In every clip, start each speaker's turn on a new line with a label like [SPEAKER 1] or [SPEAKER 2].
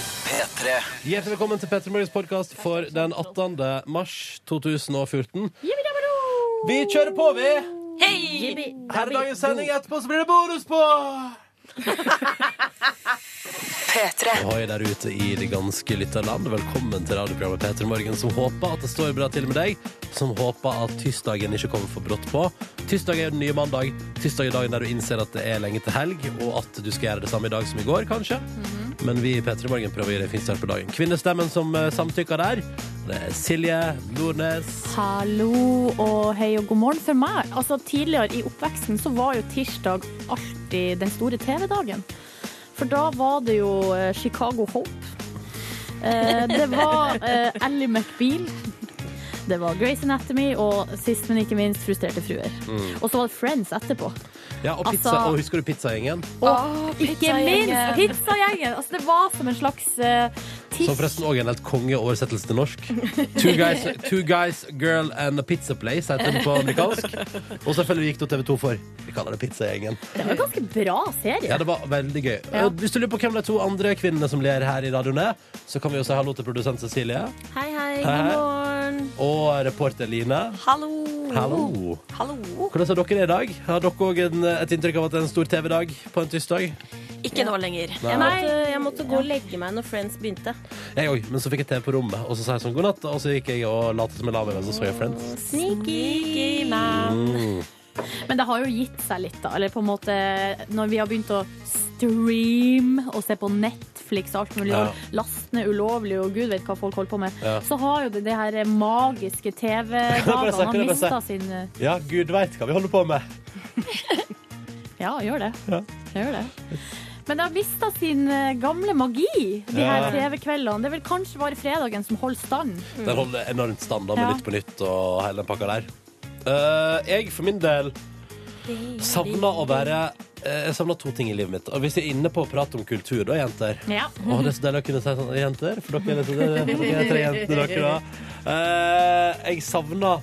[SPEAKER 1] P3.
[SPEAKER 2] Hjertelig velkommen til Petter Morgens podkast for den 18. mars 2014. Vi kjører på, vi! Her er dagens sending. Etterpå så blir det bonusspor! Hoi der ute i det ganske lytterland. Velkommen til radioprogrammet Peter Morgen, som håper at det står bra til med deg. Som håper at tirsdagen ikke kommer for brått på. Tirsdag er jo den nye mandag. Tirsdag er dagen der du innser at det er lenge til helg, og at du skal gjøre det samme i dag som i går, kanskje. Men vi i Peter Morgen prøver å gi deg fin start på dagen. Kvinnestemmen som eh, samtykker der, det er Silje Nordnes.
[SPEAKER 3] Hallo og hei og god morgen for meg. Altså, tidligere i oppveksten så var jo tirsdag alltid den store TV-dagen. For da var det jo eh, Chicago Hope. Eh, Det var eh, Ally McBeal. Det var Grace Anatomy og sist, men ikke minst Frustrerte fruer.
[SPEAKER 2] Mm.
[SPEAKER 3] Og så var det Friends etterpå.
[SPEAKER 2] Ja, og pizza.
[SPEAKER 3] Altså-
[SPEAKER 2] Og husker du pizzagjengen?
[SPEAKER 3] Og ikke minst pizzagjengen! Altså, det var som en slags eh,
[SPEAKER 2] Som
[SPEAKER 3] tirs...
[SPEAKER 2] forresten òg er en helt kongeoversettelse til norsk. Two guys, two guys, girl and a pizza place, heter den på amerikansk. Og selvfølgelig gikk det TV 2 for. Vi kaller det Pizzagjengen.
[SPEAKER 3] Det var en ganske bra serie.
[SPEAKER 2] Ja, det var veldig gøy.
[SPEAKER 3] Ja.
[SPEAKER 2] Og hvis du lurer på hvem de to andre kvinnene som ler her i radioen er, så kan vi jo si hallo til produsent Cecilie
[SPEAKER 4] Hei, hei.
[SPEAKER 2] Hei,
[SPEAKER 4] God
[SPEAKER 2] hei.
[SPEAKER 4] morgen.
[SPEAKER 2] og reporter Line.
[SPEAKER 4] Hallo.
[SPEAKER 2] Hallo.
[SPEAKER 4] Hallo.
[SPEAKER 2] Hvordan er dere i dag? Har dere òg en- et inntrykk av at det er en stor TV-dag på en tirsdag?
[SPEAKER 4] Ikke nå lenger.
[SPEAKER 2] Nei.
[SPEAKER 4] Jeg måtte, jeg måtte gå og legge meg når Friends begynte.
[SPEAKER 2] Jeg òg, men så fikk jeg TV på rommet, og så sa jeg sånn god natt, og så gikk jeg og lot som jeg la meg, og så så jeg Friends.
[SPEAKER 4] Sneaky man.
[SPEAKER 3] Men det har jo gitt seg litt, da. Eller på en måte når vi har begynt å streame og se på Netflix og alt mulig,
[SPEAKER 2] Ja.
[SPEAKER 3] og laste ned ulovlig og gud vet hva folk holder på med,
[SPEAKER 2] Ja.
[SPEAKER 3] så har jo det, det her magiske
[SPEAKER 2] Kan jeg bare si,
[SPEAKER 3] TV-dagene
[SPEAKER 2] kan
[SPEAKER 3] har
[SPEAKER 2] jeg bare si?
[SPEAKER 3] mista sin eh,
[SPEAKER 2] Ja, gud veit hva vi holder på med.
[SPEAKER 3] Ja, gjør det.
[SPEAKER 2] Ja.
[SPEAKER 3] Gjør det. Men det har mista sin eh, gamle magi, de her
[SPEAKER 2] Ja.
[SPEAKER 3] TV-kveldene. Det er vel kanskje bare fredagen som holder stand.
[SPEAKER 2] Den holder enormt stand da, med
[SPEAKER 3] Ja.
[SPEAKER 2] Nytt på nytt og hele den pakka der. Eh, jeg for min del savna å være eh, Jeg savna to ting i livet mitt. Og hvis jeg er inne på å prate om kultur, da, jenter
[SPEAKER 3] Ja.
[SPEAKER 2] Å, det er så deilig å kunne si sånn Jenter, for dere er liksom- dere- dere er tre jenter, dere da. Eh, jeg savna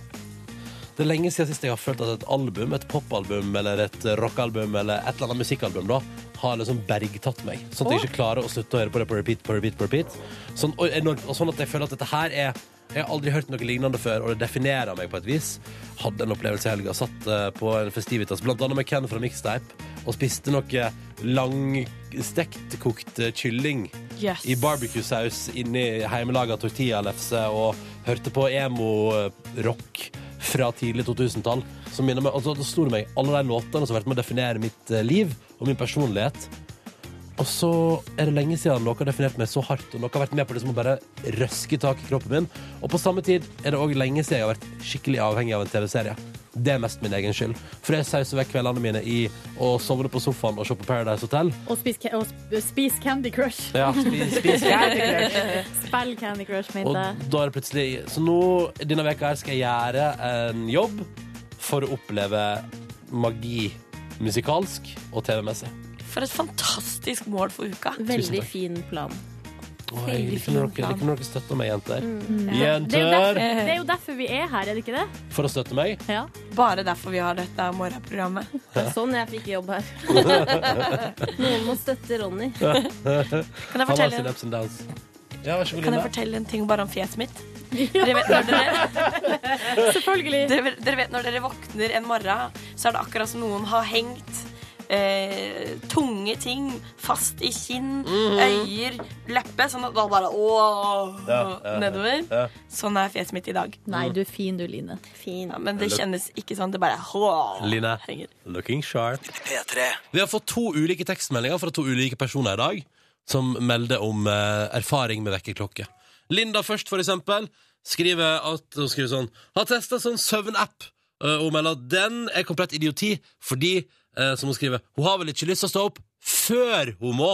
[SPEAKER 2] Det er lenge siden sist jeg har følt at et album, et popalbum eller et rockealbum eller et eller annet musikkalbum, da, har liksom bergtatt meg. Sånn at jeg ikke klarer å slutte å høre på det på repeat, på repeat, på repeat. Sånn, og, enormt, og sånn at jeg føler at dette her er jeg har aldri hørt noe lignende før, og det definerer meg på et vis. Hadde en opplevelse i helga. Satt eh, på en festivitas, blant annet med Ken fra Mixtape, og spiste noe langstekt kokt eh, kylling
[SPEAKER 4] Yes.
[SPEAKER 2] i barbecue-saus inni heimelaga tortillalefse og hørte på emo-rock fra tidlig 2000-tall. Som minner meg, altså, det slo det meg, alle de låtene som har vært med å definere mitt eh, liv og min personlighet. Og så er det lenge siden noe har definert meg så hardt, og noe har vært med på det som å bare røske tak i kroppen min. Og på samme tid er det òg lenge siden jeg har vært skikkelig avhengig av en TV-serie. Det er mest min egen skyld. For jeg sauser vekk kveldene mine i å sovne på sofaen og se på Paradise Hotel.
[SPEAKER 3] Og spise spis Candy Crush.
[SPEAKER 2] Ja, spis, spis,
[SPEAKER 3] Spill Candy Crush,
[SPEAKER 2] Og
[SPEAKER 3] mente jeg.
[SPEAKER 2] da er det plutselig Så nå, denne veka her skal jeg gjøre en jobb For å oppleve magi Musikalsk og TV-messig
[SPEAKER 5] For et fantastisk mål for uka.
[SPEAKER 2] Tusen
[SPEAKER 4] Veldig
[SPEAKER 2] takk.
[SPEAKER 4] fin plan.
[SPEAKER 2] Oi, Liker når dere, liker når dere støtter meg, jenter
[SPEAKER 3] Det er, jo derfor,
[SPEAKER 2] Jenter
[SPEAKER 3] det er jo derfor vi er her, er det ikke det?
[SPEAKER 2] For å støtte meg
[SPEAKER 3] Ja.
[SPEAKER 5] Bare derfor vi har dette morgenprogrammet.
[SPEAKER 4] Det er sånn jeg fikk jobb her. Noen må støtte Ronny.
[SPEAKER 5] Kan jeg
[SPEAKER 2] Han har
[SPEAKER 5] fortelle,
[SPEAKER 2] sine ups and downs Ja, vær så god
[SPEAKER 5] kan jeg
[SPEAKER 2] Line
[SPEAKER 5] fortelle en ting bare om fjeset mitt? Dere vet, når dere,
[SPEAKER 3] Selvfølgelig.
[SPEAKER 5] dere, dere vet når dere våkner en morgen, så er det akkurat som noen har hengt eh, tunge ting fast i kinn,
[SPEAKER 2] Mhm.
[SPEAKER 5] øyer, leppe, sånn at da bare åh,
[SPEAKER 2] Ja, ja, ja.
[SPEAKER 5] nedover.
[SPEAKER 2] Ja.
[SPEAKER 5] Sånn er fjeset mitt i dag.
[SPEAKER 3] Nei, du er fin du, Line.
[SPEAKER 4] Fin.
[SPEAKER 5] Ja, men det kjennes ikke sånn. Det bare åh,
[SPEAKER 2] Line,
[SPEAKER 5] henger.
[SPEAKER 2] looking sharp
[SPEAKER 1] P3.
[SPEAKER 2] Vi har fått to ulike tekstmeldinger fra to ulike personer i dag som melder om eh, erfaring med vekkerklokke. Linda først, for eksempel, skriver, at, hun skriver sånn Har testa sånn søvnapp, eh, og melder at den er komplett idioti fordi, eh, som hun skriver, hun har vel ikke lyst til å stå opp før hun må.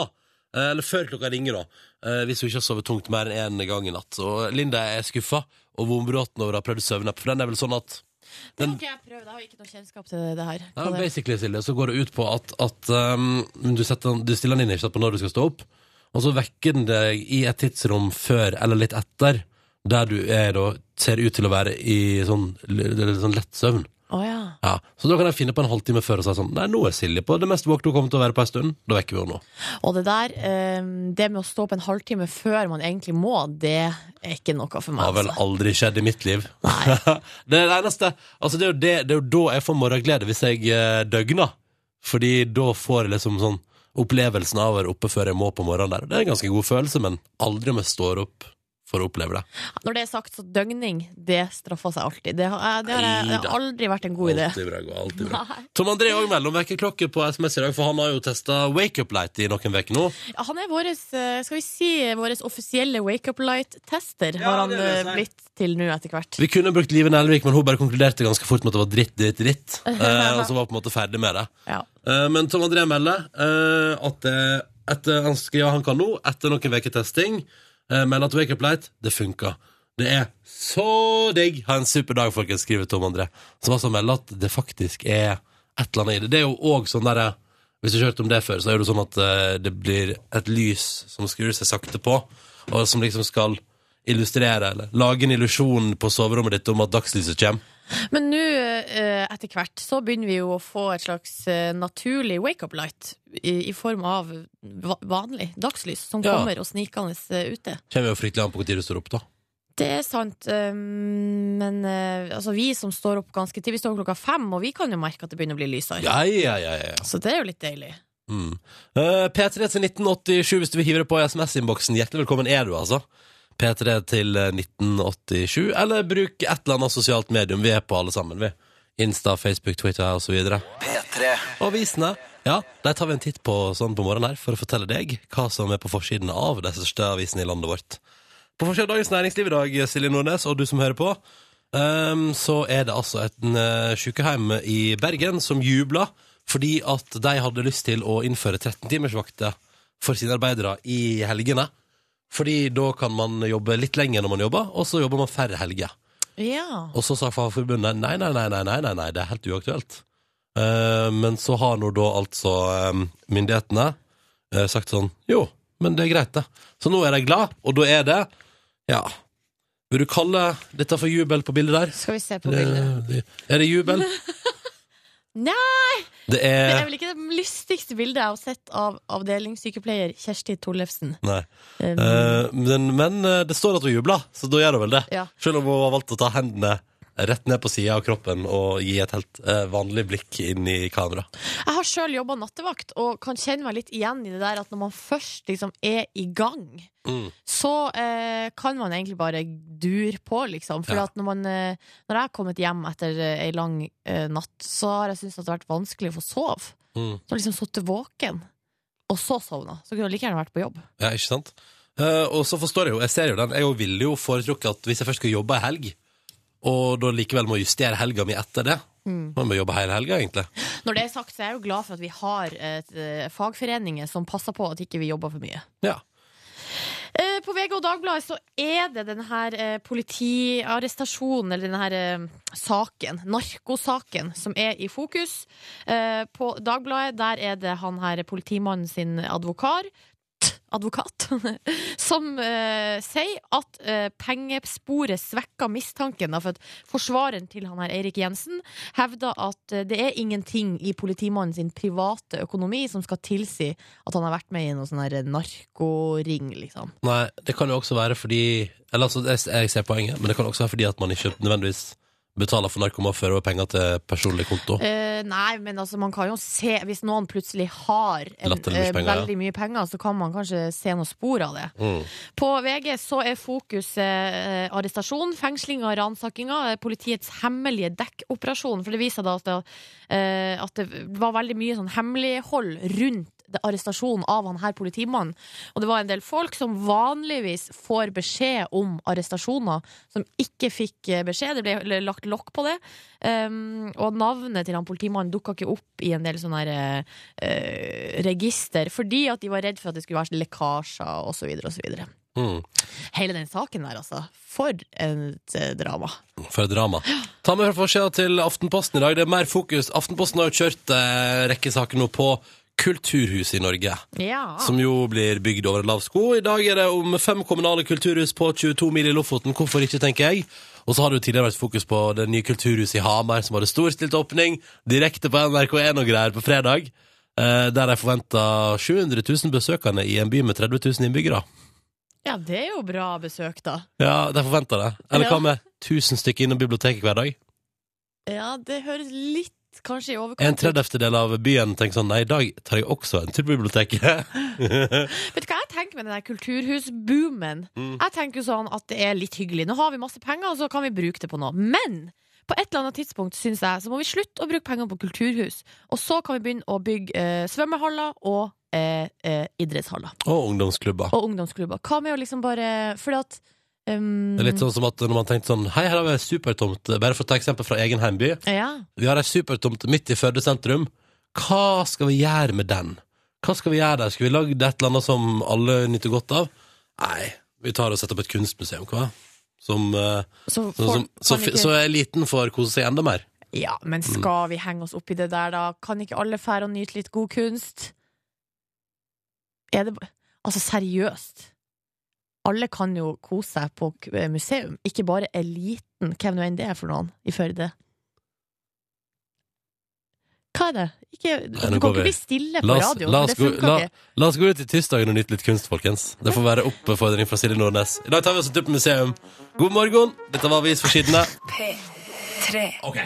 [SPEAKER 2] Eh, Eller før klokka ringer, da. Eh, Hvis hun ikke har sovet tungt mer enn én gang i natt. Og Linda er skuffa og vonbroten over å ha prøvd søvnapp, for den er vel sånn at
[SPEAKER 6] Det har ikke jeg prøvd. Jeg har ikke noe kjennskap til det her.
[SPEAKER 2] ja, men basically, Silje, så går det ut på at, at um, du, setter, den- du stiller den inn ikke sant, på når du skal stå opp, og så vekker den deg i et tidsrom før eller litt etter, der du er da, ser ut til å være i sånn, l- l- sånn lett søvn.
[SPEAKER 3] Å ja.
[SPEAKER 2] Ja, så da kan jeg finne på en halvtime før og si sånn Nei, nå er Silje på det mest våkne hun kommer til å være på en stund. Da vekker vi henne nå.
[SPEAKER 3] Og det der, eh, det med å stå opp en halvtime før man egentlig må, det er ikke noe for
[SPEAKER 2] Har
[SPEAKER 3] meg.
[SPEAKER 2] vel
[SPEAKER 3] altså.
[SPEAKER 2] aldri skjedd i mitt liv. det er det eneste Altså, det er jo, det, det er jo da jeg får morgenglede, hvis jeg eh, døgner. Fordi da får jeg liksom sånn opplevelsen av å være oppe før jeg må på morgenen der. Det er en ganske god følelse, men aldri om jeg står opp for å oppleve det.
[SPEAKER 3] Når det er sagt, så døgning, det straffer seg alltid. Det har, jeg- det har, jeg, det har
[SPEAKER 2] Neida.
[SPEAKER 3] aldri vært en god idé.
[SPEAKER 2] Alltid bra, gå, alltid bra. Tom André er òg mellom vekkerklokker på SMS i dag, for han har jo testa wake-up-light i noen uker nå.
[SPEAKER 3] Han er vår, skal vi si, vår offisielle wake-up light-tester,
[SPEAKER 2] Ja,
[SPEAKER 3] har han
[SPEAKER 2] det vil jeg
[SPEAKER 3] eh,
[SPEAKER 2] si.
[SPEAKER 3] blitt til nå etter hvert.
[SPEAKER 2] Vi kunne brukt Live Nelvik, men hun bare konkluderte ganske fort med at det var dritt, dritt, dritt. Eh, og så var hun på en måte ferdig med det.
[SPEAKER 3] Ja.
[SPEAKER 2] Eh, men Tom André melder eh, at eh, etter, han skriver han kan nå, etter noen uker testing, eh, melder at Wake Up Light, det funka. Det er så digg! Ha en super dag, folkens, skriver Tom André. Som altså melder at det faktisk er et eller annet i det. Det er jo òg sånn derre Hvis du har hørt om det før, så er det jo sånn at eh, det blir et lys som skrur seg sakte på, og som liksom skal illustrere, eller lage en illusjon på soverommet ditt om at dagslyset kommer.
[SPEAKER 3] Men nå, eh, etter hvert, så begynner vi jo å få et slags eh, naturlig wake-up light i, i form av va vanlig dagslys som
[SPEAKER 2] Ja.
[SPEAKER 3] kommer og snikende eh, ute.
[SPEAKER 2] Kommer jo fryktelig an på hvor tid du står opp, da.
[SPEAKER 3] Det er sant, eh, men eh, altså, vi som står opp ganske tidlig, vi står opp klokka fem, og vi kan jo merke at det begynner å bli lysere.
[SPEAKER 2] Ja, ja, ja, ja. ja.
[SPEAKER 3] Så det er jo litt deilig.
[SPEAKER 2] Mm. Eh, P3 til 1987 hvis du vil hive det på i SMS-innboksen. Hjertelig velkommen er du, altså. P3 til eh, 1987, eller bruk et eller annet sosialt medium. Vi er på alle sammen, vi. Insta, Facebook, Twitter og så videre.
[SPEAKER 7] P3
[SPEAKER 2] Og avisene, ja, de tar vi en titt på sånn på morgenen her for å fortelle deg hva som er på forsiden av de største avisene i landet vårt. På forsiden av Dagens Næringsliv i dag, Silje Nordnes, og du som hører på, ehm, så er det altså et eh, sykehjem i Bergen som jubler fordi at de hadde lyst til å innføre 13-timersvakter for sine arbeidere i helgene. Fordi da kan man jobbe litt lenger når man jobber, og så jobber man færre helger.
[SPEAKER 3] Ja.
[SPEAKER 2] Og så sa Fagforbundet nei, nei, nei, nei, nei, nei, nei det er helt uaktuelt. Eh, men så har nå da altså eh, myndighetene eh, sagt sånn jo, men det er greit, det. Så nå er de glad, og da er det ja. Vil du kalle dette for jubel på bildet der? Eh,
[SPEAKER 3] Skal vi se på bildet.
[SPEAKER 2] Det- Er det jubel?
[SPEAKER 3] Nei!
[SPEAKER 2] Det
[SPEAKER 3] Det er
[SPEAKER 2] er
[SPEAKER 3] vel ikke det lystigste bildet jeg har sett av avdelingssykepleier Kjersti Tollefsen.
[SPEAKER 2] Nei.
[SPEAKER 3] Um,
[SPEAKER 2] Eh, men, men eh, det står at hun jubler, så da gjør hun vel det.
[SPEAKER 3] Ja.
[SPEAKER 2] Selv om hun har valgt å ta hendene rett ned på sida av kroppen og gi et helt eh, vanlig blikk inn i kamera.
[SPEAKER 3] Jeg har sjøl jobba nattevakt og kan kjenne meg litt igjen i det der at når man først liksom er i gang,
[SPEAKER 2] Mm.
[SPEAKER 3] så eh, kan man egentlig bare dure på, liksom. For
[SPEAKER 2] Ja.
[SPEAKER 3] at når, man, eh, når jeg har kommet hjem etter eh, ei lang eh, natt, så har jeg syntes at det har vært vanskelig å få sove.
[SPEAKER 2] Mm.
[SPEAKER 3] Så har jeg liksom sittet våken, og så sovna. Så kunne jeg like gjerne vært på jobb.
[SPEAKER 2] Ja, ikke sant? Eh, og så forstår jeg jo, jeg ser jo den. Jeg jo ville jo foretrukket at hvis jeg først skal jobbe ei helg, og da likevel må justere helga mi etter det
[SPEAKER 3] Mm.
[SPEAKER 2] Man må jobbe hele helga, egentlig.
[SPEAKER 3] Når det er sagt, så er jeg jo glad for at vi har et, eh, fagforeninger som passer på at ikke vi jobber for mye.
[SPEAKER 2] Ja.
[SPEAKER 3] Eh, På VG og Dagbladet så er det den her eh, politiarrestasjonen, eller den her eh, saken, narkosaken, som er i fokus. Eh, på Dagbladet der er det han her politimannen sin advokar, advokat, som eh, sier at eh, pengesporet svekker mistanken. Da, for at forsvareren til han her Eirik Jensen hevder at eh, det er ingenting i politimannen sin private økonomi som skal tilsi at han har vært med i noen sånn her narkoring, liksom.
[SPEAKER 2] Nei, det kan jo også være fordi Eller altså, jeg, jeg ser poenget, men det kan også være fordi at man ikke nødvendigvis betaler for narkoma før over penger til personlig konto.
[SPEAKER 3] Eh, nei, men altså, man kan jo se Hvis noen plutselig har en, eh,
[SPEAKER 2] Latterliggjørspenger, ja.
[SPEAKER 3] veldig mye penger, så kan man kanskje se noen spor av det.
[SPEAKER 2] Mm.
[SPEAKER 3] På VG så er fokuset eh, arrestasjon, fengsling og ransakinga. eh, Politiets hemmelige dekkoperasjon. For det viser da at det, eh, at det var veldig mye sånn hemmelighold rundt det- arrestasjonen av han her politimannen. Og det var en del folk som vanligvis får beskjed om arrestasjoner, som ikke fikk eh, beskjed. Det ble l- lagt lokk på det. Um, og navnet til han politimannen dukka ikke opp i en del sånne her, eh, eh, register, fordi at de var redd for at det skulle være lekkasjer osv. osv.
[SPEAKER 2] Mm.
[SPEAKER 3] Hele den saken der, altså. For et eh, drama.
[SPEAKER 2] For et drama. Ta med fra forsida til Aftenposten i dag. Det er mer fokus. Aftenposten har jo kjørt eh, rekkesaker nå på kulturhus i Norge.
[SPEAKER 3] Ja.
[SPEAKER 2] Som jo blir bygd over en lav sko. I dag er det om fem kommunale kulturhus på 22 mil i Lofoten. Hvorfor ikke, tenker jeg. Og så har det jo tidligere vært fokus på det nye kulturhuset i Hamar, som hadde storstilt åpning direkte på NRK1 og greier på fredag. eh, Der de forventa 700 000 besøkende i en by med 30 000 innbyggere.
[SPEAKER 3] ja, det er jo bra besøk, da.
[SPEAKER 2] Ja, de forventa det. Eller hva med 1000 stykker innom biblioteket hver dag?
[SPEAKER 3] Ja, det høres litt Kanskje i
[SPEAKER 2] En
[SPEAKER 3] overkant. ut.
[SPEAKER 2] tredjeftedel av byen tenker sånn Nei, i dag tar jeg også en tur på biblioteket.
[SPEAKER 3] Vet du hva jeg tenker med den der kulturhusboomen?
[SPEAKER 2] Mm.
[SPEAKER 3] Jeg tenker jo sånn at det er litt hyggelig. Nå har vi masse penger, og så kan vi bruke det på noe. Men på et eller annet tidspunkt synes jeg så må vi slutte å bruke pengene på kulturhus. Og så kan vi begynne å bygge eh, svømmehaller og eh, eh, idrettshaller.
[SPEAKER 2] Og ungdomsklubber.
[SPEAKER 3] Og ungdomsklubber. Hva med å liksom bare Fordi at um,
[SPEAKER 2] Det er litt sånn som at når man tenkte sånn Hei, her har vi ei supertomt. Bare for å ta eksempel fra egen heimby.
[SPEAKER 3] Ja.
[SPEAKER 2] Vi har ei supertomt midt i Førde sentrum. Hva skal vi gjøre med den? Hva skal vi gjøre der? Skal vi lage et eller annet som alle nyter godt av? Nei, vi tar og setter opp et kunstmuseum, hva? Som, eh,
[SPEAKER 3] Så, folk,
[SPEAKER 2] som, som, så,
[SPEAKER 3] kan ikke,
[SPEAKER 2] så eliten får kose seg enda mer.
[SPEAKER 3] ja,
[SPEAKER 2] Mm.
[SPEAKER 3] men skal vi henge oss opp i det der, da? Kan ikke alle fære og nyte litt god kunst? Er det ba- Altså, seriøst. Alle kan jo kose seg på k- eh, museum, ikke bare eliten, hvem nå enn det er for noen i Førde. Hva er det? Ikke, du
[SPEAKER 2] nå
[SPEAKER 3] kan
[SPEAKER 2] går
[SPEAKER 3] ikke
[SPEAKER 2] vi.
[SPEAKER 3] bli stille på
[SPEAKER 2] La oss-
[SPEAKER 3] radio,
[SPEAKER 2] la
[SPEAKER 3] for
[SPEAKER 2] oss
[SPEAKER 3] det
[SPEAKER 2] gå-
[SPEAKER 3] funker
[SPEAKER 2] la-
[SPEAKER 3] ikke.
[SPEAKER 2] La oss gå ut i tirsdagen og nyte litt kunst, folkens. Det får være oppfordring fra Silje Nordnes. I dag tar vi oss en tur på museum. God morgen. Dette var Avis for sidene. Ok.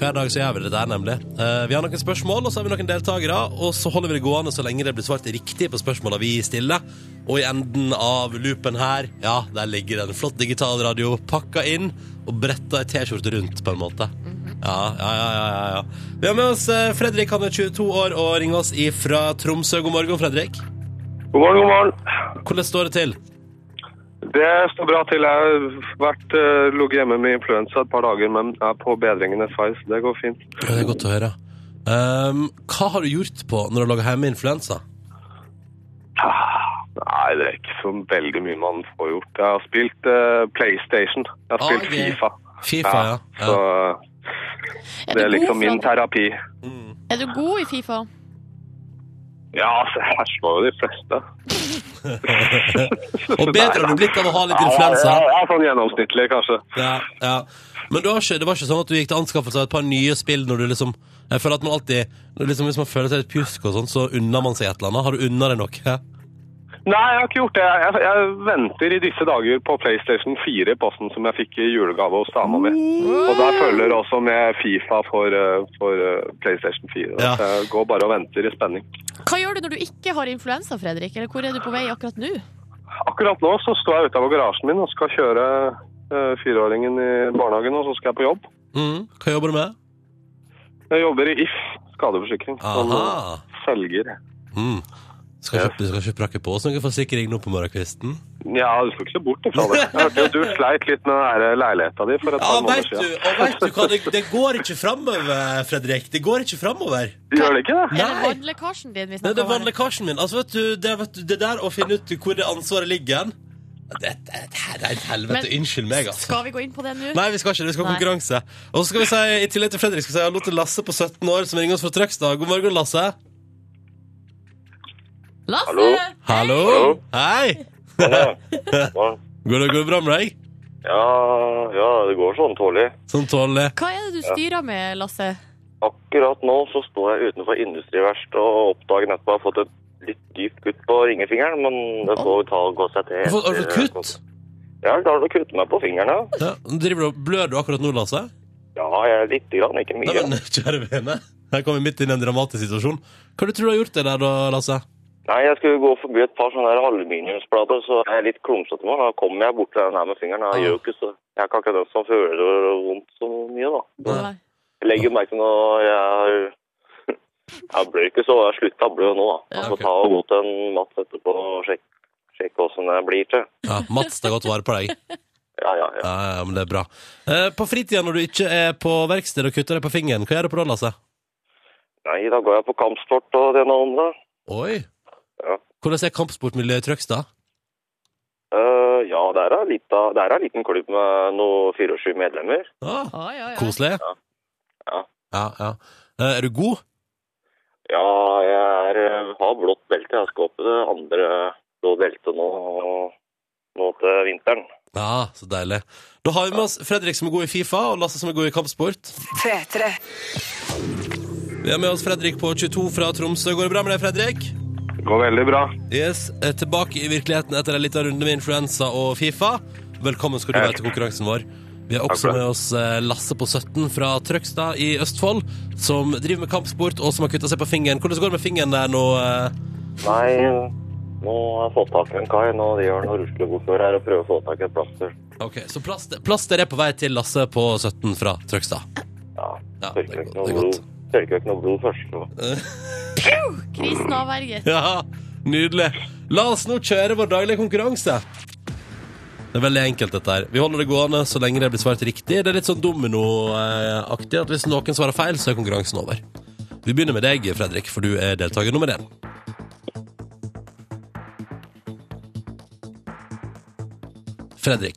[SPEAKER 2] Hver dag så gjør vi det der, nemlig. Eh, vi har noen spørsmål, og så har vi noen deltakere. Og så holder vi det gående så lenge det blir svart riktig på spørsmåla vi stiller. Og i enden av loopen her, ja, der ligger det en flott digital radio pakka inn og bretta ei T-skjorte rundt, på en måte. Ja, ja, ja, ja, ja, ja. Vi har med oss eh, Fredrik, han er 22 år og ringer oss ifra Tromsø. God morgen, Fredrik.
[SPEAKER 7] God morgen, god morgen.
[SPEAKER 2] Hvordan står det til?
[SPEAKER 7] Det står bra til. Jeg har vært uh, ligget hjemme med influensa et par dager, men er på bedringen i fei, så det går fint.
[SPEAKER 2] Ja, Det er godt å høre. Ehm, hva har du gjort på når du har laga hjemmeinfluensa?
[SPEAKER 7] Nei, det er ikke så veldig mye man får gjort. Jeg har spilt eh, PlayStation. Jeg har
[SPEAKER 2] Ah,
[SPEAKER 7] spilt
[SPEAKER 2] ok.
[SPEAKER 7] Fifa.
[SPEAKER 2] Fifa, ja. ja.
[SPEAKER 7] Så
[SPEAKER 3] Er
[SPEAKER 7] det
[SPEAKER 3] du
[SPEAKER 7] er
[SPEAKER 3] god
[SPEAKER 7] liksom
[SPEAKER 3] for
[SPEAKER 7] min
[SPEAKER 3] at-
[SPEAKER 7] terapi.
[SPEAKER 3] Er du god i Fifa?
[SPEAKER 7] Ja, så jeg slår jo de fleste.
[SPEAKER 2] Og bedre har du blitt av å ha litt influensa.
[SPEAKER 7] Ja, ja, ja, sånn gjennomsnittlig, kanskje.
[SPEAKER 2] Ja, ja. Men du har ikke, det var ikke sånn at du gikk til anskaffelse av et par nye spill når du liksom Jeg føler at man alltid når liksom, Hvis man føler seg litt pjusk og sånn, så unner man seg et eller annet. Har du unna deg noe?
[SPEAKER 7] Nei, jeg har ikke gjort det. Jeg, jeg venter i disse dager på PlayStation 4 i posten som jeg fikk i julegave hos dama mi. Og der følger også med Fifa for, eh, for eh, PlayStation 4.
[SPEAKER 2] Ja.
[SPEAKER 7] Så jeg går bare og venter i spenning.
[SPEAKER 3] Hva gjør du når du ikke har influensa, Fredrik? Eller hvor er du på vei akkurat nå?
[SPEAKER 7] Akkurat nå så står jeg utenfor garasjen min og skal kjøre eh, fireåringen i barnehagen, og så skal jeg på jobb.
[SPEAKER 2] Mm, hva jobber du med?
[SPEAKER 7] Jeg jobber i If skadeforsikring. som
[SPEAKER 2] Aha.
[SPEAKER 7] Selger.
[SPEAKER 2] Mm. Skal kjøpe, skal kjøpe rakke på oss noen forsikring nå på morgenkvisten?
[SPEAKER 7] Ja, du skal ikke se bort ifra det. Jeg hørte jo du sleit litt med den her leiligheta di for
[SPEAKER 2] Ja,
[SPEAKER 7] et par måneder
[SPEAKER 2] veit du,
[SPEAKER 7] siden.
[SPEAKER 2] og vet du hva, det, det går ikke framover, Fredrik. Det går ikke framover.
[SPEAKER 7] Gjør det ikke det?
[SPEAKER 3] Er det
[SPEAKER 2] Nei.
[SPEAKER 3] vannlekkasjen din vi
[SPEAKER 2] Nei, det
[SPEAKER 3] snakker
[SPEAKER 2] er
[SPEAKER 3] om? her?
[SPEAKER 2] vannlekkasjen min. Altså, vet du, det, vet du, det der å finne ut hvor det ansvaret ligger hen det, det, det her er et helvete.
[SPEAKER 3] Men-
[SPEAKER 2] Unnskyld meg, altså.
[SPEAKER 3] Skal vi gå inn på det nå?
[SPEAKER 2] Nei, vi skal ikke det. Vi skal ha
[SPEAKER 3] Nei.
[SPEAKER 2] konkurranse. Og så skal vi si, i tillegg til Fredrik, skal vi si hallo til Lasse på 17 år, som ringer oss fra Trøgstad. God morgen, Lasse.
[SPEAKER 3] Lasse!
[SPEAKER 7] Hallo?
[SPEAKER 2] Hallo. Hei. Går det, går det bra med deg?
[SPEAKER 7] Ja, ja, det går sånn tålig.
[SPEAKER 2] Sånn tålelig.
[SPEAKER 3] Hva er det du styrer med, Lasse?
[SPEAKER 7] Akkurat nå så står jeg utenfor industriverst og oppdager nettopp at jeg har fått et litt dypt kutt på ringefingeren, men det får jo ta og gå seg til.
[SPEAKER 2] Har du fått- har du fått
[SPEAKER 7] etter- altså.
[SPEAKER 2] kutt?
[SPEAKER 7] Ja, jeg klarer å kutte meg på fingeren, ja.
[SPEAKER 2] Ja, driver du, og- blør du akkurat nå, Lasse?
[SPEAKER 7] Ja, jeg er lite grann, ikke mye.
[SPEAKER 2] Nei, men kjære vene. Her kommer vi midt inn i en dramatisk situasjon. Hva du tror du har gjort det der, da, Lasse?
[SPEAKER 7] Nei, jeg skulle gå forbi et par sånne her aluminiumsplater, så jeg er litt klumsete nå. Da kommer jeg bort til den her med fingeren. Jeg gjør jo ikke så Jeg er ikke den som føler vondt så mye, da.
[SPEAKER 2] Nei.
[SPEAKER 7] Jeg legger merke til når jeg Jeg blør ikke så jeg slutta å blø nå, da. Jeg får
[SPEAKER 2] ok.
[SPEAKER 7] ta og gå til en Mats etterpå og sjekke, sjekke hvordan jeg blir til.
[SPEAKER 2] Ja, Mats tar godt vare på deg.
[SPEAKER 7] Ja, ja, ja.
[SPEAKER 2] Ja, ja, men det er bra. Eh, på fritida når du ikke er på verksted og kutter deg på fingeren, hva gjør du på da, Lasse?
[SPEAKER 7] Nei, da går jeg på kampsport og det ene og det andre.
[SPEAKER 2] Oi!
[SPEAKER 7] Ja.
[SPEAKER 2] Hvordan er kampsportmiljøet i Trøgstad?
[SPEAKER 7] Eh, ja, det er, en lita, det er en liten klubb med noe 24 medlemmer.
[SPEAKER 2] Ah,
[SPEAKER 3] Oi, oi, oi.
[SPEAKER 2] koselig.
[SPEAKER 7] Ja.
[SPEAKER 2] ja. ja. Eh, er du god?
[SPEAKER 8] Ja, jeg er, eh, har blått belte. Jeg skal opp i det andre blå beltet nå, nå til vinteren.
[SPEAKER 2] Ja, så deilig. Da har vi med oss Fredrik som er god i Fifa, og Lasse som er god i kampsport. Vi har med oss Fredrik på 22 fra Tromsø. Går det bra med deg, Fredrik?
[SPEAKER 7] Går veldig bra.
[SPEAKER 2] Yes, eh, Tilbake i virkeligheten etter en liten runde med influensa og Fifa. Velkommen skal du være til konkurransen vår. Vi har også
[SPEAKER 7] Takk for det.
[SPEAKER 2] med oss eh, Lasse på 17 fra Trøgstad i Østfold, som driver med kampsport og som har kutta seg på fingeren. Hvordan går det med fingeren der nå? eh?
[SPEAKER 8] Nei, nå har jeg fått tak i en kai. Nå driver han og rusler bortover her og prøver å få tak i et plaster.
[SPEAKER 2] Ok, Så plaster, plaster er på vei til Lasse på 17 fra Trøgstad.
[SPEAKER 8] Ja,
[SPEAKER 2] Ja, det er
[SPEAKER 8] tørker
[SPEAKER 2] godt.
[SPEAKER 8] ikke
[SPEAKER 2] Det
[SPEAKER 8] noe
[SPEAKER 2] er godt.
[SPEAKER 8] blod. Tørker ikke noe blod først. nå.
[SPEAKER 3] Krisen avverget.
[SPEAKER 2] Ja, nydelig. La oss nå kjøre vår daglige konkurranse. Det er veldig enkelt, dette her. Vi holder det gående så lenge det blir svart riktig. Det er litt sånn dominoaktig at hvis noen svarer feil, så er konkurransen over. Vi begynner med deg, Fredrik, for du er deltaker nummer én. Fredrik.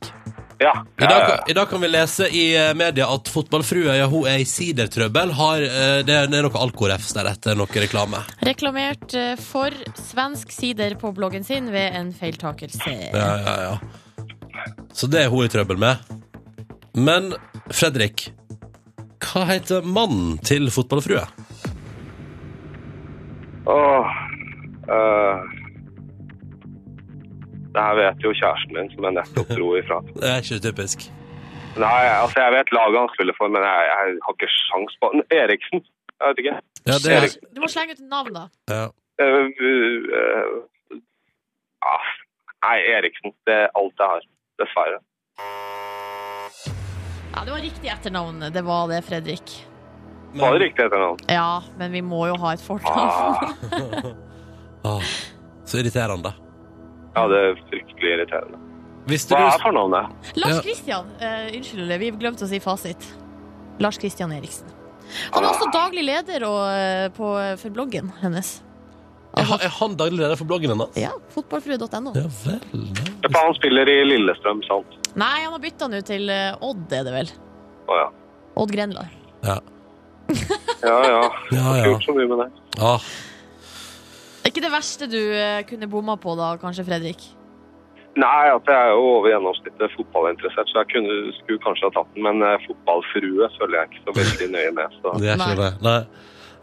[SPEAKER 7] Ja.
[SPEAKER 2] I dag, kan- I dag kan vi lese i eh, media at fotballfrua ja, hun er i sidertrøbbel. Har, eh, det er det er noe alkorefs der etter noe reklame.
[SPEAKER 3] Reklamert eh, for svensk sider på bloggen sin ved en feiltakelse.
[SPEAKER 2] Ja, ja, ja. Så det er hun i trøbbel med. Men Fredrik, hva heter mannen til fotballfrua?
[SPEAKER 7] Åh. eh, det her vet jo kjæresten min, som jeg nettopp dro ifra.
[SPEAKER 2] Det er ikke typisk.
[SPEAKER 7] Nei, altså jeg vet laget han spiller for, men jeg, jeg har ikke sjans på Eriksen? Jeg vet ikke.
[SPEAKER 2] Ja, det er,
[SPEAKER 3] Du må slenge ut et navn, da.
[SPEAKER 2] ja.
[SPEAKER 7] Eh, eh, ah, nei, Eriksen. Det er alt jeg har. Dessverre.
[SPEAKER 3] Ja, Det var riktig etternavn. Det var det, Fredrik.
[SPEAKER 7] Var det riktig etternavn?
[SPEAKER 3] Ja, men vi må jo ha et fornavn.
[SPEAKER 7] Ah,
[SPEAKER 2] Ah, så irriterende.
[SPEAKER 7] ja, det er fryktelig irriterende.
[SPEAKER 2] Visste
[SPEAKER 7] Hva
[SPEAKER 2] du,
[SPEAKER 7] er fornavnet?
[SPEAKER 3] Lars
[SPEAKER 2] Ja.
[SPEAKER 3] Kristian. eh, unnskyld, vi glemte å si fasit. Lars Kristian Eriksen. Han er også daglig leder og, eh, på, for bloggen hennes.
[SPEAKER 2] er, han- er han daglig leder for bloggen hennes?
[SPEAKER 3] Ja, fotballfrue.no.
[SPEAKER 2] Ja vel.
[SPEAKER 7] Ja, for Han spiller i Lillestrøm, sant?
[SPEAKER 3] Nei, han har bytta nå til eh, Odd, er det vel.
[SPEAKER 7] Å ja.
[SPEAKER 3] Odd Grenland.
[SPEAKER 2] Ja.
[SPEAKER 7] Ja ja.
[SPEAKER 2] Ja, ja.
[SPEAKER 7] Har ikke gjort så mye med det.
[SPEAKER 2] Ah,
[SPEAKER 3] Er ikke det verste du eh, kunne bomma på da, kanskje, Fredrik?
[SPEAKER 7] Nei, altså, jeg er jo over gjennomsnittet fotballinteressert, så jeg kunne, skulle kanskje ha tatt den, men eh, fotballfrue følger jeg ikke så veldig nøye med. Så.
[SPEAKER 2] det er ikke det. Nei.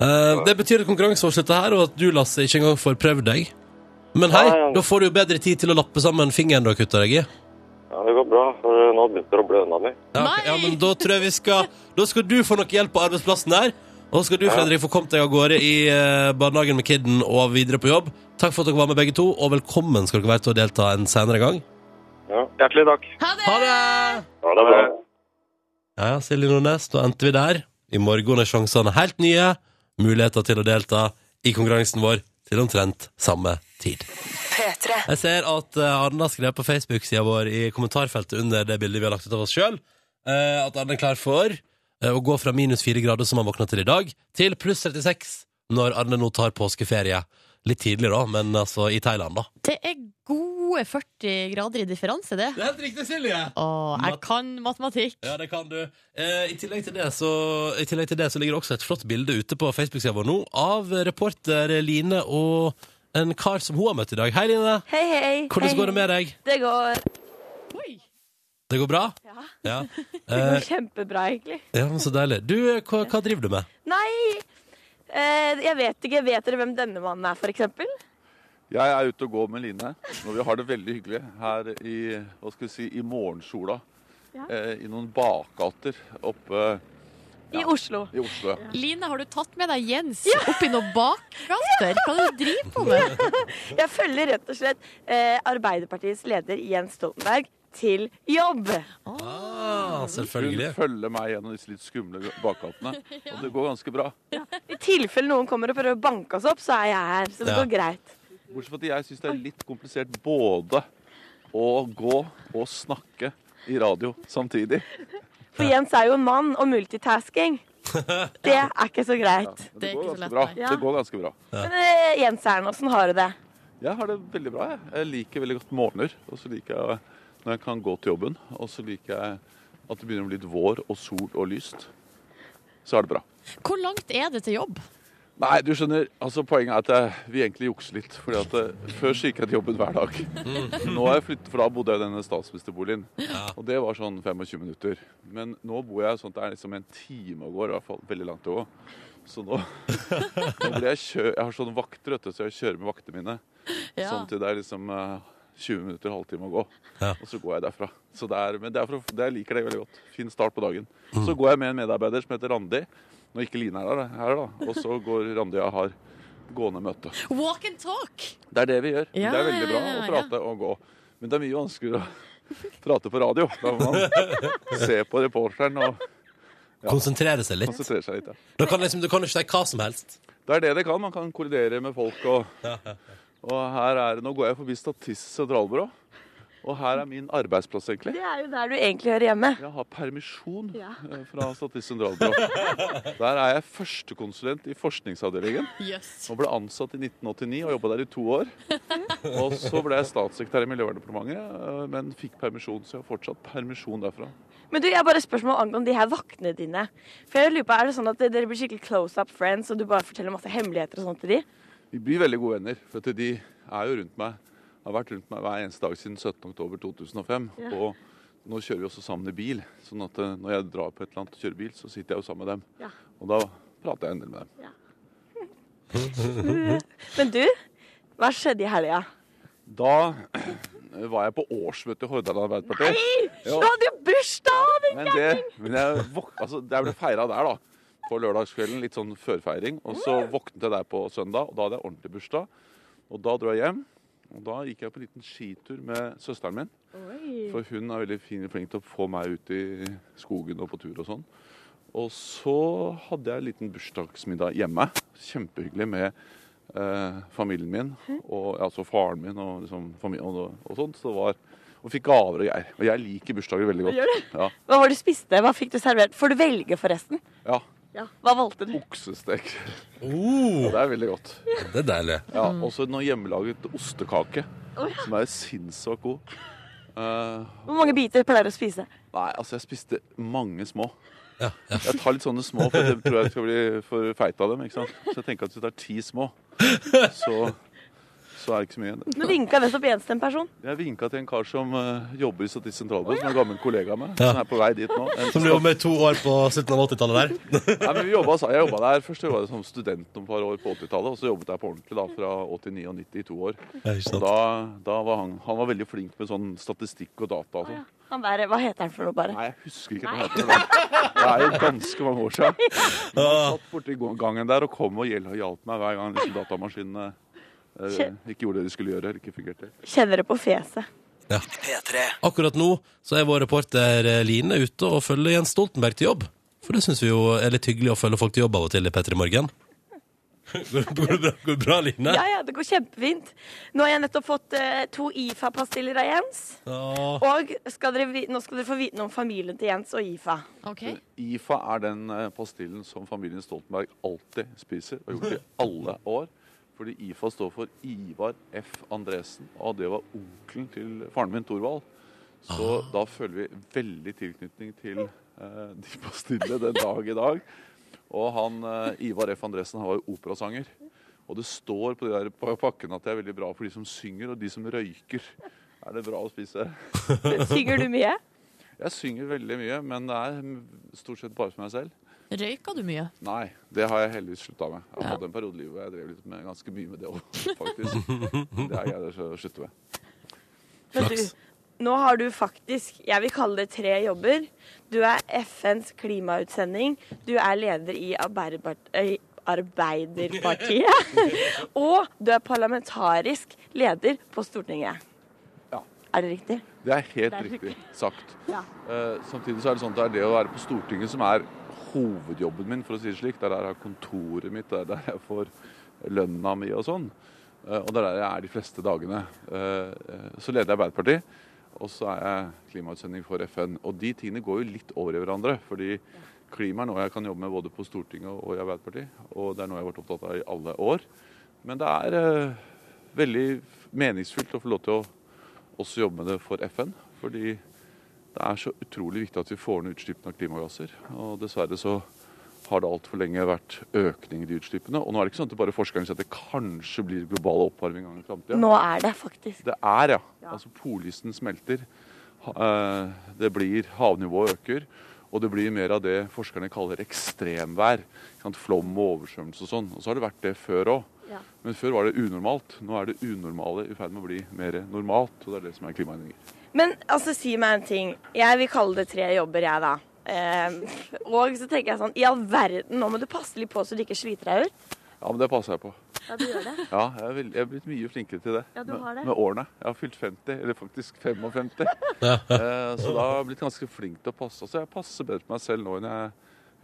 [SPEAKER 2] Eh, det betyr at konkurransen vår slutter her, og at du, Lasse, ikke engang får prøvd deg. Men hei,
[SPEAKER 8] Ja, ja.
[SPEAKER 2] da får du jo bedre tid til å lappe sammen fingeren du har kutta deg i.
[SPEAKER 8] Ja, det går bra, for nå begynte det å blø unna meg.
[SPEAKER 2] Ja, ok.
[SPEAKER 3] Nei!
[SPEAKER 2] ja, men da tror jeg vi skal Da skal du få noe hjelp på arbeidsplassen der. Og så skal du Fredrik, få kommet deg av gårde i eh, barnehagen med kidden og videre på jobb. Takk for at dere var med, begge to, og velkommen skal dere være til å delta en senere gang.
[SPEAKER 7] Hjertelig takk.
[SPEAKER 3] Ha det!
[SPEAKER 2] Ha det!
[SPEAKER 8] Ja, det er bra.
[SPEAKER 2] Ja, ja, Silje Nordnes, da endte vi der. I morgen er sjansene helt nye. Muligheter til å delta i konkurransen vår til omtrent samme tid. Jeg ser at eh, Arne har skrevet på Facebook-sida vår i kommentarfeltet under det bildet vi har lagt ut av oss sjøl, at Arne er klar for eh, å gå fra minus fire grader, som han våkna til i dag, til pluss 36 når Arne nå tar påskeferie. Litt tidlig, da, men altså i Thailand, da.
[SPEAKER 3] Det er gode 40 grader i differanse, det.
[SPEAKER 2] Det er helt riktig, Silje!
[SPEAKER 3] Å, jeg
[SPEAKER 2] Mat-
[SPEAKER 3] kan matematikk.
[SPEAKER 2] Ja, det kan du. Eh, i, tillegg til det så, I tillegg til det så ligger det også et flott bilde ute på Facebook-sida vår nå av reporter Line og en kar som hun har møtt i dag. Hei, Line.
[SPEAKER 9] Hei, hei.
[SPEAKER 2] Hvordan går det med deg?
[SPEAKER 9] Det går,
[SPEAKER 2] Det går bra?
[SPEAKER 9] Ja.
[SPEAKER 2] Ja. Eh,
[SPEAKER 9] kjempebra, egentlig.
[SPEAKER 2] ja men så deilig. Du, eh, hva, hva driver du med?
[SPEAKER 9] Nei, eh, jeg vet ikke. Vet dere hvem denne mannen er, for eksempel?
[SPEAKER 10] Jeg er ute og går med Line, og vi har det veldig hyggelig her i, hva skal vi si, i morgensola. Eh, I noen bakgater oppe
[SPEAKER 9] I Oslo.
[SPEAKER 10] i Oslo.
[SPEAKER 3] Line, har du tatt med deg Jens opp i noen bakgater? Hva er det du driver på med?
[SPEAKER 9] Jeg følger rett og slett eh, Arbeiderpartiets leder Jens Stoltenberg til jobb.
[SPEAKER 2] Ah,
[SPEAKER 10] Hun
[SPEAKER 2] selvfølgelig.
[SPEAKER 10] følger meg gjennom disse litt skumle bakgatene, og det går ganske bra.
[SPEAKER 9] I tilfelle noen kommer og prøver å banke oss opp, så er jeg her. Så det
[SPEAKER 2] Ja.
[SPEAKER 9] går greit.
[SPEAKER 10] Bortsett fra at jeg syns det er litt komplisert både å gå og snakke i radio samtidig.
[SPEAKER 9] For Jens er jo en mann, og multitasking, det er ikke så greit.
[SPEAKER 10] Men
[SPEAKER 3] Det
[SPEAKER 10] det
[SPEAKER 3] er
[SPEAKER 10] går
[SPEAKER 3] ikke så lett,
[SPEAKER 10] ganske bra.
[SPEAKER 3] nei.
[SPEAKER 10] Det går ganske bra.
[SPEAKER 9] Men eh, Jens Erne, åssen har du det?
[SPEAKER 10] Jeg har det veldig bra. Jeg, jeg liker veldig godt morgener. Og så liker jeg når jeg kan gå til jobben. Og så liker jeg at det begynner å bli litt vår og sol og lyst. Så er det bra.
[SPEAKER 3] Hvor langt er det til jobb?
[SPEAKER 10] Nei, du skjønner, altså poenget er at jeg, vi egentlig jukser litt. fordi at eh, Før så gikk jeg til jobben hver dag. Nå har jeg flyttet, For da bodde jeg i denne statsministerboligen. Og det var sånn 25 minutter. Men nå bor jeg sånn at det er liksom en time å gå. I hvert fall veldig langt å gå. Så nå, nå blir jeg kjø... Jeg har sånn vakter, vet du, så jeg kjører med vaktene mine.
[SPEAKER 3] Ja.
[SPEAKER 10] Sånn til det er liksom eh, 20 minutter, halvtime å gå.
[SPEAKER 2] Ja.
[SPEAKER 10] Og så går jeg derfra. Så det er, men det er for, å- det, jeg liker det veldig godt. Fin start på dagen. Så går jeg med en medarbeider som heter Randi. Når ikke Line er der, da- her da. Og så går Randi og jeg har gående møte.
[SPEAKER 3] Walk and talk!
[SPEAKER 10] Det er det vi gjør.
[SPEAKER 3] Ja,
[SPEAKER 10] det er veldig bra
[SPEAKER 3] ja, ja,
[SPEAKER 10] å
[SPEAKER 3] ja.
[SPEAKER 10] prate og gå. Men det er mye vanskeligere å prate på radio. Da må man se på reporteren og
[SPEAKER 2] Konsentrere seg litt.
[SPEAKER 10] konsentrere seg litt. Ja.
[SPEAKER 2] Da kan liksom, du kan ikke si hva som helst.
[SPEAKER 10] Det er det det kan. Man kan kollidere med folk. Og, og her er, nå går jeg forbi Statistisk sentralbyrå, og her er min arbeidsplass, egentlig.
[SPEAKER 9] Det er jo der du egentlig hører hjemme.
[SPEAKER 10] Jeg har permisjon eh, fra Statistisk sentralbyrå. Der er jeg førstekonsulent i forskningsavdelingen.
[SPEAKER 3] Yes.
[SPEAKER 10] Og ble ansatt i 1989 og jobba der i to år. Og så ble jeg statssekretær i Miljøverndepartementet, eh, men fikk permisjon, så jeg har fortsatt permisjon derfra.
[SPEAKER 9] Men du, jeg har bare et spørsmål angående de her vaktene dine. For jeg lurer på, Er det sånn at dere blir skikkelig close up friends, og du bare forteller masse hemmeligheter og sånt til de?
[SPEAKER 10] Vi blir veldig gode venner, for at de er jo rundt meg, har vært rundt meg hver eneste dag siden 17.10.2005. Og nå kjører vi også sammen i bil, sånn at eh, når jeg drar på et eller annet og kjører bil, så sitter jeg jo sammen med dem.
[SPEAKER 9] Ja.
[SPEAKER 10] Og da prater jeg en del med dem.
[SPEAKER 9] Men du, hva skjedde i helga?
[SPEAKER 10] Da eh, var jeg på årsmøte i Hordaland Arbeiderparti.
[SPEAKER 9] Du
[SPEAKER 10] Jo,
[SPEAKER 9] hadde jo bursdag!
[SPEAKER 10] men det, men jeg, våk- altså, jeg ble feira der, da. På lørdagskvelden, litt sånn førfeiring. Og så våknet jeg der på søndag, og da hadde jeg ordentlig bursdag. Og da dro jeg hjem. Og da gikk jeg på en liten skitur med søsteren min. For hun er veldig fin, flink til å få meg ut i skogen og på tur og sånn. Og så hadde jeg en liten bursdagsmiddag hjemme. Kjempehyggelig med eh, familien min, og, altså faren min og, liksom, famil- og, og sånt. Så det var, og fikk gaver og greier. Og jeg liker bursdager veldig godt. Ja,
[SPEAKER 9] Hva var det du spiste? Hva fikk du servert? Får du velge, forresten?
[SPEAKER 10] ja.
[SPEAKER 9] Hva valgte du?
[SPEAKER 10] Oksestek.
[SPEAKER 2] Oh,
[SPEAKER 10] Det er veldig godt.
[SPEAKER 2] det er deilig.
[SPEAKER 10] Ja, også noe hjemmelaget ostekake, som er sinnssvakt god. Eh,
[SPEAKER 9] Hvor mange biter pleier du å spise?
[SPEAKER 10] Nei, altså jeg spiste mange små. Jeg tar litt sånne små, for jeg tror jeg skal bli for feit av dem. ikke sant? Så jeg tenker at hvis du tar ti små, så, så er det ikke så mye.
[SPEAKER 9] Nå vinka nettopp Jens til en person.
[SPEAKER 10] Jeg vinka til en kar som eh, jobber i Statistisk sentralbyrå, som er en gammel kollega av meg. Som er på vei dit nå. En
[SPEAKER 2] Som du jobber med i to år på slutten av 80-tallet der.
[SPEAKER 10] Nei, men vi jobbet, altså, jeg jobbet der først jeg jobbet som student noen par år på 80-tallet, og så jobbet jeg på ordentlig da, fra 89 og 90 i to år.
[SPEAKER 2] Ja, ikke
[SPEAKER 10] Og
[SPEAKER 2] sant?
[SPEAKER 10] da, da var han, han var veldig flink med sånn statistikk og data og sånn.
[SPEAKER 9] Han der, Hva heter han for noe, bare?
[SPEAKER 10] Nei, jeg husker ikke hva det heter. Det er jo ganske mange år siden. Men
[SPEAKER 2] Ah.
[SPEAKER 10] han satt borti gangen der og kom og hjel- og hjalp meg hver gang liksom datamaskinene eh, ikke gjorde det de skulle gjøre. eller ikke fungerte.
[SPEAKER 9] Kjenner det på fjeset.
[SPEAKER 2] Akkurat nå så er vår reporter eh, Line ute og følger Jens Stoltenberg til jobb. For det syns vi jo er litt hyggelig å følge folk til jobb av og til i P3 Morgen. Går det går det bra, går det bra Line?
[SPEAKER 9] Ja, ja, det går kjempefint. Nå har jeg nettopp fått eh, to IFA-pastiller av Jens.
[SPEAKER 2] Åh,
[SPEAKER 9] Og skal dere, vi- nå skal dere få vite noe om familien til Jens og IFA.
[SPEAKER 3] Ok.
[SPEAKER 10] IFA er den eh, pastillen som familien Stoltenberg alltid spiser, og har gjort det i alle år. Fordi IFA står for Ivar F. Andresen, og det var onkelen til faren min, Thorvald. Så da føler vi veldig tilknytning til eh, de pastillene den dag i dag. Og han, eh, Ivar F. Andresen han var jo operasanger. Og det står på de der pa- pakkene at det er veldig bra for de som synger, og de som røyker. Er det bra å spise?
[SPEAKER 9] Synger du mye?
[SPEAKER 10] Jeg synger veldig mye, men det er mm, stort sett bare for meg selv.
[SPEAKER 3] Røyka du mye?
[SPEAKER 10] Nei, det har jeg heldigvis slutta med. Jeg hadde en periode i livet hvor jeg drev litt med ganske mye med det òg, faktisk. Det har jeg greid å slutte med.
[SPEAKER 9] Men du, nå har du faktisk, jeg vil kalle det tre jobber. Du er FNs klimautsending, du er leder i Arbeiderbart- eh, Arbeiderpartiet, og du er parlamentarisk leder på Stortinget.
[SPEAKER 10] Ja.
[SPEAKER 9] Er det riktig?
[SPEAKER 10] Det er helt riktig sagt. Eh, samtidig så er det sånn at det er det å være på Stortinget som er hovedjobben min, for å si det slik. Det er der jeg har kontoret mitt, det er der jeg får lønna mi og sånn. Eh, og det er der jeg er de fleste dagene. Eh, eh, så leder jeg Arbeiderpartiet, og så er jeg klimautsending for FN. Og de tingene går jo litt over i hverandre, fordi klima er noe jeg kan jobbe med både på Stortinget og i Arbeiderpartiet, og det er noe jeg har vært opptatt av i alle år. Men det er eh, veldig meningsfylt å få lov til å også jobbe med det for FN. Fordi det er så utrolig viktig at vi får ned utslippene av klimagasser. Og dessverre så har det altfor lenge vært økninger i utslippene. Og nå er det ikke sånn at det bare forskerne sier at det kanskje blir global oppvarming en gang i framtida.
[SPEAKER 9] Nå er det faktisk
[SPEAKER 10] Det er, ja. Altså polisen smelter. Ha- eh, Det blir Havnivået øker. Og det blir mer av det forskerne kaller ekstremvær. ikke sant, Flom og oversvømmelse og sånn. Og så har det vært det før òg. Men før var det unormalt. Nå er det unormale i ferd med å bli mer normalt. Og det er det som er klimaendringer.
[SPEAKER 9] Men altså, si meg en ting. Jeg vil kalle det tre jobber, jeg, da. Eh, og så tenker jeg sånn, i all verden, nå må du passe litt på så du ikke sliter deg ut.
[SPEAKER 10] Ja, men det passer jeg på.
[SPEAKER 9] Ja, du gjør det.
[SPEAKER 10] Ja, jeg er, veld- jeg er blitt mye flinkere til det.
[SPEAKER 9] Ja, du
[SPEAKER 10] med,
[SPEAKER 9] har det.
[SPEAKER 10] med årene. Jeg har fylt 50, eller faktisk 55. Eh, så da har jeg blitt ganske flink til å passe. Altså, jeg passer bedre på meg selv nå enn jeg,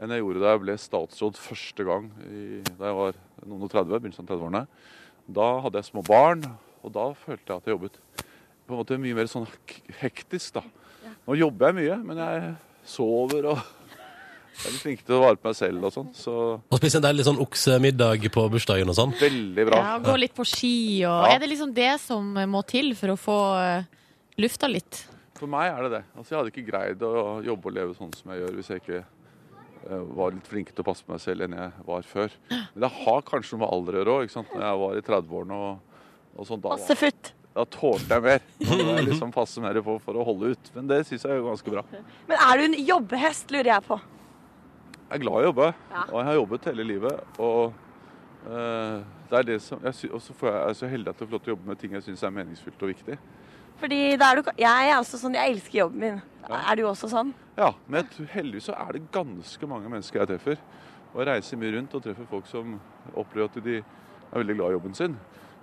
[SPEAKER 10] enn jeg gjorde da jeg ble statsråd første gang i, da jeg var noen og 30, begynnelsen av 30-årene. Da hadde jeg små barn, og da følte jeg at jeg jobbet på en måte mye mer sånn hek- hektisk, da. Nå jobber jeg mye, men jeg sover og jeg er litt flink til å vare på meg selv og sånn. Så
[SPEAKER 2] Og spise en deilig sånn oksemiddag på bursdagen og sånn.
[SPEAKER 10] veldig bra.
[SPEAKER 3] Ja, gå litt på ski og
[SPEAKER 10] Ja.
[SPEAKER 3] Er det liksom det som må til for å få eh, lufta litt?
[SPEAKER 10] For meg er det det. Altså, jeg hadde ikke greid å jobbe og leve sånn som jeg gjør hvis jeg ikke eh, var litt flink til å passe på meg selv enn jeg var før. Men det har kanskje noe med alder å gjøre òg. Når jeg var i 30-årene og, og sånn, da,
[SPEAKER 9] Masse futt.
[SPEAKER 10] da tålte jeg mer. Da må jeg liksom passe mer på for å holde ut. Men det syns jeg er ganske bra.
[SPEAKER 9] Men er du en jobbehest, lurer jeg på.
[SPEAKER 10] Jeg er glad i å jobbe, og jeg har jobbet hele livet. Og eh, det er det som jeg sy- Og så får jeg, jeg er så heldig at jeg får lov til å jobbe med ting jeg syns er meningsfylt og viktig.
[SPEAKER 9] Fordi da er du Jeg er også sånn, jeg elsker jobben min. Er du også sånn?
[SPEAKER 10] Ja, men jeg tror- heldigvis så er det ganske mange mennesker jeg treffer. Og jeg reiser mye rundt og treffer folk som opplever at de er veldig glad i jobben sin.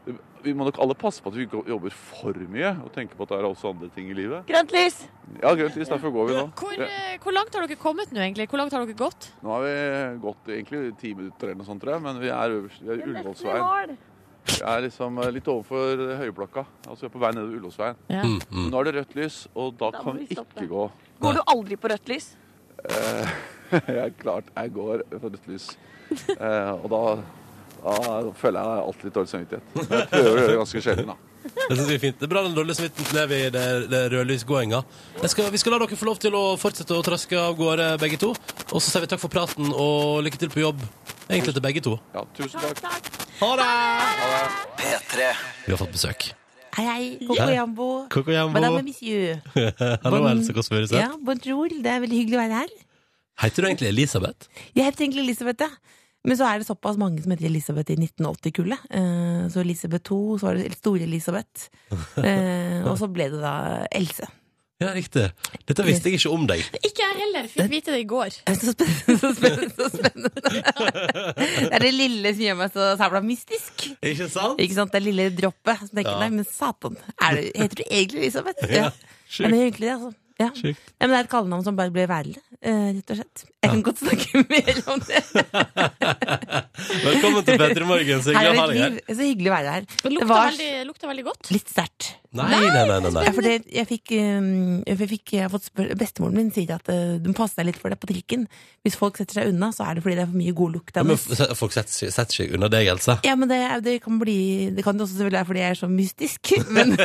[SPEAKER 10] Det- Vi må nok alle passe på at vi ikke jobber for mye, og tenke på at det er også andre ting i livet.
[SPEAKER 9] Grønt lys!
[SPEAKER 10] Ja, grønt lys, derfor går vi nå.
[SPEAKER 3] Hvor,
[SPEAKER 10] Ja,
[SPEAKER 3] eh, hvor langt har dere kommet nå, egentlig? Hvor langt har dere gått?
[SPEAKER 10] Nå har vi gått egentlig ti minutter eller noe sånt, tror jeg, men vi er øverst. Vi er i Ullevålsveien.
[SPEAKER 9] mål.
[SPEAKER 10] Vi er liksom eh, litt overfor Høyblokka. Altså vi er på vei nedover Ullevålsveien.
[SPEAKER 3] Ja.
[SPEAKER 11] Mm.
[SPEAKER 10] Men Nå er det rødt lys, og da,
[SPEAKER 9] Da må
[SPEAKER 10] kan
[SPEAKER 9] vi
[SPEAKER 10] vi
[SPEAKER 9] stoppe.
[SPEAKER 10] ikke gå.
[SPEAKER 9] Mm, Går du aldri på rødt lys?
[SPEAKER 10] Jeg klart jeg går for rødt lys. Eh, og da, da føler jeg alltid litt dårlig samvittighet. Men jeg prøver å gjøre det ganske sjelden, da.
[SPEAKER 2] Det synes vi er fint. Det er bra den dårlige smitten lever i det, det rødlysgåinga. Jeg skal- Vi skal la dere få lov til å fortsette å traske av gårde, begge to. Og så sier vi takk for praten, og lykke til på jobb. Egentlig til begge to.
[SPEAKER 10] Ja, tusen takk.
[SPEAKER 2] Ha det! Vi har fått besøk.
[SPEAKER 11] Hei, hei. Koko Jambo.
[SPEAKER 2] Koko
[SPEAKER 11] Madame
[SPEAKER 2] Jambo.
[SPEAKER 11] Monsieur.
[SPEAKER 2] Hallo, Else Kåss Furuseth.
[SPEAKER 11] Ja, bonjour. Det er veldig hyggelig å være her.
[SPEAKER 2] Heter du egentlig Elisabeth?
[SPEAKER 11] Jeg heter egentlig Elisabeth, ja. Men så er det såpass mange som heter Elisabeth i 1980-kullet. Eh, Så Elisabeth 2, så var det Store Elisabeth. Eh, Og så ble det da Else.
[SPEAKER 2] Ja, riktig. Dette visste jeg ikke om deg.
[SPEAKER 3] Ikke jeg heller. Fikk vite det i går.
[SPEAKER 11] Det er Så spennende, så spennende, så spennende. Det er det lille som gjør meg så sabla mystisk.
[SPEAKER 2] Ikke sant?
[SPEAKER 11] Ikke sant, Det lille droppet som tenker
[SPEAKER 2] Ja.
[SPEAKER 11] nei, men satan, er du, heter du egentlig Elisabeth? Ja. Ja, men
[SPEAKER 2] Sjukt.
[SPEAKER 11] det er egentlig det, altså. Ja.
[SPEAKER 2] Sjukt.
[SPEAKER 11] Ja, men det er et kallenavn som bare ble værende, eh, rett og slett. Jeg kan godt snakke mer om det.
[SPEAKER 2] Velkommen til Petter i morgen. Så hyggelig å ha
[SPEAKER 11] mitt
[SPEAKER 2] deg her.
[SPEAKER 11] liv. Så hyggelig å være her.
[SPEAKER 3] Det
[SPEAKER 11] Det
[SPEAKER 3] lukta,
[SPEAKER 11] var
[SPEAKER 3] veldig, lukta veldig godt.
[SPEAKER 11] litt sterkt.
[SPEAKER 2] Nei, nei, nei. nei, nei.
[SPEAKER 11] Ja, for det, jeg fikk, eh, jeg fikk jeg har fått spør Bestemoren min sier at eh, du må passe deg litt for det på trikken. Hvis folk setter seg unna, så er det fordi det er for mye god lukt.
[SPEAKER 2] Ja,
[SPEAKER 11] av
[SPEAKER 2] men
[SPEAKER 11] oss.
[SPEAKER 2] f- folk setter seg- setter seg unna deg, Else.
[SPEAKER 11] Ja, men det, er- det kan bli Det kan det også selvfølgelig være fordi jeg er så mystisk, men,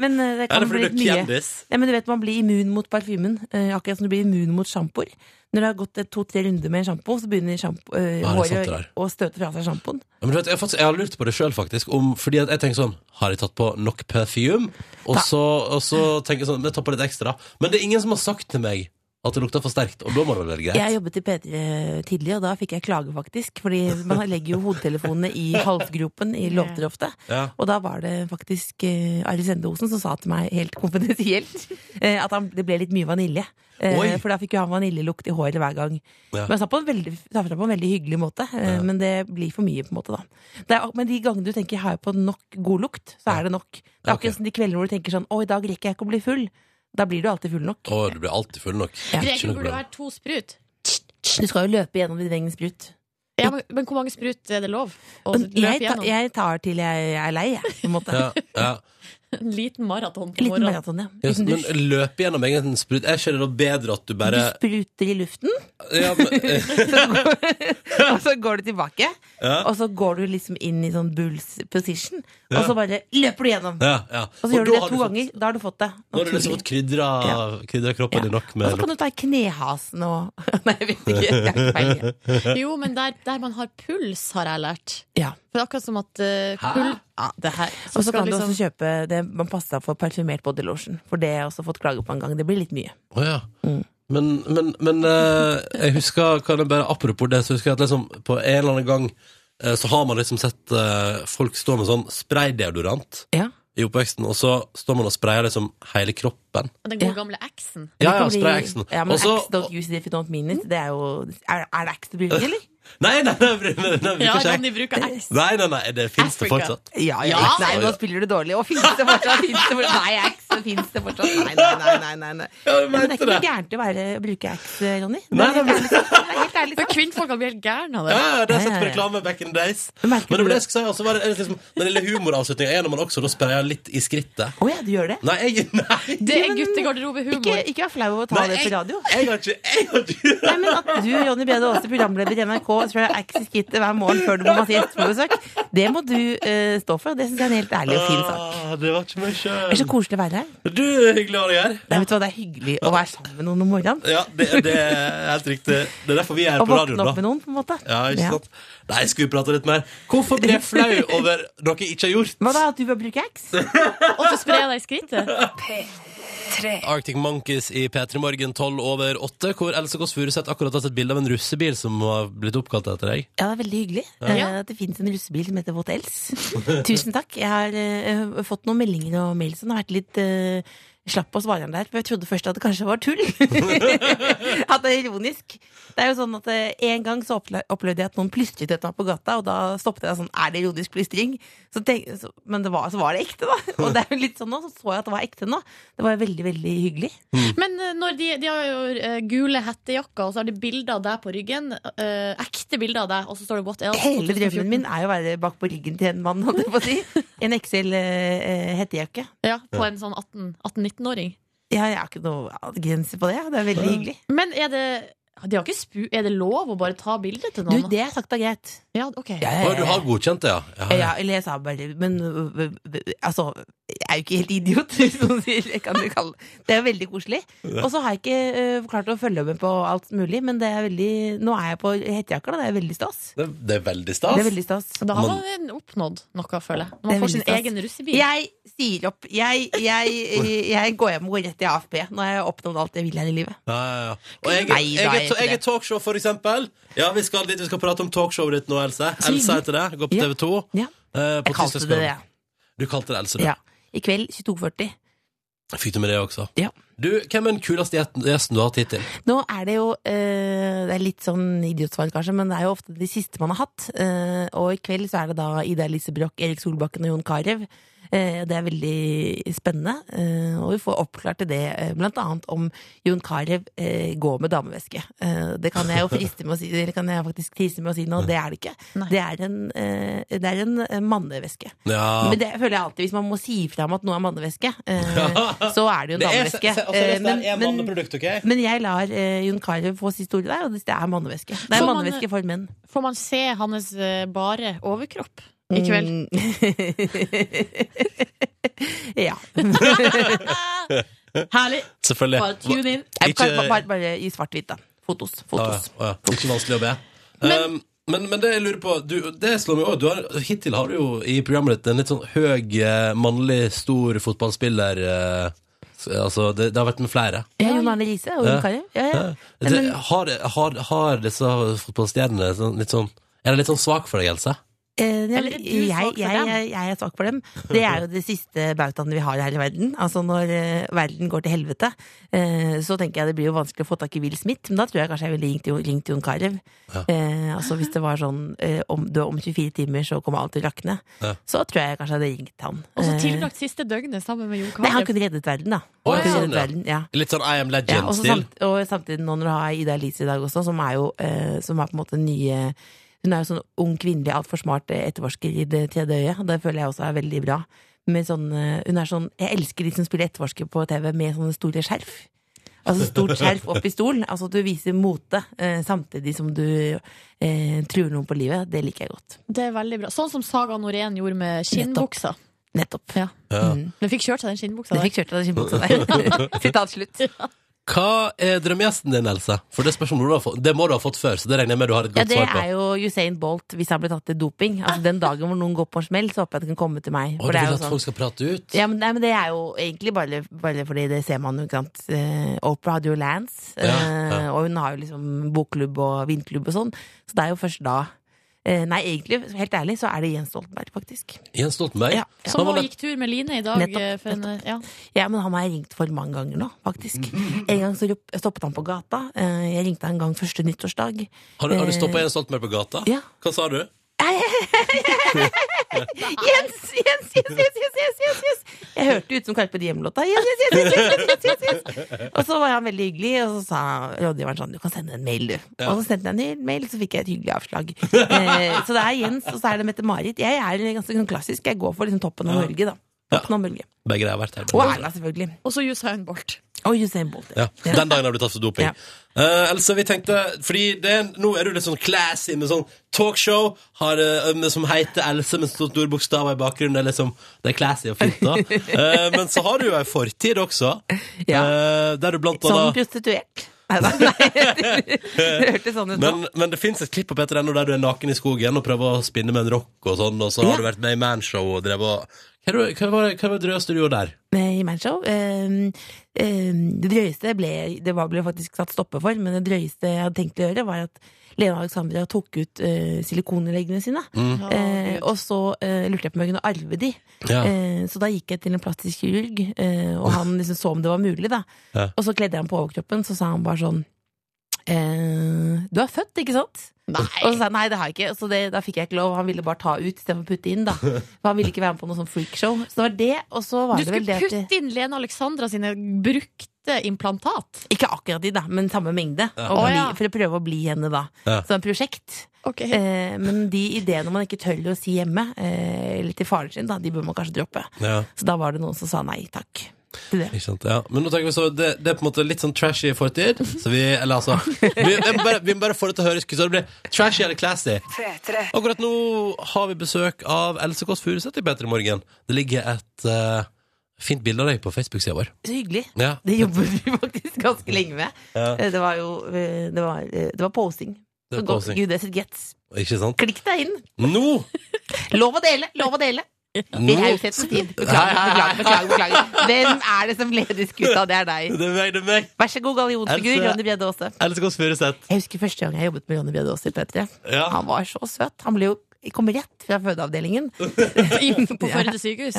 [SPEAKER 11] men eh, det
[SPEAKER 2] Er
[SPEAKER 11] kan
[SPEAKER 2] det fordi
[SPEAKER 11] bli
[SPEAKER 2] du
[SPEAKER 11] litt
[SPEAKER 2] er
[SPEAKER 11] mye.
[SPEAKER 2] kjendis?
[SPEAKER 11] Nei, men du vet Man blir immun mot parfymen, eh, akkurat som du blir immun mot sjampoer. Når det har gått eh, to-tre runder med en sjampo, så begynner sjampo, eh,
[SPEAKER 2] Ah, det er sant
[SPEAKER 11] håret
[SPEAKER 2] det
[SPEAKER 11] å,
[SPEAKER 2] der.
[SPEAKER 11] å støte fra seg sjampoen.
[SPEAKER 2] Ja, Men du vet, jeg, har faktisk, jeg har lurt på det sjøl, faktisk. Om, fordi at jeg tenker sånn Har jeg tatt på nok parfyme? Og,
[SPEAKER 11] Da.
[SPEAKER 2] så- og så tenker jeg sånn Jeg tar på litt ekstra. Men det er ingen som har sagt til meg at det lukter for sterkt, og da må det vel være greit?
[SPEAKER 11] Jeg jobbet i P3 tidlig, og da fikk jeg klage, faktisk. Fordi man legger jo hodetelefonene i halsgropen i låter ofte.
[SPEAKER 2] Ja.
[SPEAKER 11] Og da var det faktisk eh, Arild Sende Osen som sa til meg helt konfidensielt eh, at han, det ble litt mye vanilje. Eh,
[SPEAKER 2] Oi.
[SPEAKER 11] for da fikk jo han vaniljelukt i håret hver gang.
[SPEAKER 2] Ja.
[SPEAKER 11] Men han sa på en veldig, sa fra på en veldig hyggelig måte, eh, men det blir for mye, på en måte, da. Det er, men de gangene du tenker 'har jeg på nok god lukt', så er det nok. Det er
[SPEAKER 2] Ok.
[SPEAKER 11] akkurat som de kveldene hvor du tenker sånn 'å, i dag rekker jeg ikke å bli full'. Da blir du alltid full nok.
[SPEAKER 2] Å, du blir alltid full nok.
[SPEAKER 11] Ja.
[SPEAKER 2] Ikke noe
[SPEAKER 3] Regelen burde
[SPEAKER 2] problem.
[SPEAKER 3] være to sprut.
[SPEAKER 11] Du skal jo løpe gjennom din egen sprut.
[SPEAKER 3] Ja, men, men hvor mange sprut er det lov å
[SPEAKER 11] Men
[SPEAKER 3] løpe
[SPEAKER 11] jeg, ta,
[SPEAKER 3] gjennom?
[SPEAKER 11] jeg tar til jeg er lei, jeg. På en måte.
[SPEAKER 2] Ja, ja.
[SPEAKER 3] En liten maraton på
[SPEAKER 11] En liten
[SPEAKER 3] morgenen.
[SPEAKER 11] maraton, ja.
[SPEAKER 2] Yes,
[SPEAKER 11] Liten
[SPEAKER 2] men
[SPEAKER 11] dusj.
[SPEAKER 2] løpe gjennom egen sprut Er ikke det da bedre at du
[SPEAKER 11] Du
[SPEAKER 2] bare
[SPEAKER 11] spruter i luften,
[SPEAKER 2] ja, men,
[SPEAKER 11] og så går du tilbake.
[SPEAKER 2] Ja.
[SPEAKER 11] Og så går du liksom inn i sånn bulls position, og
[SPEAKER 2] Ja.
[SPEAKER 11] så bare løper du gjennom.
[SPEAKER 2] ja, ja.
[SPEAKER 11] Og så gjør du
[SPEAKER 2] da
[SPEAKER 11] det
[SPEAKER 2] har
[SPEAKER 11] to
[SPEAKER 2] fått-
[SPEAKER 11] ganger. Da har du fått det.
[SPEAKER 2] Nå har du liksom fått krydra, krydra kroppen din nok
[SPEAKER 11] Og
[SPEAKER 2] med
[SPEAKER 11] så kan du ta i knehasen og Nei, jeg vet ikke. Jeg har ikke peiling.
[SPEAKER 3] Jo, men der, der man har puls, har jeg lært.
[SPEAKER 11] Ja.
[SPEAKER 3] For det er akkurat som at eh, pul ja, det her,
[SPEAKER 11] Og så
[SPEAKER 3] skal
[SPEAKER 11] kan du
[SPEAKER 3] liksom-
[SPEAKER 11] også kjøpe det man passer for parfymert body lotion. For det har jeg også fått klage på en gang. Det blir litt mye.
[SPEAKER 2] Å ja.
[SPEAKER 11] Mm.
[SPEAKER 2] Men, men, men eh, jeg husker kan jeg bare, Apropos det, så husker jeg at liksom, på en eller annen gang eh, så har man liksom sett eh, folk stå med sånn spraydeodorant
[SPEAKER 11] Ja.
[SPEAKER 2] i oppveksten, og så står man og sprayer liksom hele kroppen.
[SPEAKER 3] Den gode
[SPEAKER 11] Ja.
[SPEAKER 3] gamle X-en.
[SPEAKER 2] Ja, ja,
[SPEAKER 11] Det kan bli-
[SPEAKER 2] spray X-en.
[SPEAKER 11] Ja, men
[SPEAKER 2] Og så-
[SPEAKER 11] X don't use it if you don't mean it. Det er jo Er, er det X du bruker, eller?
[SPEAKER 2] Nei, nei, nei, nei, nei, nei,
[SPEAKER 3] Ja,
[SPEAKER 2] ikke jeg.
[SPEAKER 3] Ronny bruker X.
[SPEAKER 2] nei, nei, nei det fins det
[SPEAKER 3] Africa.
[SPEAKER 2] fortsatt.
[SPEAKER 11] Ja,
[SPEAKER 3] ja.
[SPEAKER 11] Nei, nå spiller du dårlig. Å, fins det fortsatt? Finnes det fortsatt? Nei, X så finnes det fortsatt. Nei, nei, nei. nei, nei, nei.
[SPEAKER 2] Ja, du
[SPEAKER 11] Men det er
[SPEAKER 2] mente
[SPEAKER 11] ikke noe
[SPEAKER 2] det.
[SPEAKER 11] gærent i å være, bruke X, Ronny. Det
[SPEAKER 2] Nei,
[SPEAKER 11] er
[SPEAKER 2] nei,
[SPEAKER 11] helt ærlig sagt. Det er helt ærlig
[SPEAKER 3] Men
[SPEAKER 11] sagt.
[SPEAKER 3] kvinnfolk blir helt gærne av
[SPEAKER 2] Ja,
[SPEAKER 3] det.
[SPEAKER 2] ja, det har jeg
[SPEAKER 11] Ja,
[SPEAKER 2] sett
[SPEAKER 11] ja,
[SPEAKER 2] på
[SPEAKER 11] ja.
[SPEAKER 2] reklame back in the days. Men det
[SPEAKER 11] Merker du
[SPEAKER 2] var det
[SPEAKER 11] det?
[SPEAKER 2] jeg skulle si, og så var det liksom, den lille humoravslutninga er når man også da sprayer litt i skrittet.
[SPEAKER 11] Å ja, du gjør det?
[SPEAKER 2] Nei, jeg, nei,
[SPEAKER 3] Det er
[SPEAKER 11] Ja, men- Ikke,
[SPEAKER 3] guttegarderobehumor.
[SPEAKER 11] ikke vær flau over å
[SPEAKER 2] nei
[SPEAKER 11] ta det på radio.
[SPEAKER 2] jeg har ikke Jeg har ikke
[SPEAKER 11] Nei, men At du, Ronny Brede Aase, programleder i NRK, spør Axe Skittet hver morgen før du må ha gjestebesøk, det må du eh, stå for. og Det syns jeg er en helt ærlig og fin sak.
[SPEAKER 2] Ah, Det var ikke meg
[SPEAKER 11] Det er så
[SPEAKER 2] sjøl.
[SPEAKER 11] koselig å være her.
[SPEAKER 2] Du, hyggelig å ha deg her.
[SPEAKER 11] Nei, vet du hva, Det er hyggelig å være sammen med noen om morgenen.
[SPEAKER 2] Ja, det, det er helt riktig. Det er derfor vi er her
[SPEAKER 11] Og
[SPEAKER 2] på
[SPEAKER 11] våkne
[SPEAKER 2] radioen,
[SPEAKER 11] opp med
[SPEAKER 2] da.
[SPEAKER 11] noen, på en måte.
[SPEAKER 2] Ja, ikke sant? Nei, skulle vi prate litt mer? Hvorfor blir jeg flau over noe jeg ikke har gjort?
[SPEAKER 11] Hva da, at du bør bruke Axe?
[SPEAKER 3] Og så sprer jeg deg i skrittet.
[SPEAKER 2] Arctic Monkeys i P3 Morgen 12 over 8, hvor Else Kåss Furuseth akkurat har tatt et bilde av en russebil som har blitt oppkalt etter deg.
[SPEAKER 11] Ja, det er veldig hyggelig eh, at det finnes en russebil som heter What Else. Tusen takk. Jeg har eh, fått noen meldinger og mail som har vært litt eh, slapp på svareren der. For jeg trodde først at det kanskje var tull. at det er ironisk. Det er jo sånn at eh, En gang så opple opplevde jeg at noen plystret etter meg på gata, og da stoppet jeg sånn Er det ironisk plystring? Så tenk, så, men det var, så var det ekte, da. Og det er jo litt sånn nå, så så jeg at det var ekte nå. Det var veldig, veldig hyggelig.
[SPEAKER 3] Men eh, når de, de har jo eh, gule hettejakker, og så har de bilder av deg på ryggen. eh, ekte bilder av deg, og så står det What else?
[SPEAKER 11] Hele
[SPEAKER 3] 2014.
[SPEAKER 11] drømmen min er jo å være bak på ryggen til en mann, holdt jeg på å si. En XL eh, hettejakke.
[SPEAKER 3] Ja, På en sånn 18 18-19-åring.
[SPEAKER 11] Ja, jeg har ikke noe grense på det. Det er veldig hyggelig.
[SPEAKER 3] Men er det de har ikke spu er det lov å bare ta bilde til
[SPEAKER 11] Du,
[SPEAKER 3] noen?
[SPEAKER 11] det er sagt er greit.
[SPEAKER 3] Ja, ok
[SPEAKER 2] Å, du har godkjent det, ja? Ja, ja.
[SPEAKER 11] Ja, eller jeg sa bare Men ø, ø, ø, altså Jeg er jo ikke helt idiot, hvis noen sier det. Kan du kalle det. det er jo veldig koselig. Og så har jeg ikke ø, klart å følge med på alt mulig, men det er veldig nå er jeg på hettejakker, da. Det er veldig stas.
[SPEAKER 2] Det, det er veldig
[SPEAKER 11] Det
[SPEAKER 2] stas.
[SPEAKER 11] er veldig stas.
[SPEAKER 3] Da har
[SPEAKER 2] Man-
[SPEAKER 3] man oppnådd noe, føler jeg. Når
[SPEAKER 11] Det er
[SPEAKER 3] man får sin
[SPEAKER 11] veldig stas.
[SPEAKER 3] egen russebil.
[SPEAKER 11] Jeg sier opp. Jeg, jeg, jeg går hjem og går rett i AFP. Nå har jeg oppnådd alt jeg vil her i livet.
[SPEAKER 2] Ja, ja, ja. Og jeg,
[SPEAKER 11] Nei,
[SPEAKER 2] jeg,
[SPEAKER 11] da er
[SPEAKER 2] jeg,
[SPEAKER 11] jeg ikke
[SPEAKER 2] jeg er
[SPEAKER 11] det.
[SPEAKER 2] talkshow, for eksempel. Ja, vi skal dit, vi skal prate om talkshowet ditt nå, Else. Else heter det. Går på
[SPEAKER 11] Ja.
[SPEAKER 2] TV Eh, 2.
[SPEAKER 11] Ja. Jeg kalte det det.
[SPEAKER 2] Du kalte det Else, du.
[SPEAKER 11] Ja. I kveld 22.40.
[SPEAKER 2] Fikk du med det også?
[SPEAKER 11] Ja.
[SPEAKER 2] Du, hvem er den kuleste gjesten- gjesten du har hatt hittil?
[SPEAKER 11] Nå er det jo eh, Det er litt sånn idiotsvar, kanskje, men det er jo ofte de siste man har hatt. Eh, og i kveld så er det da Ida Elise Broch, Erik Solbakken og Jon Carew. Eh, det er veldig spennende. Eh, og vi får oppklart til det eh, blant annet om Jon Carew eh, går med dameveske. Eh, det kan jeg jo friste med å si, eller kan jeg faktisk tise med å si nå, det er det ikke.
[SPEAKER 3] Nei.
[SPEAKER 11] Det er en, eh, det er en eh, manneveske.
[SPEAKER 2] Ja.
[SPEAKER 11] Men det føler jeg alltid, hvis man må si fra om at noe er manneveske, eh, så er det jo en
[SPEAKER 2] Det er-
[SPEAKER 11] dameveske.
[SPEAKER 2] se- se- altså,
[SPEAKER 11] Eh,
[SPEAKER 2] det er
[SPEAKER 11] men-
[SPEAKER 2] en
[SPEAKER 11] men-
[SPEAKER 2] manneprodukt, ok?
[SPEAKER 11] men jeg lar eh, Jon Carew få sitt ord der, og det er mannevæske. Det er
[SPEAKER 3] Får man-
[SPEAKER 11] mannevæske for menn.
[SPEAKER 3] Får man se hans eh, bare overkropp i kveld?
[SPEAKER 11] ja.
[SPEAKER 3] Herlig!
[SPEAKER 2] Selvfølgelig.
[SPEAKER 3] Bare tune in.
[SPEAKER 11] Jeg
[SPEAKER 2] Ikke-
[SPEAKER 11] kan, bare, bare i svart-hvitt, da. Fotos.
[SPEAKER 2] Ah, ja,
[SPEAKER 11] Fotos.
[SPEAKER 2] ah, ja. Ikke vanskelig å be.
[SPEAKER 3] Men-
[SPEAKER 2] um, men, men det jeg lurer på du, Det slår meg også, du har, Hittil har du jo i programmet ditt en litt sånn høy, eh, mannlig, stor fotballspiller. eh, s- altså, det, det har vært med flere.
[SPEAKER 11] Ja, Jon Arne Riise og
[SPEAKER 2] Ja.
[SPEAKER 11] Jon Carew. Ja, ja.
[SPEAKER 2] Det, har, har, har disse fotballstjernene sånn, litt sånn Er det litt sånn svak for deg, Else?
[SPEAKER 11] Eh, ja,
[SPEAKER 3] Eller er
[SPEAKER 11] men
[SPEAKER 3] du
[SPEAKER 11] jeg,
[SPEAKER 3] svak for
[SPEAKER 11] jeg,
[SPEAKER 3] dem?
[SPEAKER 11] jeg, jeg er svak for dem. Det er jo det siste bautaen vi har her i verden. Altså Når eh, verden går til helvete, eh, så tenker jeg det blir jo vanskelig å få tak i Will Smith. Men da tror jeg kanskje jeg ville ringt, jo- ringt Jon Carew. Eh, altså hvis det var sånn eh, om, du, om 24 timer så kommer alt til å rakne,
[SPEAKER 2] Ja.
[SPEAKER 11] så tror jeg kanskje jeg hadde ringt han.
[SPEAKER 3] Og så
[SPEAKER 11] Eh,
[SPEAKER 3] tilbrakt siste døgnet sammen med Jon
[SPEAKER 11] Nei, han
[SPEAKER 3] Carew.
[SPEAKER 11] kunne reddet verden, da.
[SPEAKER 2] Å,
[SPEAKER 11] Han
[SPEAKER 2] ja,
[SPEAKER 11] kunne
[SPEAKER 2] sånn,
[SPEAKER 11] reddet
[SPEAKER 2] ja.
[SPEAKER 11] verden, ja
[SPEAKER 2] Litt sånn I am
[SPEAKER 11] ja, og, så
[SPEAKER 2] legend-stil?
[SPEAKER 11] samt, og samtidig nå når du har Ida Elise i dag også, som er jo eh, som er på en måte den nye Hun er jo sånn ung kvinnelig altfor smart eh, etterforsker i det tredje øyet. og Det føler jeg også er veldig bra. med sånn eh, Hun er sånn Jeg elsker de som spiller etterforsker på TV med sånne store skjerf. Altså stort skjerf opp i stolen. Altså at du viser mote eh, samtidig som du eh, truer noen på livet. Det liker jeg godt.
[SPEAKER 3] Det er veldig bra. Sånn som Saga Norén gjorde med skinnbuksa.
[SPEAKER 11] Nettopp.
[SPEAKER 3] Ja.
[SPEAKER 2] Ja.
[SPEAKER 11] Mm.
[SPEAKER 3] Hun fikk kjørt seg den skinnbuksa
[SPEAKER 11] Det
[SPEAKER 3] der.
[SPEAKER 11] fikk kjørt av deg skinnbuksa der. Sitat slutt.
[SPEAKER 2] Hva er drømmegjesten din, Else? For det spørsmålet du har fått, det må du ha fått før, så det regner jeg med du har et
[SPEAKER 11] Ja,
[SPEAKER 2] godt
[SPEAKER 11] det
[SPEAKER 2] svar på.
[SPEAKER 11] er jo Usain Bolt hvis han blir tatt til doping. Altså Den dagen hvor noen går på en smell, så håper jeg det kan komme til meg.
[SPEAKER 2] Å,
[SPEAKER 11] For
[SPEAKER 2] du
[SPEAKER 11] det er
[SPEAKER 2] vil
[SPEAKER 11] jo
[SPEAKER 2] at
[SPEAKER 11] sånn
[SPEAKER 2] folk skal prate ut?
[SPEAKER 11] ja, men, nei, men Det er jo egentlig bare, bare fordi det ser man jo, ikke sant. Eh, Oprah hadde jo Lance, eh,
[SPEAKER 2] Ja, ja.
[SPEAKER 11] og hun har jo liksom bokklubb og vinklubb og sånn. Så det er jo først da eh, Nei, egentlig, helt ærlig, så er det Jens Stoltenberg, faktisk.
[SPEAKER 2] Jens Stoltenberg?
[SPEAKER 11] Ja, ja.
[SPEAKER 2] Han
[SPEAKER 3] Som
[SPEAKER 2] var
[SPEAKER 3] nå
[SPEAKER 2] nett-
[SPEAKER 3] gikk tur med Line i dag.
[SPEAKER 11] Nettopp,
[SPEAKER 3] eh, For en, ja.
[SPEAKER 11] Ja, men han har jeg ringt for mange ganger nå, faktisk. En gang så rop- stoppet han på gata. Eh, Jeg ringte han en gang første nyttårsdag.
[SPEAKER 2] Har, du- har du stoppa Jens Stoltenberg på gata?
[SPEAKER 11] Eh, Ja.
[SPEAKER 2] Hva sa du?
[SPEAKER 11] Yes, yes, yes, yes, yes, yes, yes, yes. Jeg hørte ut som Carpe Diem-låta. Yes, yes, yes, yes, yes, yes, yes, yes, yes. Og så var han veldig hyggelig, og så sa rådgiveren sånn, du kan sende en mail, du.
[SPEAKER 2] Ja.
[SPEAKER 11] Og så sendte jeg en mail, så fikk jeg et hyggelig avslag. Eh, Så det er Jens, og så er det Mette-Marit. Jeg er ganske sånn klassisk, jeg går for liksom toppen av Norge, da. Toppen av Norge.
[SPEAKER 2] Begge de har vært her.
[SPEAKER 11] Og Erna, selvfølgelig.
[SPEAKER 3] Og så Usain Bolt.
[SPEAKER 11] Og Usain Bolt.
[SPEAKER 2] Ja, Den dagen har du tatt for doping.
[SPEAKER 11] Ja.
[SPEAKER 2] Eh, Else, vi tenkte Fordi det, er- nå er du litt sånn classy med sånn talkshow har, eh, med, som heter Else med så store bokstaver i bakgrunnen. Det er, liksom, det er classy og fint, da. Eh, men så har du jo ei fortid også,
[SPEAKER 11] Ja. Sånn
[SPEAKER 2] eh, der du blant
[SPEAKER 11] Som
[SPEAKER 2] annet
[SPEAKER 11] prostituert. Nei da, nei. Det hørtes sånn ut nå.
[SPEAKER 2] men, men det fins et klipp på P3NO der du er naken i skogen og prøver å spinne med en rock og sånn, og så har du vært med i Manshow og drevet og Hva er det- hva var det hva var det drøyeste du gjorde der?
[SPEAKER 11] eh, i Manshow. Um, um, det drøyeste ble, det var ble faktisk satt stopper for, men det drøyeste jeg hadde tenkt å gjøre, var at Lena Alexandra tok ut uh, silikonleggene sine. Eh, og så eh, lurte jeg på om jeg kunne arve de.
[SPEAKER 2] Ja.
[SPEAKER 11] Eh, så da gikk jeg til en plastisk kirurg, eh, og han liksom så om det var mulig. da
[SPEAKER 2] Ja.
[SPEAKER 11] Og så kledde jeg ham på overkroppen, så sa han bare sånn eh, Du er født, ikke sant? Og så sa jeg nei, det har jeg ikke. Så det, da fikk jeg ikke lov. Han ville bare ta ut istedenfor å putte inn. da For han ville ikke være med på noe sånn freakshow. Så det var det, og så var
[SPEAKER 3] Du
[SPEAKER 11] det vel
[SPEAKER 3] skulle
[SPEAKER 11] det at
[SPEAKER 3] putte inn Lene Alexandra sine brukte implantat.
[SPEAKER 11] Ikke akkurat de, da, men samme mengde. Og
[SPEAKER 3] Å,
[SPEAKER 11] bli,
[SPEAKER 3] ja.
[SPEAKER 11] For å prøve å bli henne, da.
[SPEAKER 2] Ja.
[SPEAKER 11] Som et prosjekt.
[SPEAKER 3] Okay.
[SPEAKER 11] Eh, men de ideene man ikke tør å si hjemme, eh, eller til faren sin, da, de bør man kanskje droppe.
[SPEAKER 2] Ja.
[SPEAKER 11] Så da var det noen som sa nei takk. Til det.
[SPEAKER 2] Ikke sant, ja Men nå tenker vi så det, det er på en måte litt sånn trashy fortid Så vi, eller altså Vi, vi, må, bare, vi må bare få det til å høres Så det blir trashy eller classy Akkurat nå har vi besøk av Else Kåss Furuseth i Petter i morgen Det ligger et eh, fint bilde av deg på Facebook-siden vår
[SPEAKER 11] Så hyggelig.
[SPEAKER 2] Ja,
[SPEAKER 11] Det jobber vi faktisk ganske lenge med.
[SPEAKER 2] Ja.
[SPEAKER 11] Eh, Det var jo eh, Det var, eh, det var posing.
[SPEAKER 2] Det er
[SPEAKER 11] Så gå-
[SPEAKER 2] posing.
[SPEAKER 11] Gud, det er et gets.
[SPEAKER 2] ikke sant?
[SPEAKER 11] Klikk deg inn!
[SPEAKER 2] Nå!
[SPEAKER 11] Lov å dele! Lov å dele!
[SPEAKER 2] nå
[SPEAKER 11] I raushetens tid. Beklager, beklager, beklager. beklager. Hvem er det som leder skuta? Det er deg.
[SPEAKER 2] Det er meg, det er meg
[SPEAKER 11] Vær så god, gallionsfigur.
[SPEAKER 2] Else-
[SPEAKER 11] Ronny Bjedde Aase.
[SPEAKER 2] Else Kåss Furuseth
[SPEAKER 11] Jeg husker første gang jeg jobbet med Ronny Bjede Aas i P3.
[SPEAKER 2] Ja.
[SPEAKER 11] Han var så søt. Han ble jo kom rett fra fødeavdelingen.
[SPEAKER 3] På
[SPEAKER 11] Ja.
[SPEAKER 3] Førde sykehus.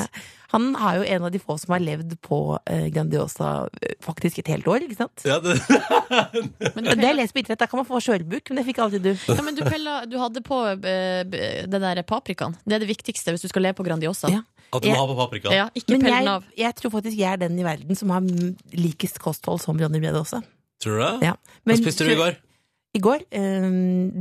[SPEAKER 11] Han er jo en av de få som har levd på eh, Grandiosa eh, faktisk et helt år. ikke sant?
[SPEAKER 2] ja, det,
[SPEAKER 3] Men
[SPEAKER 11] Det
[SPEAKER 3] du,
[SPEAKER 11] har jeg lest på internett, Da kan man få skjørbuk, men det fikk aldri du.
[SPEAKER 3] ja, men du, pella, du hadde på eh, b- den der paprikaen. Det er det viktigste hvis du skal leve på Grandiosa.
[SPEAKER 11] Ja.
[SPEAKER 2] At du må ha på paprika
[SPEAKER 3] Ja, ikke
[SPEAKER 11] Men
[SPEAKER 3] pell den
[SPEAKER 11] jeg,
[SPEAKER 3] av.
[SPEAKER 11] jeg tror faktisk jeg er den i verden som har mm, likest kosthold som Ronny Bjede Aase.
[SPEAKER 2] Tror du det?
[SPEAKER 11] Ja.
[SPEAKER 2] Hva
[SPEAKER 11] Men-
[SPEAKER 2] spiste du i går?
[SPEAKER 11] I går, eh,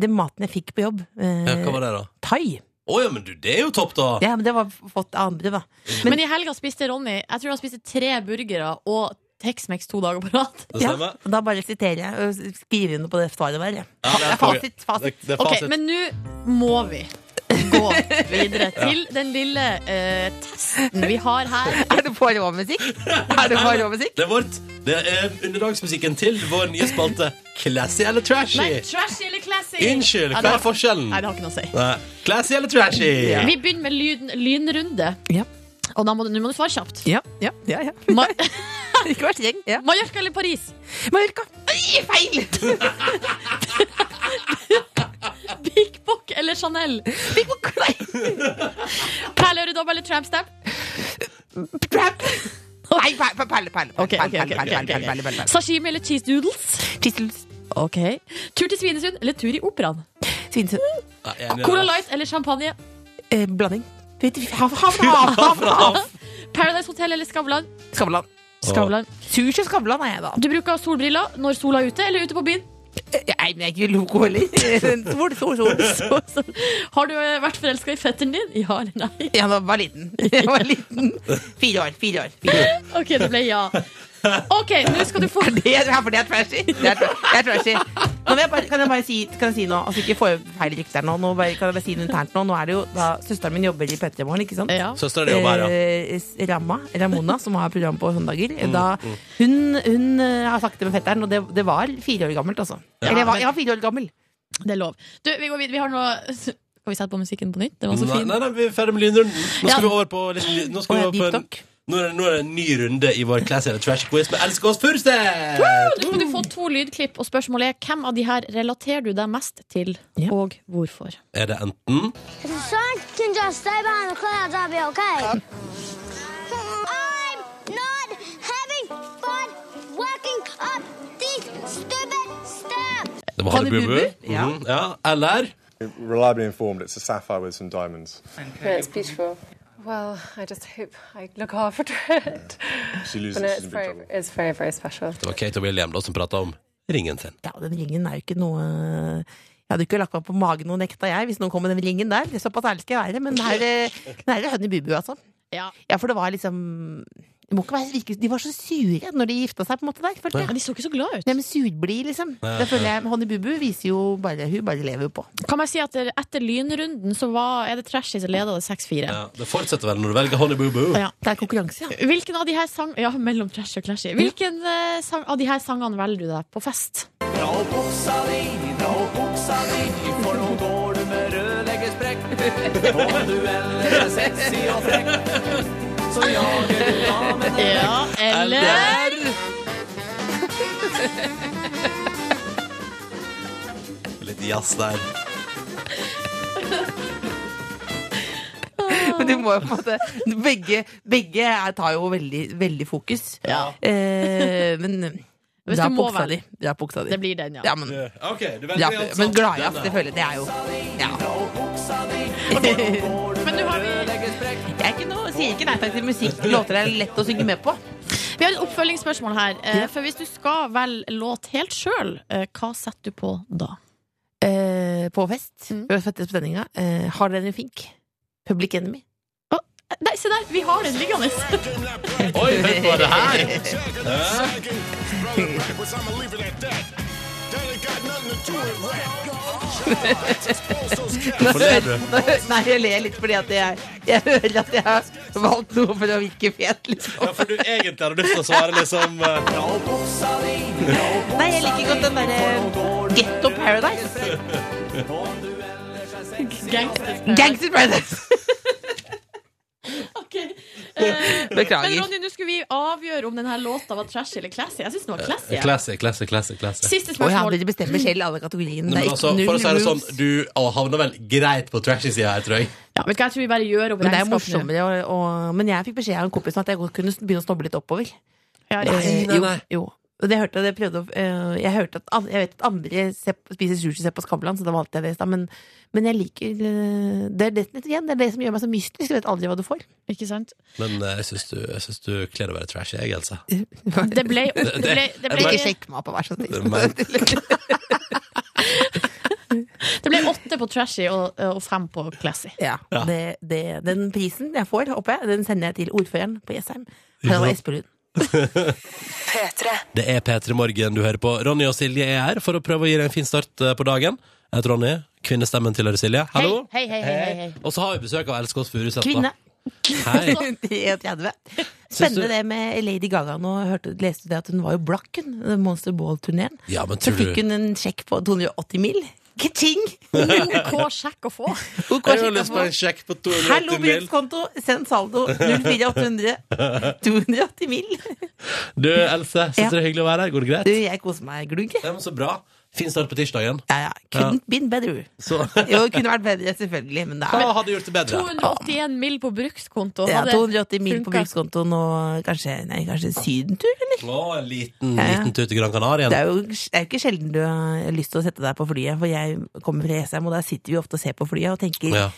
[SPEAKER 11] Den maten jeg fikk på jobb eh,
[SPEAKER 2] Ja, hva var det da?
[SPEAKER 11] Thai.
[SPEAKER 2] Åja, men du, det er jo topp da
[SPEAKER 11] Ja, men det var fått av andre, da.
[SPEAKER 3] Men, i helga spiste Ronny Jeg tror han spiste tre burgere og Tex-Mex to dager på rad.
[SPEAKER 2] Det
[SPEAKER 11] Ja,
[SPEAKER 2] stemmer
[SPEAKER 11] og da bare siterer jeg og skriver under på det svaret der. jeg.
[SPEAKER 2] Ja, det er konge.
[SPEAKER 11] Fasit, fasit.
[SPEAKER 2] Det, det er
[SPEAKER 3] Ok,
[SPEAKER 2] fasit
[SPEAKER 3] Men nå må vi gå videre til den lille eh, testen vi har her.
[SPEAKER 11] Er det på råmusikk? Er det på råmusikk?
[SPEAKER 2] Det er vårt. Det er underdagsmusikken til vår nye spalte Classy eller trashy?
[SPEAKER 3] Nei, trashy eller classy?
[SPEAKER 2] Unnskyld,
[SPEAKER 3] Ja,
[SPEAKER 2] hva
[SPEAKER 3] det
[SPEAKER 2] er
[SPEAKER 3] har-
[SPEAKER 2] forskjellen?
[SPEAKER 3] Nei, det har ikke noe å si.
[SPEAKER 2] Nei. Classy eller trashy?
[SPEAKER 3] Vi begynner med lyn, lynrunde.
[SPEAKER 11] Ja.
[SPEAKER 3] Og da må du, nå må du svare kjapt.
[SPEAKER 11] Ja, ja, ja. ja.
[SPEAKER 3] Ma
[SPEAKER 11] Ikke vær streng. Ja.
[SPEAKER 3] Mallorca eller Paris?
[SPEAKER 11] Mallorca! Oi, feil!
[SPEAKER 3] Big Bock eller Chanel?
[SPEAKER 11] Big Book, nei!
[SPEAKER 3] Perleøredobb eller trampstamp?
[SPEAKER 11] Crap! Nei, perle, perle, perle. perle,
[SPEAKER 3] Ok, ok, ok, ok,
[SPEAKER 11] perle, perle, perle,
[SPEAKER 3] ok.
[SPEAKER 11] perle, perle, perle.
[SPEAKER 3] Sashimi eller cheese doodles?
[SPEAKER 11] Tissels,
[SPEAKER 3] Ok Tur til Svinesund eller tur i operaen?
[SPEAKER 11] svinesund,
[SPEAKER 2] Nei, jeg er enig i det.
[SPEAKER 3] Cola Light eller champagne?
[SPEAKER 11] eh, blanding. Vet du- Hav, hav, hav, hav, hav.
[SPEAKER 3] Paradise Hotel eller Skavlan?
[SPEAKER 11] Skavlan.
[SPEAKER 3] Skavlan.
[SPEAKER 11] Sushi og Skavlan er jeg, da.
[SPEAKER 3] Du bruker solbriller når sola er ute, eller ute på byen?
[SPEAKER 11] Eh, Nei, men jeg er ikke loco heller. Sol, sol, sol.
[SPEAKER 3] Så, så. Har du eh, vært forelska i fetteren din? Ja eller nei?
[SPEAKER 11] Ja, da var jeg liten. Jeg var liten. Fire år. Fire år. Fire år.
[SPEAKER 3] OK, det ble ja. OK, nå skal du få
[SPEAKER 11] Det er, for det er trashy. Det er, det er trashy. Nå vil jeg bare, kan jeg bare si, kan jeg si noe? Altså, ikke få feil rykter nå. Nå bare, kan jeg bare si noe internt nå. Nå er det jo da søsteren min jobber i P3 Morgen, ikke sant?
[SPEAKER 3] Ja.
[SPEAKER 2] Søstera di jobber her, ja.
[SPEAKER 11] Eh, Ramma, Ramona, som har program på søndager. Da, hun, hun eh, har snakket med fetteren, og det, det var fire år gammelt, altså. Eller jeg var, jeg var fire år gammel.
[SPEAKER 3] Det er lov. Du, vi går videre. Vi har noe Skal vi sette på musikken på nytt? Det var så
[SPEAKER 2] Nei,
[SPEAKER 3] fin.
[SPEAKER 2] nei, nei, vi er ferdig med lynrunden. Nå skal
[SPEAKER 3] Ja.
[SPEAKER 2] vi over på litt, ly- nå, skal
[SPEAKER 11] Å,
[SPEAKER 2] vi
[SPEAKER 11] ja,
[SPEAKER 2] over på en,
[SPEAKER 11] deep talk.
[SPEAKER 2] nå, er det, nå er det en ny runde i vår Classy eller Trash Quiz med Elsker oss Furusted!
[SPEAKER 3] Nå skal du få to lydklipp, og spørsmålet er hvem av de her relaterer du deg mest til,
[SPEAKER 11] Ja.
[SPEAKER 3] og hvorfor?
[SPEAKER 2] Er det enten
[SPEAKER 1] The sun can just stay behind the clouds, I'll be okay. I'm not having fun walking up these stupid steps.
[SPEAKER 2] Det var Hanne
[SPEAKER 3] Hanne
[SPEAKER 2] Bubu?
[SPEAKER 3] Bubu?
[SPEAKER 2] Mhm, ja. Eller
[SPEAKER 7] Reliably informed, it's a sapphire with some diamonds.
[SPEAKER 1] Well, I just hope I look after it.
[SPEAKER 7] She loses,
[SPEAKER 1] But it's very, it's very, very special.
[SPEAKER 2] Det var Kate og William da som prata om ringen sin.
[SPEAKER 11] Ja, den ringen er jo ikke noe Jeg hadde ikke lagt meg på magen og nekta, jeg, hvis noen kom med den ringen der. Det er Såpass ærlig skal jeg være, men her, eh, den er hønn i bubu, altså.
[SPEAKER 3] Ja.
[SPEAKER 11] Ja, for det var liksom det må ikke være, virke- De var så sure når de gifta seg, på en måte, der, følte jeg.
[SPEAKER 3] Men de så ikke så glad ut.
[SPEAKER 11] Nei, men surblid, liksom. Det føler jeg Honey Bubu viser jo bare Hun bare lever jo på.
[SPEAKER 3] Kan jeg si at der- etter lynrunden så var, er det Trashy som leder det 6-4.
[SPEAKER 2] Ja, det fortsetter vel når du velger Honey Boo Boo.
[SPEAKER 11] Ja, det er konkurranse, ja.
[SPEAKER 3] Hvilken av de her sang... Ja, mellom Trashy og Clashy. Hvilken eh, sang, av de her sangene velger du deg på fest? Ja, eller
[SPEAKER 2] Litt jazz der.
[SPEAKER 11] Men du må jo på en måte Begge, begge er- tar jo veldig, veldig fokus.
[SPEAKER 3] Ja.
[SPEAKER 11] Eh, men
[SPEAKER 3] Hvis
[SPEAKER 11] dra
[SPEAKER 3] du
[SPEAKER 11] på
[SPEAKER 3] må
[SPEAKER 11] oksa
[SPEAKER 3] velge.
[SPEAKER 11] di. Dra på oksa di.
[SPEAKER 3] Det blir den, ja.
[SPEAKER 11] Ja, men,
[SPEAKER 2] OK, du velger
[SPEAKER 11] ja,
[SPEAKER 2] altså
[SPEAKER 11] men gladjazz,
[SPEAKER 2] denne.
[SPEAKER 11] selvfølgelig. Det er jo Ja.
[SPEAKER 3] Men nå har vi,
[SPEAKER 11] Jeg er ikke noe, sier ikke nei takk til musikk. Låter er lett å synge med på.
[SPEAKER 3] vi har et oppfølgingsspørsmål her. eh, For hvis du skal velge låt helt sjøl, eh, hva setter du på da?
[SPEAKER 11] Eh, på fest. Vi har fått det på sendinga. Eh, har dere en fink? Public Enemy.
[SPEAKER 3] eh, Nei, se der! Vi har den liggende.
[SPEAKER 2] Oi, hør på det her!
[SPEAKER 11] Nå,
[SPEAKER 2] Hvorfor ler du?
[SPEAKER 11] nå- nei, jeg ler litt fordi at jeg, jeg hører at jeg har valgt noe for å virke fet, liksom.
[SPEAKER 2] Ja, for du egentlig hadde lyst til å svare liksom eh,
[SPEAKER 11] Nei, jeg liker godt den derre Getto Paradise. Gangster Paradise.
[SPEAKER 3] Eh, Men
[SPEAKER 11] Beklager.
[SPEAKER 3] Ronny, nå skulle vi avgjøre om denne låta var trash eller classy. Jeg synes den var classy. jeg.
[SPEAKER 2] Classy, classy, classy. classy.
[SPEAKER 3] Siste
[SPEAKER 11] Å ja,
[SPEAKER 3] spørsmål.
[SPEAKER 11] dere bestemmer selv alle kategoriene.
[SPEAKER 2] Nei, men
[SPEAKER 11] Det er
[SPEAKER 2] altså,
[SPEAKER 11] ikke
[SPEAKER 2] for å si
[SPEAKER 11] null
[SPEAKER 2] det sånn,
[SPEAKER 11] rules.
[SPEAKER 2] du ah, havner vel greit på trashy-sida her, tror jeg.
[SPEAKER 3] Ja, vet du hva, jeg tror vi bare gjør opp
[SPEAKER 11] Men det er jo
[SPEAKER 3] regnskapene.
[SPEAKER 11] morsommere. Og, og, men jeg fikk beskjed av en kompis om at jeg godt kunne begynne å snoble litt oppover.
[SPEAKER 3] Ja,
[SPEAKER 11] Eh,
[SPEAKER 3] riktig.
[SPEAKER 2] nei, nei.
[SPEAKER 11] Jo, jo. Og det hørte jeg, det prøvde, å- eh, jeg, hørte at, an- jeg vet at andre ser, på- spiser sushi og ser på Skavlan, så da valgte jeg det i stad. Men, men jeg liker eh, det er, det, igjen, det er det som gjør meg så mystisk. Jeg vet aldri hva du får.
[SPEAKER 3] Ikke sant?
[SPEAKER 2] Men eh, jeg syns du, jeg synes du kler å være trashy, jeg, altså.
[SPEAKER 3] Det ble, det
[SPEAKER 2] det-
[SPEAKER 3] ble, det ble,
[SPEAKER 11] Ikke sjekk meg opp, vær så
[SPEAKER 2] Det
[SPEAKER 11] snill.
[SPEAKER 2] er meg.
[SPEAKER 3] det ble åtte på trashy og, eh, og fem på classy.
[SPEAKER 11] Ja, det, det, den prisen jeg får, håper jeg, den sender jeg til ordføreren på Jessheim. Harald Espelund.
[SPEAKER 2] Det er P3 Morgen du hører på. Ronny og Silje er her for å prøve å gi deg en fin start eh, på dagen. Jeg heter Ronny. Kvinnestemmen tilhører Silje. Hallo.
[SPEAKER 3] Hei, hei, hei, hei, hei.
[SPEAKER 2] Og så har vi besøk av Elskås Furuseth. da.
[SPEAKER 11] Kvinne.
[SPEAKER 2] Hei.
[SPEAKER 11] 33.
[SPEAKER 2] Syns du-
[SPEAKER 11] Spennende det med Lady Gaga. Nå hørte, leste du det at hun var jo blakk, hun. den Monster Ball-turneen.
[SPEAKER 2] Ja, men
[SPEAKER 11] Så
[SPEAKER 2] tror
[SPEAKER 11] fikk
[SPEAKER 2] du
[SPEAKER 11] hun en sjekk på 280 mil. Ka-ting!
[SPEAKER 3] OK sjekk å få.
[SPEAKER 11] Hun
[SPEAKER 2] Jeg har
[SPEAKER 11] kan sjekke
[SPEAKER 2] lyst på en sjekk på
[SPEAKER 11] på- Hallo,
[SPEAKER 2] 280 mil.
[SPEAKER 11] brukskonto! Send saldo 04800 280 mil.
[SPEAKER 2] Du, Else, syns
[SPEAKER 11] Ja.
[SPEAKER 2] det er hyggelig å være her? Går det greit?
[SPEAKER 11] Du, jeg koser meg glugg.
[SPEAKER 2] Ja, men så bra. Fin start på tirsdagen.
[SPEAKER 11] Ja, ja. Couldn't been better.
[SPEAKER 2] Så
[SPEAKER 11] Jo, det kunne vært bedre, selvfølgelig, men det
[SPEAKER 2] hva
[SPEAKER 11] er
[SPEAKER 2] hadde gjort det bedre?
[SPEAKER 3] 281 mill. på brukskonto.
[SPEAKER 11] ja,
[SPEAKER 3] Hadde-
[SPEAKER 11] 280 mil på
[SPEAKER 3] funka.
[SPEAKER 11] brukskontoen og kanskje, nei, kanskje sydentur, eller?
[SPEAKER 2] Å, en liten,
[SPEAKER 11] Ja, ja.
[SPEAKER 2] liten tur til Gran Canaria.
[SPEAKER 11] Det er, jo, det er jo ikke sjelden du har lyst til å sette deg på flyet, for jeg kommer fra Jessheim, og der sitter vi ofte og ser på flyet og tenker
[SPEAKER 2] Ja.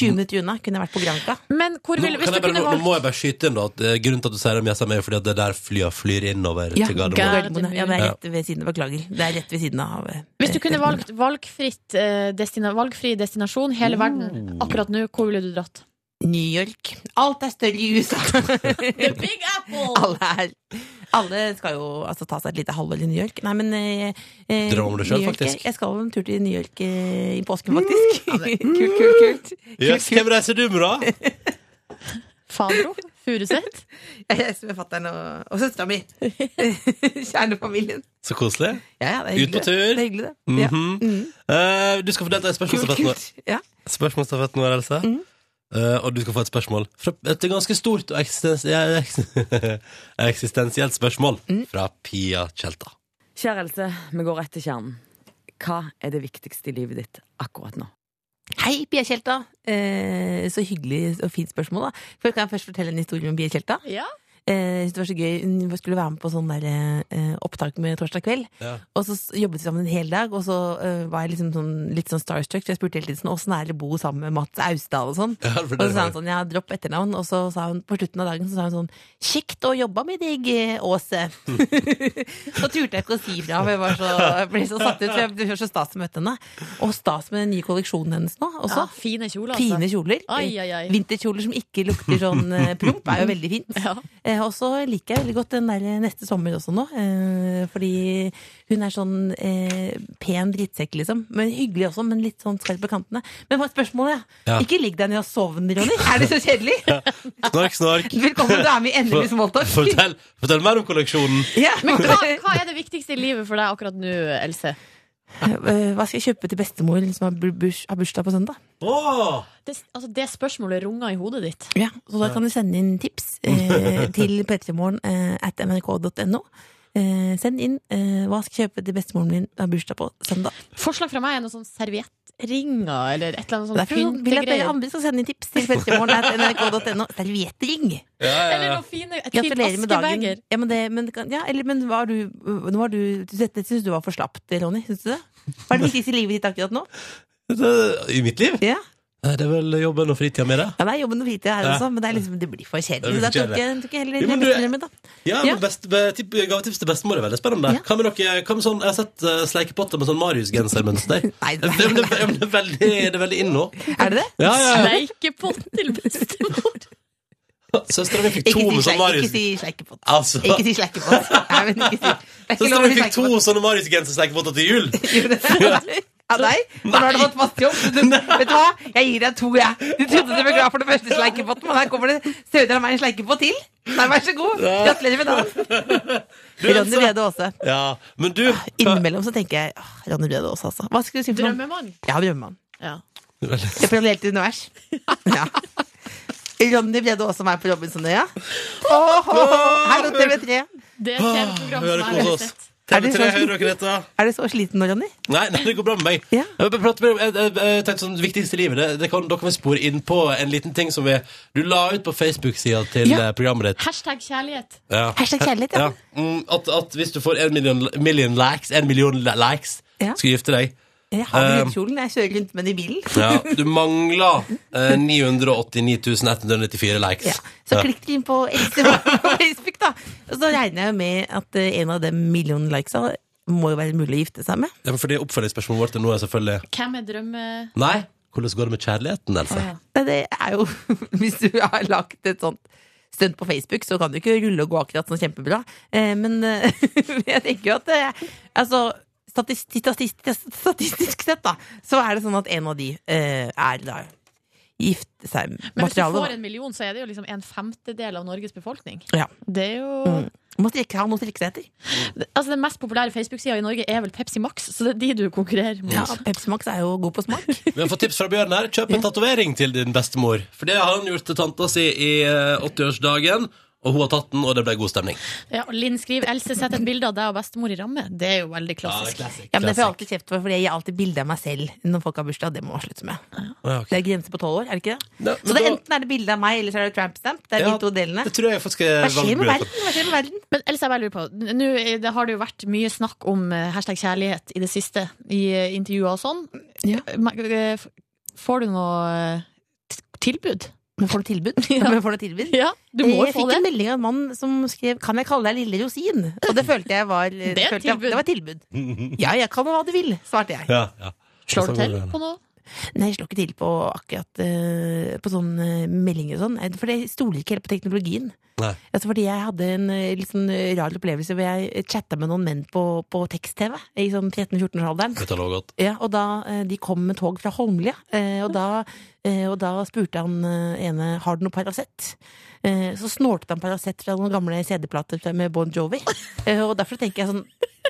[SPEAKER 11] 20 minutter unna kunne jeg vært på Granca.
[SPEAKER 3] Men hvor
[SPEAKER 2] Nå,
[SPEAKER 3] vil, hvis
[SPEAKER 2] kan
[SPEAKER 3] du
[SPEAKER 2] jeg bare,
[SPEAKER 3] kunne
[SPEAKER 2] nå
[SPEAKER 3] valgt
[SPEAKER 2] må jeg bare skyte inn da at eh, Grunnen til at du sier det om Jessheim, er jo fordi at det er der flya flyr innover
[SPEAKER 11] Ja,
[SPEAKER 2] til Gardermoen.
[SPEAKER 11] Gardermoen. ja, det er rett ved siden Beklager. Det er rett ved siden av eh,
[SPEAKER 3] hvis du kunne
[SPEAKER 11] Gardermoen.
[SPEAKER 3] valgt valgfritt, eh, destina, valgfri destinasjon hele verden akkurat nå, hvor ville du dratt?
[SPEAKER 11] New York. Alt er større i USA. The Big Apple! Alle, er, alle skal jo altså, ta seg et lite halvår i New York. Nei, men eh, eh,
[SPEAKER 2] Drøm om det selv,
[SPEAKER 11] New York,
[SPEAKER 2] faktisk.
[SPEAKER 11] Jeg, jeg skal jo en tur til New York eh, i påsken, faktisk. kult, kult, kult.
[SPEAKER 2] Yes, hvem reiser du med, da?
[SPEAKER 3] Fabro? Furuset?
[SPEAKER 11] Jeg reiser med fatter'n og, og søstera mi. Kjernefamilien.
[SPEAKER 2] Så koselig.
[SPEAKER 11] Ja, ja,
[SPEAKER 2] Ut
[SPEAKER 11] det er
[SPEAKER 2] på
[SPEAKER 11] hyggelig. det.
[SPEAKER 2] tur.
[SPEAKER 11] Det er hyggelig, det. Ja.
[SPEAKER 2] Mhm. Eh, du skal få delta i
[SPEAKER 11] Kult,
[SPEAKER 2] spørsmålsstafetten vår.
[SPEAKER 11] kult. Mhm. Ja.
[SPEAKER 2] Spørsmålsstafetten vår, Else. Eh, og du skal få et spørsmål. Fra, et ganske stort og eksistens, ja, eks- eksistensielt spørsmål
[SPEAKER 11] Mhm.
[SPEAKER 2] fra Pia Tjelta.
[SPEAKER 12] Kjære Else, vi går rett til kjernen. Hva er det viktigste i livet ditt akkurat nå?
[SPEAKER 11] Hei, Pia Tjelta. Eh, så hyggelig og fint spørsmål. da For Kan jeg først fortelle en historie om Pia Tjelta?
[SPEAKER 3] Ja.
[SPEAKER 11] Eh, jeg synes det var så gøy Hun skulle være med på sånn der, eh, opptak med torsdag kveld.
[SPEAKER 2] Ja.
[SPEAKER 11] Og så s- jobbet vi sammen en hel dag, og så eh, var jeg liksom sånn, litt sånn starstruck. Så jeg spurte hele tiden sånn, åssen er det å bo sammen med Mats Austdal og sånn.
[SPEAKER 2] Ja, for
[SPEAKER 11] Og så
[SPEAKER 2] det
[SPEAKER 11] sa
[SPEAKER 2] var
[SPEAKER 11] han sånn, ja, dropp etternavn. Og så sa hun på slutten av dagen så sa hun sånn, kjekt å jobbe med deg, eh, Åse. så turte jeg ikke å si fra, for jeg var så, jeg ble så satt ut. For jeg det var så stas å møte henne. Og stas med den nye kolleksjonen hennes nå
[SPEAKER 3] Ja,
[SPEAKER 11] også.
[SPEAKER 3] fine kjoler, altså.
[SPEAKER 11] Fine kjoler.
[SPEAKER 3] Ai, ai, ai.
[SPEAKER 11] Vinterkjoler som ikke lukter sånn eh, promp, er jo veldig fint.
[SPEAKER 3] Ja.
[SPEAKER 11] Eh, Og så liker jeg veldig godt den der neste sommer også nå. eh, Fordi hun er sånn eh, pen drittsekk, liksom. Men hyggelig også, men litt sånn skarp på kantene. Men hva er spørsmålet?
[SPEAKER 2] Ja.
[SPEAKER 11] Ja. Ikke ligg deg ned og sovn, Ronny. Er det så kjedelig?
[SPEAKER 2] Snork, snork.
[SPEAKER 11] Velkommen, du er med i
[SPEAKER 2] For-
[SPEAKER 11] endelig smalltalk.
[SPEAKER 2] Fortell, fortell mer om kolleksjonen.
[SPEAKER 11] Ja.
[SPEAKER 3] Men hva, hva er det viktigste i livet for deg akkurat nå, Else?
[SPEAKER 11] Eh, Hva skal jeg kjøpe til bestemor som har bur- burs- har bursdag på søndag?
[SPEAKER 2] Åh!
[SPEAKER 3] Det, altså, det spørsmålet runger i hodet ditt.
[SPEAKER 11] Ja, så da kan du sende inn tips eh, til p3morgen eh, at nrk.no. Eh, send inn eh, hva skal jeg kjøpe til bestemoren min har bursdag på søndag.
[SPEAKER 3] Forslag fra meg er noe sånn serviettringer eller et eller annet
[SPEAKER 11] Og
[SPEAKER 3] sånn sånt
[SPEAKER 11] Derfor vil jeg at dere
[SPEAKER 3] pyntegreier.
[SPEAKER 11] andre skal sende inn tips til p3morgen at nrk.no. Serviettring!
[SPEAKER 2] Ja, ja,
[SPEAKER 3] Eller
[SPEAKER 2] ja.
[SPEAKER 3] noe fine, et fint
[SPEAKER 11] Gratulerer med dagen.
[SPEAKER 3] askebeger.
[SPEAKER 11] Ja, men, det, men, det kan- ja, eller, men hva har du, nå har du Dette syns du var for slapt, Ronny. Syns du det? Hva er det viktigste i livet ditt akkurat nå?
[SPEAKER 2] Det- I mitt liv?
[SPEAKER 11] Ja,
[SPEAKER 2] Nei, Det er vel jobben og fritida mi, det.
[SPEAKER 11] ja Det er jobben og fritida her
[SPEAKER 2] Ja.
[SPEAKER 11] også, men det, er liksom, det blir for
[SPEAKER 2] Det blir for
[SPEAKER 11] kjedelig. Da tok
[SPEAKER 2] kjedelig.
[SPEAKER 11] jeg, tok jeg heller
[SPEAKER 2] Jo, men du-
[SPEAKER 11] bestemoren min, da.
[SPEAKER 2] Ja,
[SPEAKER 11] Ja.
[SPEAKER 2] men best, be, tipp, Gavetips til bestemor er veldig spennende.
[SPEAKER 11] Ja.
[SPEAKER 2] Hva med dere, hva med sånn, jeg har sett uh, sleikepotter med sånn Marius-gensermønster.
[SPEAKER 11] Nei,
[SPEAKER 2] det, det, det, det, er veldig- det er veldig inn nå.
[SPEAKER 11] Er det det?
[SPEAKER 2] Ja, ja, ja.
[SPEAKER 3] Sleikepott til bestemor.
[SPEAKER 2] Søstera mi fikk
[SPEAKER 11] Ikke
[SPEAKER 2] to
[SPEAKER 11] si
[SPEAKER 2] med sånn
[SPEAKER 11] sleik-
[SPEAKER 2] Marius.
[SPEAKER 11] ikke si sleikepott.
[SPEAKER 2] Altså,
[SPEAKER 11] Ikke si slekkepott. Nei, men ikke si Det er ikke
[SPEAKER 2] Søstera
[SPEAKER 11] lov
[SPEAKER 2] mi
[SPEAKER 11] å si
[SPEAKER 2] fikk to
[SPEAKER 11] slekkepott.
[SPEAKER 2] sånne Marius-gensersleikepotter til jul.
[SPEAKER 11] Av deg? Og nå har du fått fast jobb. Du, vet du hva? Jeg gir deg to, jeg. Du trodde du ble glad for den første sleikepotten, men her kommer det støder av meg en sleikepott til. Nei, vær så god. Gratulerer med dagen.
[SPEAKER 2] altså-
[SPEAKER 11] Ronny Brede Aase.
[SPEAKER 2] Ja, men du
[SPEAKER 11] Innimellom så tenker jeg åh, Ronny Brede Aase, altså. Hva skulle du si for noe?
[SPEAKER 3] Drømmemann.
[SPEAKER 11] Ja, drømmemann.
[SPEAKER 3] Ja.
[SPEAKER 11] Det er parallelt univers. Ja. Ronny Brede Aase meg på Robinsonøya. Åh, Hallo, TV3.
[SPEAKER 3] Det er et
[SPEAKER 2] Ah,
[SPEAKER 3] TV-program
[SPEAKER 2] Hører
[SPEAKER 3] som jeg
[SPEAKER 2] på
[SPEAKER 3] har
[SPEAKER 2] oss.
[SPEAKER 3] sett.
[SPEAKER 11] Er det sånn-
[SPEAKER 2] TV3,
[SPEAKER 11] så-
[SPEAKER 2] hører dere dette?
[SPEAKER 11] Er du så sliten nå, Ronny?
[SPEAKER 2] Nei, nei, det går bra med meg.
[SPEAKER 11] Ja.
[SPEAKER 2] Jeg, vil prate mer om- jeg, jeg, jeg tenkte sånn, det viktigste i livet det, det kan, Da kan vi spore inn på en liten ting som vi, du la ut på Facebook-sida til
[SPEAKER 11] Ja.
[SPEAKER 2] eh, programmet ditt.
[SPEAKER 3] Hashtag kjærlighet.
[SPEAKER 2] Ja.
[SPEAKER 11] Hashtag kjærlighet, ja.
[SPEAKER 2] Mm, at, at hvis du får en million, million likes, en million li- likes
[SPEAKER 11] Ja.
[SPEAKER 2] skal du gifte deg
[SPEAKER 11] Jeg har
[SPEAKER 2] Eh,
[SPEAKER 11] brudekjolen. Jeg kjører rundt med den i bilen.
[SPEAKER 2] ja, Du mangler eh, 989 194 likes.
[SPEAKER 11] Ja. Så klikk dere inn på Else på Facebook, da. Og så regner jeg med at eh, en av de millionen likesa må jo være mulig å gifte seg med.
[SPEAKER 2] Ja, men fordi Oppfølgingsspørsmålet vårt er nå er selvfølgelig
[SPEAKER 3] Hvem er drømme...
[SPEAKER 2] Nei, hvordan går det med kjærligheten, Else?
[SPEAKER 11] Men Det er jo Hvis du har lagt et sånt stunt på Facebook, så kan du ikke rulle og gå akkurat sånn kjempebra. Eh, Men eh, jeg tenker jo at eh, Altså statistisk, statistisk, statistisk sett, da, så er det sånn at en av de eh, er da gifte seg
[SPEAKER 3] Men hvis du
[SPEAKER 11] materiale,
[SPEAKER 3] får
[SPEAKER 11] da.
[SPEAKER 3] en million, så er det jo liksom en femtedel av Norges befolkning.
[SPEAKER 11] Ja.
[SPEAKER 3] Det er jo
[SPEAKER 11] Må strekke, han må strekke seg etter.
[SPEAKER 3] Altså, Den mest populære Facebook-sida i Norge er vel Pepsi Max, så det er de du konkurrerer mot.
[SPEAKER 11] Ja, Pepsi Max er jo god på smak.
[SPEAKER 2] Vi har fått tips fra Bjørn her. Kjøp en tatovering til din bestemor. For det har han gjort til tanta si i eh, 80-årsdagen, og hun har tatt den, og det ble god stemning.
[SPEAKER 3] Ja, og Linn skriver Else sett et bilde av deg og bestemor i ramme. Det er jo veldig klassisk.
[SPEAKER 11] Ja, men Det får jeg alltid kjeft for, fordi jeg gir alltid bilde av meg selv når folk har bursdag. Det må man slutte med.
[SPEAKER 2] Ja, ok.
[SPEAKER 11] Det er grense på tolv år, er det ikke det?
[SPEAKER 2] Nei,
[SPEAKER 11] så
[SPEAKER 2] men
[SPEAKER 11] det er
[SPEAKER 2] da-
[SPEAKER 11] enten er det bilde av meg, eller så er det tramp stamp. Det er
[SPEAKER 2] Ja,
[SPEAKER 11] de to delene.
[SPEAKER 2] Det tror jeg faktisk er
[SPEAKER 11] Hva skjer med
[SPEAKER 2] valgmulighet.
[SPEAKER 11] verden? Hva skjer med verden?
[SPEAKER 3] Men Else, jeg bare lurer på Nå eh, det har det jo vært mye snakk om eh, hashtag kjærlighet i det siste, i eh, intervjuer og sånn.
[SPEAKER 11] Ja.
[SPEAKER 3] Eh, men, eh, f- Får du noe eh, tilbud.
[SPEAKER 11] Men får du tilbud? Ja. Men får du tilbud?
[SPEAKER 3] Ja, du må
[SPEAKER 11] jeg
[SPEAKER 3] jo få
[SPEAKER 11] fikk
[SPEAKER 3] det.
[SPEAKER 11] en melding av en mann som skrev 'Kan jeg kalle deg Lille Rosin?' Og det følte jeg var Det,
[SPEAKER 3] er et
[SPEAKER 11] følte jeg,
[SPEAKER 3] tilbud.
[SPEAKER 11] det var et tilbud. Ja, jeg kan hva du vil, svarte jeg.
[SPEAKER 2] Ja, ja.
[SPEAKER 3] Slår du
[SPEAKER 2] Sånn
[SPEAKER 3] til
[SPEAKER 2] går det.
[SPEAKER 3] på noe?
[SPEAKER 11] Nei, jeg slår ikke til på akkurat eh, På sånne meldinger og sånn. Eh, For jeg stoler ikke helt på teknologien.
[SPEAKER 2] Nei.
[SPEAKER 11] Altså fordi jeg hadde en eh, litt sånn eh, rar opplevelse hvor jeg chatta med noen menn på, på tekst-TV i sånn 13-14-årsalderen.
[SPEAKER 2] Dette lover godt.
[SPEAKER 11] Ja, og da, eh, De kom med tog fra Holmlia, eh, og da, eh, og da spurte han eh, ene har du noe Paracet. Eh, Så snortet han Paracet fra noen gamle CD-plater fra- med Bon Jovi. Eh, Og Derfor tenker jeg sånn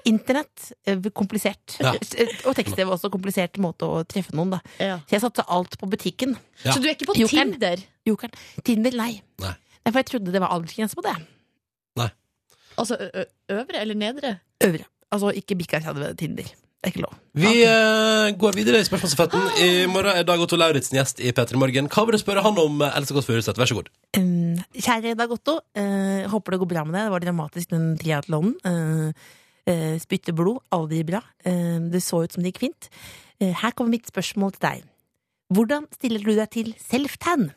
[SPEAKER 11] Internett eh, komplisert.
[SPEAKER 2] Ja.
[SPEAKER 11] Eh, Og tekst-TV også komplisert måte å treffe noen, da. Så jeg satsa alt på butikken.
[SPEAKER 2] Ja.
[SPEAKER 3] Så du er ikke på
[SPEAKER 11] Jokeren.
[SPEAKER 3] Tinder?
[SPEAKER 11] Jokeren. Tinder, nei.
[SPEAKER 2] Nei.
[SPEAKER 11] Nei, For jeg trodde det var aldersgrense på det.
[SPEAKER 3] Altså ø- ø- øvre eller nedre?
[SPEAKER 11] Øvre. Altså ikke bikka 30 Tinder. Det er ikke lov.
[SPEAKER 2] Vi eh, går videre i spørsmålsstafetten. I morgen er Dag Otto Lauritzen gjest i P3 Morgen. Hva vil du spørre han om, eh, Else Kåss Furuseth? Vær så god.
[SPEAKER 11] Um, kjære Dag Otto, eh, håper det går bra med deg. Det var dramatisk, den triatlonen. Eh, eh, spytte blod, aldri bra. Eh, det så ut som det gikk fint. Eh, her kommer mitt spørsmål til deg. Hvordan stiller du deg til self-tan?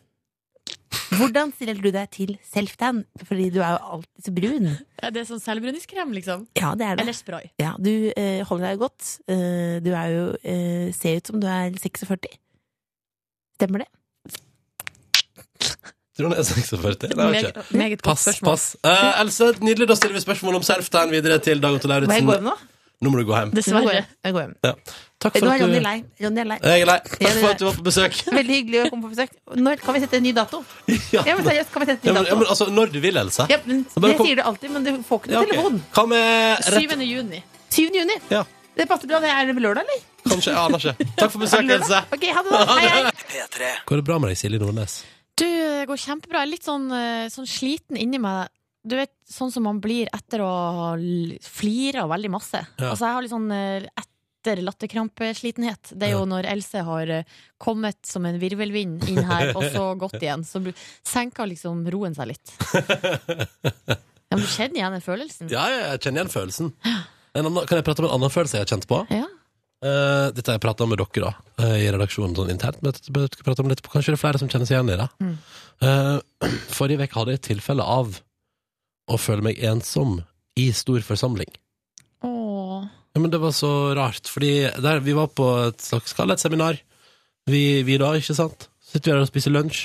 [SPEAKER 11] Hvordan stiller du deg til self-tan? Fordi du er jo alltid så brun.
[SPEAKER 3] Er det sånn selvbruningskrem, liksom?
[SPEAKER 11] Ja, det er det.
[SPEAKER 3] Eller spray?
[SPEAKER 11] Ja, du eh, holder deg godt. Eh, du er jo eh, Ser ut som du er 46. Stemmer det?
[SPEAKER 2] Tror han er 46? Nei, jeg vet
[SPEAKER 3] Meget,
[SPEAKER 2] ikke.
[SPEAKER 3] meget godt
[SPEAKER 2] Pass,
[SPEAKER 3] spørsmål.
[SPEAKER 2] pass. Eh, Else, nydelig. Da stiller vi spørsmål om self-tan videre til Dag Otto
[SPEAKER 11] Må jeg
[SPEAKER 2] Lauritzen.
[SPEAKER 11] gå hjem nå?
[SPEAKER 2] Nå må du gå hjem.
[SPEAKER 11] Nå går
[SPEAKER 3] Dessverre.
[SPEAKER 11] jeg- Jeg går hjem.
[SPEAKER 2] Ja. Takk
[SPEAKER 11] Nå
[SPEAKER 2] for
[SPEAKER 11] er
[SPEAKER 2] at du
[SPEAKER 11] Ronny lei. Ronny er lei.
[SPEAKER 2] Jeg er lei.
[SPEAKER 11] Ja,
[SPEAKER 2] Takk
[SPEAKER 11] det
[SPEAKER 2] for
[SPEAKER 11] er-
[SPEAKER 2] at du var på besøk.
[SPEAKER 11] Veldig hyggelig å komme på besøk. Når kan vi sette en ny dato?
[SPEAKER 2] Ja,
[SPEAKER 11] Ja, men seriøst, kan vi sette
[SPEAKER 2] Ja,
[SPEAKER 11] en ny
[SPEAKER 2] men, ja,
[SPEAKER 11] dato?
[SPEAKER 2] men, altså, når du vil, Else.
[SPEAKER 11] Ja, men,
[SPEAKER 2] Bare
[SPEAKER 11] det
[SPEAKER 2] kom-
[SPEAKER 11] sier du alltid, men du får ikke
[SPEAKER 2] Ja,
[SPEAKER 11] noe
[SPEAKER 2] ok.
[SPEAKER 11] telefon.
[SPEAKER 2] Hva med rett
[SPEAKER 3] 7. juni.
[SPEAKER 11] 7. juni.
[SPEAKER 2] Ja,
[SPEAKER 11] Det passer bra. Det er det lørdag, eller?
[SPEAKER 2] kanskje. Jeg aner ikke. Takk for besøket, Else.
[SPEAKER 11] Ok, ha det. da. Hei, hei.
[SPEAKER 2] Går det bra med deg, Silje Nordnes?
[SPEAKER 3] Du, det går kjempebra. Jeg er litt sånn, eh, sånn sliten inni meg. Du vet, sånn som man blir etter å ha l- flira veldig masse.
[SPEAKER 2] Ja.
[SPEAKER 3] Altså, jeg har litt sånn eh, etter latterkrampeslitenhet. Det er jo når Else har eh, kommet som en virvelvind inn her, og så gått igjen. Så bl- senker liksom roen seg litt. Ja, men du kjenner igjen den følelsen?
[SPEAKER 2] Ja, jeg kjenner igjen følelsen. En annen, kan jeg prate om en annen følelse jeg har kjent på?
[SPEAKER 3] Ja.
[SPEAKER 2] Eh, dette har jeg prata med dere da, eh, i redaksjonen sånn internt. Men jeg bør prate om det etterpå. Kanskje det er flere som kjenner seg igjen i det. Eh, forrige uke hadde jeg et tilfelle av å føle meg ensom i stor forsamling.
[SPEAKER 3] Åh.
[SPEAKER 2] Ja, men det var så rart, fordi der, vi var på et slags kall det et seminar. Vi, vi da, ikke sant? Så sitter vi her og spiser lunsj.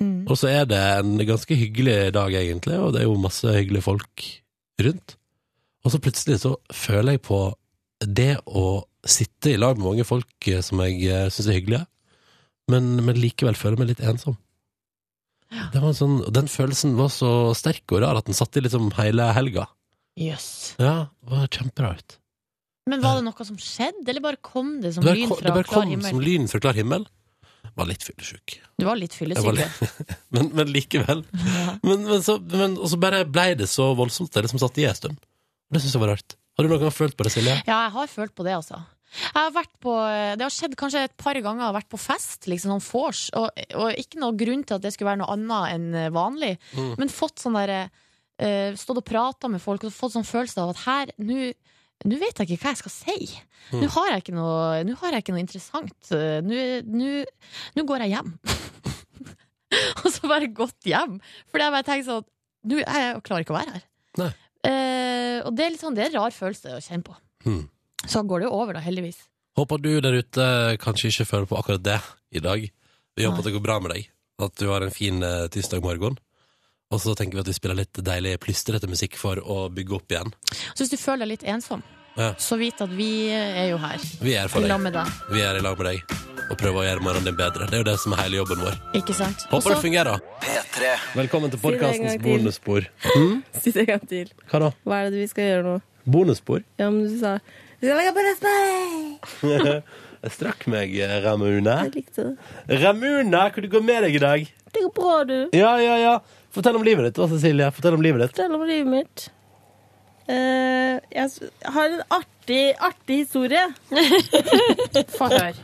[SPEAKER 5] Mm.
[SPEAKER 2] Og så er det en ganske hyggelig dag, egentlig, og det er jo masse hyggelige folk rundt. Og så plutselig så føler jeg på det å sitte i lag med mange folk eh, som jeg eh, syns er hyggelige, men, men likevel føler meg litt ensom. Det var en sånn, og den følelsen var så sterk og rar at den satt i liksom hele helga.
[SPEAKER 3] Jøss.
[SPEAKER 2] Ja, det var kjemperart.
[SPEAKER 3] Men var det noe som skjedde, eller bare kom det som
[SPEAKER 2] Det
[SPEAKER 3] lyn
[SPEAKER 2] bare, ko- det
[SPEAKER 3] fra
[SPEAKER 2] bare
[SPEAKER 3] klar
[SPEAKER 2] kom som
[SPEAKER 3] himmel?
[SPEAKER 2] lyn fra klar himmel. Var litt fyllesyk.
[SPEAKER 3] Du var litt
[SPEAKER 2] Jeg var
[SPEAKER 3] fyllesyk, du.
[SPEAKER 2] litt- men, men likevel. Men, men, så, men og så bare blei det så voldsomt, det som satt i en stund. Det syns jeg var rart. Har du noen gang følt på det, Silje?
[SPEAKER 3] Ja, jeg har følt på det, altså. Jeg har vært på, det har skjedd kanskje et par ganger, jeg har vært på fest, liksom sånn vors, og, og ikke noe grunn til at det skulle være noe annet enn eh, vanlig,
[SPEAKER 2] Mm.
[SPEAKER 3] men fått sånn derre eh, Stått og prata med folk og fått sånn følelse av at her, nå nå vet jeg ikke hva jeg skal si.
[SPEAKER 2] Mm.
[SPEAKER 3] Nå har jeg ikke noe, nå har jeg ikke noe interessant. Eh, Nå nå- nå går jeg hjem. og så bare gått hjem. Fordi jeg bare tenker sånn Nå er jeg, jeg klarer ikke å være her.
[SPEAKER 2] Nei.
[SPEAKER 3] Eh, og det er, litt sånn, det er en rar følelse å kjenne på.
[SPEAKER 2] Hmm.
[SPEAKER 3] Så går det jo over, da, heldigvis.
[SPEAKER 2] Håper du der ute kanskje ikke føler på akkurat det i dag. Vi håper at det går bra med deg. At du har en fin eh, tirsdag morgen. Og så tenker vi at vi spiller litt deilig plystrete musikk for å bygge opp igjen.
[SPEAKER 3] Så hvis du føler deg litt ensom,
[SPEAKER 2] Ja.
[SPEAKER 3] så vit at vi er jo her.
[SPEAKER 2] Vi er for
[SPEAKER 3] I lag
[SPEAKER 2] deg.
[SPEAKER 3] med deg.
[SPEAKER 2] Vi er i lag med deg. Og prøver å gjøre morgenen din bedre. Det er jo det som er hele jobben vår.
[SPEAKER 3] Ikke sant?
[SPEAKER 2] Håper
[SPEAKER 3] Også-
[SPEAKER 2] det fungerer. Velkommen til
[SPEAKER 9] det en
[SPEAKER 2] podkastens
[SPEAKER 9] gang til.
[SPEAKER 2] bonusspor.
[SPEAKER 9] Si det en gang til.
[SPEAKER 2] Hva da?
[SPEAKER 9] Hva er det vi skal gjøre nå?
[SPEAKER 2] Bonusspor?
[SPEAKER 9] Ja, men du sa Vi skal legge på resten!
[SPEAKER 2] Jeg strakk meg, eh, Ramune.
[SPEAKER 9] Jeg likte det.
[SPEAKER 2] Ramune, hvor det går med deg i dag?
[SPEAKER 9] Det går bra, du.
[SPEAKER 2] Ja, ja, ja. Fortell om livet ditt, da, Cecilie. Fortell om livet ditt.
[SPEAKER 9] Fortell om livet mitt. Eh, jeg s- har en artig, artig historie.
[SPEAKER 3] Få høre.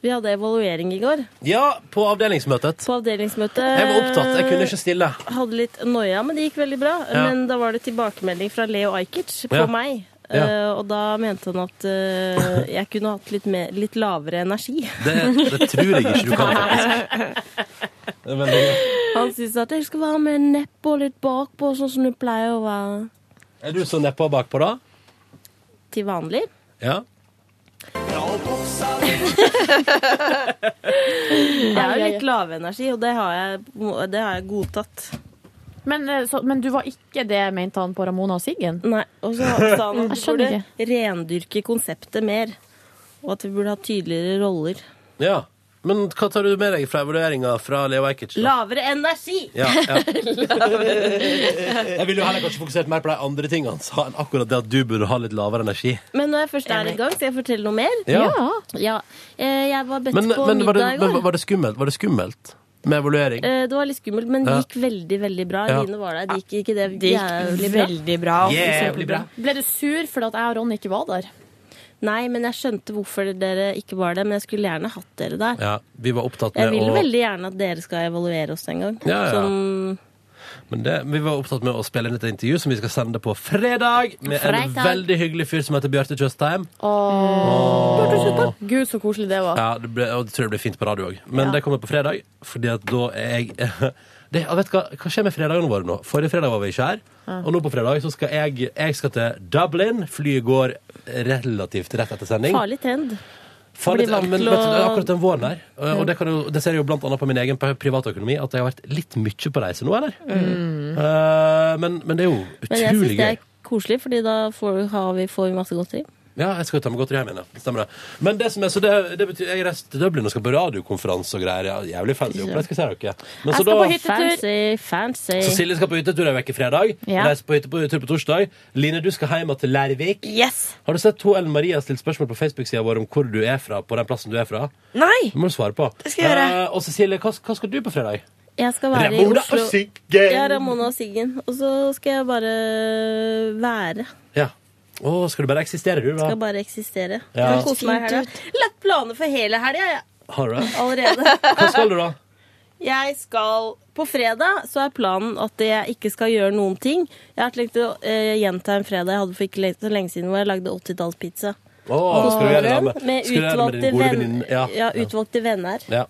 [SPEAKER 9] Vi hadde evaluering i går
[SPEAKER 2] Ja, på avdelingsmøtet.
[SPEAKER 9] på avdelingsmøte.
[SPEAKER 2] Jeg var opptatt, jeg kunne ikke stille.
[SPEAKER 9] Hadde litt noia, men det gikk veldig bra.
[SPEAKER 2] Ja.
[SPEAKER 9] Men da var det tilbakemelding fra Leo Ajkic på
[SPEAKER 2] Ja.
[SPEAKER 9] meg.
[SPEAKER 2] Ja.
[SPEAKER 4] Eh, og da mente han at eh, jeg kunne hatt litt, mer, litt lavere energi.
[SPEAKER 2] Det, det tror jeg ikke du kan, faktisk. Det er veldig gøy.
[SPEAKER 4] Han syntes at jeg skal være med neppe og litt bakpå, sånn som du pleier å være
[SPEAKER 2] Er du så nedpå bakpå, da?
[SPEAKER 4] til vanlig.
[SPEAKER 2] Ja.
[SPEAKER 4] Jeg
[SPEAKER 13] Ai,
[SPEAKER 4] har
[SPEAKER 13] ai, ai.
[SPEAKER 4] litt lav energi, og det har jeg, det har jeg godtatt.
[SPEAKER 13] Men, eh, så, men du var ikke det, mente han på Ramona og Siggen?
[SPEAKER 4] Nei. Og så sa han at
[SPEAKER 13] Jeg
[SPEAKER 4] vi
[SPEAKER 13] skjønner
[SPEAKER 4] burde rendyrke konseptet mer, og at vi burde ha tydeligere roller.
[SPEAKER 2] ja. Men hva tar du med deg fra vurderinga fra Leo Ajkic? da?
[SPEAKER 4] Lavere energi!
[SPEAKER 2] Ja, ja.
[SPEAKER 4] Lavere.
[SPEAKER 2] Jeg ville jo heller kanskje fokusert mer på de andre tingene sa enn akkurat det at du burde ha litt lavere energi.
[SPEAKER 4] Men når jeg først er i gang, skal jeg fortelle noe mer?
[SPEAKER 2] Ja.
[SPEAKER 4] Ja. Eh, Jeg var bedt
[SPEAKER 2] Men,
[SPEAKER 4] på
[SPEAKER 2] men, var, det,
[SPEAKER 4] middag i
[SPEAKER 2] men
[SPEAKER 4] går.
[SPEAKER 2] var, det skummelt? var det skummelt med evaluering?
[SPEAKER 4] Eh, Det var litt skummelt, men det
[SPEAKER 2] Ja.
[SPEAKER 4] gikk veldig, veldig bra.
[SPEAKER 2] Ja.
[SPEAKER 4] Line var der. Det gikk ikke det
[SPEAKER 13] gikk
[SPEAKER 4] jævlig bra?
[SPEAKER 13] veldig
[SPEAKER 4] bra.
[SPEAKER 2] Jævlig bra.
[SPEAKER 4] Ble du sur fordi at jeg og Ronny ikke var der? Nei, men jeg skjønte hvorfor dere ikke var der. Men jeg skulle gjerne hatt dere der.
[SPEAKER 2] Ja, vi var opptatt
[SPEAKER 4] Jeg
[SPEAKER 2] med
[SPEAKER 4] vil
[SPEAKER 2] å
[SPEAKER 4] veldig gjerne at dere skal evaluere oss en gang.
[SPEAKER 2] Ja, ja.
[SPEAKER 4] Sånn,
[SPEAKER 2] men det, Vi var opptatt med å spille inn et intervju som vi skal sende på fredag med en
[SPEAKER 13] Fredag.
[SPEAKER 2] veldig hyggelig fyr som heter Bjarte Tjøstheim.
[SPEAKER 13] Åh. Gud, så koselig det var.
[SPEAKER 2] Ja, det ble, og det tror jeg blir fint på radio òg. Men
[SPEAKER 13] Ja.
[SPEAKER 2] det kommer på fredag, fordi at da er jeg det, jeg vet hva, hva skjer med fredagene våre nå? Forrige fredag var vi ikke her.
[SPEAKER 13] Ja.
[SPEAKER 2] Og nå på fredag så skal jeg, jeg skal til Dublin. Flyet går relativt rett etter sending.
[SPEAKER 4] farlig trend.
[SPEAKER 2] Farlig,
[SPEAKER 4] Blir vant
[SPEAKER 2] men,
[SPEAKER 4] til
[SPEAKER 2] vet du,
[SPEAKER 4] å-
[SPEAKER 2] det er akkurat den våren her. Og, og det, kan jo, det ser jeg jo blant annet på min egen privatøkonomi, at jeg har vært litt mye på reise nå, eller?
[SPEAKER 4] Mm.
[SPEAKER 2] Eh, men, men det er jo
[SPEAKER 4] Men jeg
[SPEAKER 2] utrolig
[SPEAKER 4] syns det
[SPEAKER 2] gøy.
[SPEAKER 4] er koselig, fordi da får, har vi, får vi masse godteri.
[SPEAKER 2] Ja, jeg skal jo ta meg godt hjem igjen, ja. Stemmer det. Men det som er, så det, det betyr, jeg reiser til Dublin og skal på radiokonferanse og greier. Ja, jævlig fancy opplegg, skal jeg si dere. Men så da-
[SPEAKER 4] Fancy, fancy.
[SPEAKER 2] Så Silje skal på hyttetur en uke fredag.
[SPEAKER 4] Ja.
[SPEAKER 2] Reiser på hyttetur på torsdag. Line, du skal hjem til Lærvik. Har du sett hun Ellen Marie har stilt spørsmål på Facebook-sida vår om hvor du er fra? på den plassen du er fra?
[SPEAKER 5] Nei!
[SPEAKER 2] Det må du svare på. Det
[SPEAKER 4] skal jeg gjøre.
[SPEAKER 2] og Cecilie, hva, hva skal du på fredag?
[SPEAKER 4] Jeg skal være i
[SPEAKER 2] Ramona
[SPEAKER 4] Oslo.
[SPEAKER 2] og Siggen.
[SPEAKER 4] Ja, Ramona og Siggen. Og så skal jeg bare være.
[SPEAKER 2] Ja. Å, skal du bare eksistere, du,
[SPEAKER 4] Skal
[SPEAKER 2] da?
[SPEAKER 4] bare eksistere.
[SPEAKER 2] Ja.
[SPEAKER 4] Kan Kose meg i helga. Lagt planer for hele helga, jeg.
[SPEAKER 2] Har du det?
[SPEAKER 4] Allerede.
[SPEAKER 2] Hva skal du, da?
[SPEAKER 4] Jeg skal På fredag så er planen at jeg ikke skal gjøre noen ting. Jeg har tenkt å eh, gjenta en fredag jeg hadde for ikke le- så lenge siden, hvor jeg lagde 80-tallspizza.
[SPEAKER 2] Å, skal du gjøre det da med,
[SPEAKER 4] Med
[SPEAKER 2] skal du gjøre det med
[SPEAKER 4] utvalgte
[SPEAKER 2] din gode
[SPEAKER 4] venn-
[SPEAKER 2] venninne?
[SPEAKER 4] ja,
[SPEAKER 2] Ja. ja.
[SPEAKER 4] utvalgte venner.
[SPEAKER 2] ja.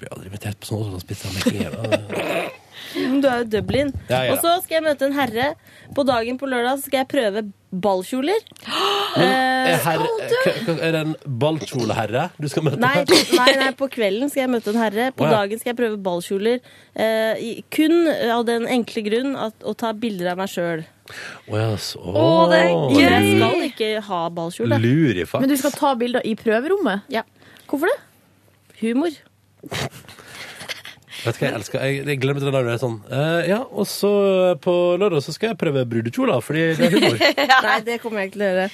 [SPEAKER 2] Blir aldri invitert på sånn åttendagspizza.
[SPEAKER 4] Men Du er jo i Dublin.
[SPEAKER 2] Ja, ja.
[SPEAKER 4] Og så skal jeg møte en herre. På dagen på lørdag så skal jeg prøve ballkjoler. Eh,
[SPEAKER 2] Er det en ballkjoleherre du skal møte?
[SPEAKER 4] Nei, nei, nei, på kvelden skal jeg møte en herre. På
[SPEAKER 2] Å, ja.
[SPEAKER 4] dagen skal jeg prøve ballkjoler. eh, i- kun av den enkle grunn at, å ta bilder av meg sjøl.
[SPEAKER 2] Å, ja, så.
[SPEAKER 4] Jeg skal ikke ha ballkjole.
[SPEAKER 2] Lurig, faktisk.
[SPEAKER 13] Men du skal ta bilder i prøverommet?
[SPEAKER 4] Ja.
[SPEAKER 13] Hvorfor det?
[SPEAKER 4] Humor.
[SPEAKER 2] Vet du hva jeg elsker? Jeg, jeg glemmer til den der sånn eh, Ja, og så eh, på lørdag så skal jeg prøve brudekjoler, fordi det er humor.
[SPEAKER 4] Nei, det kommer jeg ikke til å gjøre.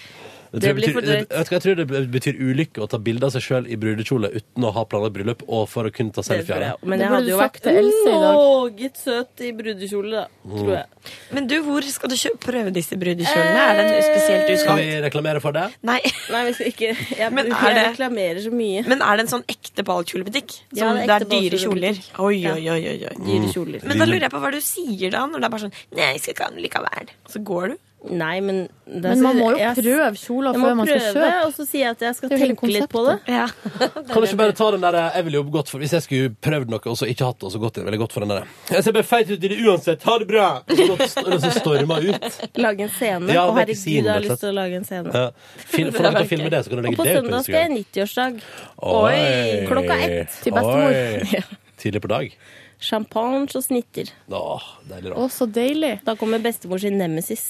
[SPEAKER 2] Jeg
[SPEAKER 4] Det
[SPEAKER 2] tror
[SPEAKER 4] blir for
[SPEAKER 2] betyr-
[SPEAKER 4] drøyt.
[SPEAKER 2] Vet du hva, jeg tror det betyr ulykke å ta bilde av seg sjøl i brudekjole uten å ha planlagt bryllup, og for å kunne ta
[SPEAKER 4] Det tror
[SPEAKER 2] selfie av
[SPEAKER 4] jeg.
[SPEAKER 2] det.
[SPEAKER 4] Men jeg hadde jo vært noe søt i brudekjole, da. Tror jeg.
[SPEAKER 5] Men du, hvor skal du kjø- prøve disse brudekjolene? Er
[SPEAKER 4] Eh,
[SPEAKER 5] det en spesielt
[SPEAKER 2] Skal
[SPEAKER 5] uskalt?
[SPEAKER 2] vi reklamere for det?
[SPEAKER 5] Nei.
[SPEAKER 4] Nei, vi skal ikke Jeg,
[SPEAKER 5] Men
[SPEAKER 4] jeg
[SPEAKER 5] er det-
[SPEAKER 4] reklamerer så mye.
[SPEAKER 5] Men er det en sånn ekte ballkjolebutikk? Som
[SPEAKER 4] Ja, det
[SPEAKER 5] det er,
[SPEAKER 4] er ekte
[SPEAKER 5] dyre kjoler?
[SPEAKER 4] ballkjolebutikk.
[SPEAKER 5] Oi,
[SPEAKER 4] Ja.
[SPEAKER 5] oi, oi, oi, Mm. oi.
[SPEAKER 4] Dyre kjoler.
[SPEAKER 5] Men da lurer jeg på hva du sier da, når det er bare sånn Nei, jeg skal ikke ha den likevel. Og så går du.
[SPEAKER 4] Nei, men det er
[SPEAKER 13] Men
[SPEAKER 4] så-
[SPEAKER 13] man må jo
[SPEAKER 4] jeg-
[SPEAKER 13] prøve kjoler
[SPEAKER 4] Jeg må
[SPEAKER 13] før man skal
[SPEAKER 4] prøve,
[SPEAKER 13] kjøpe.
[SPEAKER 4] Og så sier jeg at jeg skal
[SPEAKER 13] Det er jo hele
[SPEAKER 4] tenke litt på det.
[SPEAKER 2] Kan du ikke bare ta den der eh, Jeg ville jo gått for Hvis jeg skulle prøvd noe og så ikke hatt det, og så gått, ville jeg gått for den der Jeg ser bare feit ut i det uansett. Ha det bra! Og så gått- og så storma ut.
[SPEAKER 4] Lage en scene.
[SPEAKER 2] Ja, det
[SPEAKER 4] Å,
[SPEAKER 2] er
[SPEAKER 4] herregud,
[SPEAKER 2] kusinen,
[SPEAKER 4] jeg har
[SPEAKER 2] rett og
[SPEAKER 4] lyst til å
[SPEAKER 2] slett.
[SPEAKER 4] lage en scene.
[SPEAKER 2] Ja. Film- Få deg til å filme det, så kan du
[SPEAKER 4] Og
[SPEAKER 2] legge
[SPEAKER 4] på
[SPEAKER 2] det ut på
[SPEAKER 4] søndag skal jeg
[SPEAKER 2] Instagram.
[SPEAKER 4] i 90-årsdag.
[SPEAKER 2] Oi.
[SPEAKER 4] Klokka ett.
[SPEAKER 2] Til bestemor. Oi.
[SPEAKER 4] Ja.
[SPEAKER 2] Tidlig på dag.
[SPEAKER 4] Champagne og snitter.
[SPEAKER 2] Åh, deilig da.
[SPEAKER 4] Å, så deilig. Da kommer bestemor sin nemesis.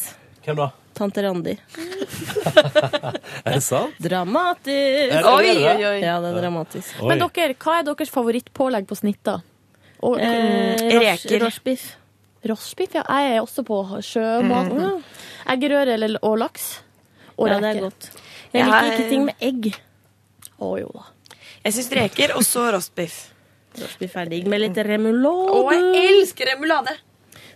[SPEAKER 2] Hvem da?
[SPEAKER 4] Tante Randi.
[SPEAKER 2] Er det sant?
[SPEAKER 4] Dramatisk!
[SPEAKER 2] Er det- Oi, er det det? oi, oi.
[SPEAKER 4] Ja, det er dramatisk.
[SPEAKER 2] Oi.
[SPEAKER 13] Men dere, hva er deres favorittpålegg på snitta? Og,
[SPEAKER 4] Eh, reker. Rorsbiff.
[SPEAKER 13] Rorsbiff, ja. Jeg er også på sjømat.
[SPEAKER 4] Mm.
[SPEAKER 13] Mm. Eggerøre eller- og laks. Og
[SPEAKER 4] Ja, det er
[SPEAKER 13] reker.
[SPEAKER 4] godt. Jeg liker ikke ting med egg.
[SPEAKER 13] Å jo da.
[SPEAKER 5] Jeg syns reker, og så rostbiff.
[SPEAKER 4] Rorsbiff er digg med litt remoulade.
[SPEAKER 5] Å, jeg elsker remulade!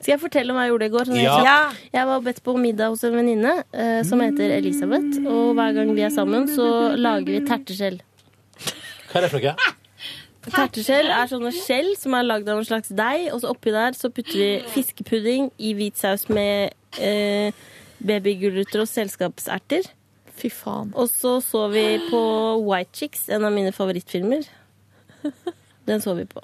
[SPEAKER 4] Skal jeg fortelle om hva jeg gjorde i går? sånn
[SPEAKER 5] Ja.
[SPEAKER 4] helt
[SPEAKER 5] Ja.
[SPEAKER 4] kjapt? Jeg var bedt på middag hos en venninne eh, som heter Elisabeth. Og hver gang vi er sammen, så lager vi terteskjell.
[SPEAKER 2] Hva er det for noe?
[SPEAKER 4] Terteskjell er sånne skjell som er lagd av en slags deig, og så oppi der så putter vi fiskepudding i hvit saus med eh, babygulrøtter og selskapserter.
[SPEAKER 13] Fy faen.
[SPEAKER 4] Og så så vi på White Chicks, en av mine favorittfilmer. Den så vi på.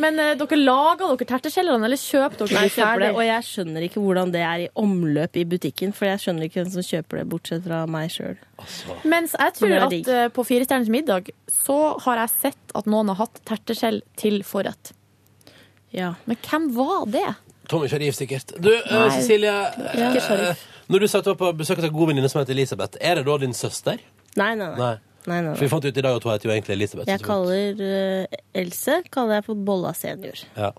[SPEAKER 13] Men eh, dere laga dere terteskjellerne, eller kjøper dere
[SPEAKER 4] Nei,
[SPEAKER 13] de
[SPEAKER 4] kjøper det,
[SPEAKER 13] ferdig?
[SPEAKER 4] og jeg skjønner ikke hvordan det er i omløp i butikken, for jeg skjønner ikke hvem som kjøper det, bortsett fra meg sjøl.
[SPEAKER 13] Mens jeg tror
[SPEAKER 4] Men det er
[SPEAKER 13] at
[SPEAKER 4] digg.
[SPEAKER 13] eh, på Firestjerners middag så har jeg sett at noen har hatt terteskjell til forrett. Men hvem var det?
[SPEAKER 2] Tommy Sharif, sikkert. Du, eh,
[SPEAKER 13] Nei.
[SPEAKER 2] Cecilie.
[SPEAKER 13] Ikke
[SPEAKER 2] eh,
[SPEAKER 13] Sharif.
[SPEAKER 2] Når du sa at du var på besøk av en god venninne som heter Elisabeth, er det da din søster?
[SPEAKER 4] Nei, nei, nei.
[SPEAKER 2] Nei.
[SPEAKER 4] nei, nei,
[SPEAKER 2] For vi
[SPEAKER 4] nei.
[SPEAKER 2] fant ut i dag at hun heter jo egentlig Elisabeth.
[SPEAKER 4] Jeg kaller eh, Else kaller jeg for Bolla senior.
[SPEAKER 2] Ja.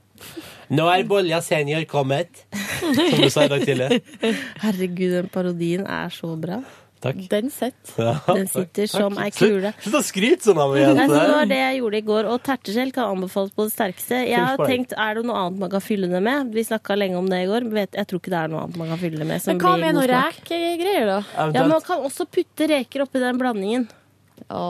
[SPEAKER 2] Nå er Bolja senior kommet, som du sa i dag tidlig.
[SPEAKER 4] Herregud, den parodien er så bra.
[SPEAKER 2] Takk.
[SPEAKER 13] Den sett.
[SPEAKER 2] Ja,
[SPEAKER 4] Den sitter som ei kule.
[SPEAKER 2] Slutt- Slutt å skryte sånn av meg,
[SPEAKER 4] Nei, så det var
[SPEAKER 2] jente.
[SPEAKER 4] det jeg gjorde i går, og terteskjell kan anbefales på det sterkeste. Jeg har
[SPEAKER 2] Full poeng.
[SPEAKER 4] tenkt, Er det noe annet man kan fylle det med? Vi snakka lenge om det i går. Vet, jeg tror ikke det er noe annet man kan fylle det med. Som
[SPEAKER 13] Men hva
[SPEAKER 4] blir
[SPEAKER 13] med
[SPEAKER 4] god
[SPEAKER 13] noen
[SPEAKER 4] smak.
[SPEAKER 13] rekegreier, da?
[SPEAKER 4] Ja, men Man kan også putte reker oppi den blandingen.
[SPEAKER 13] Å,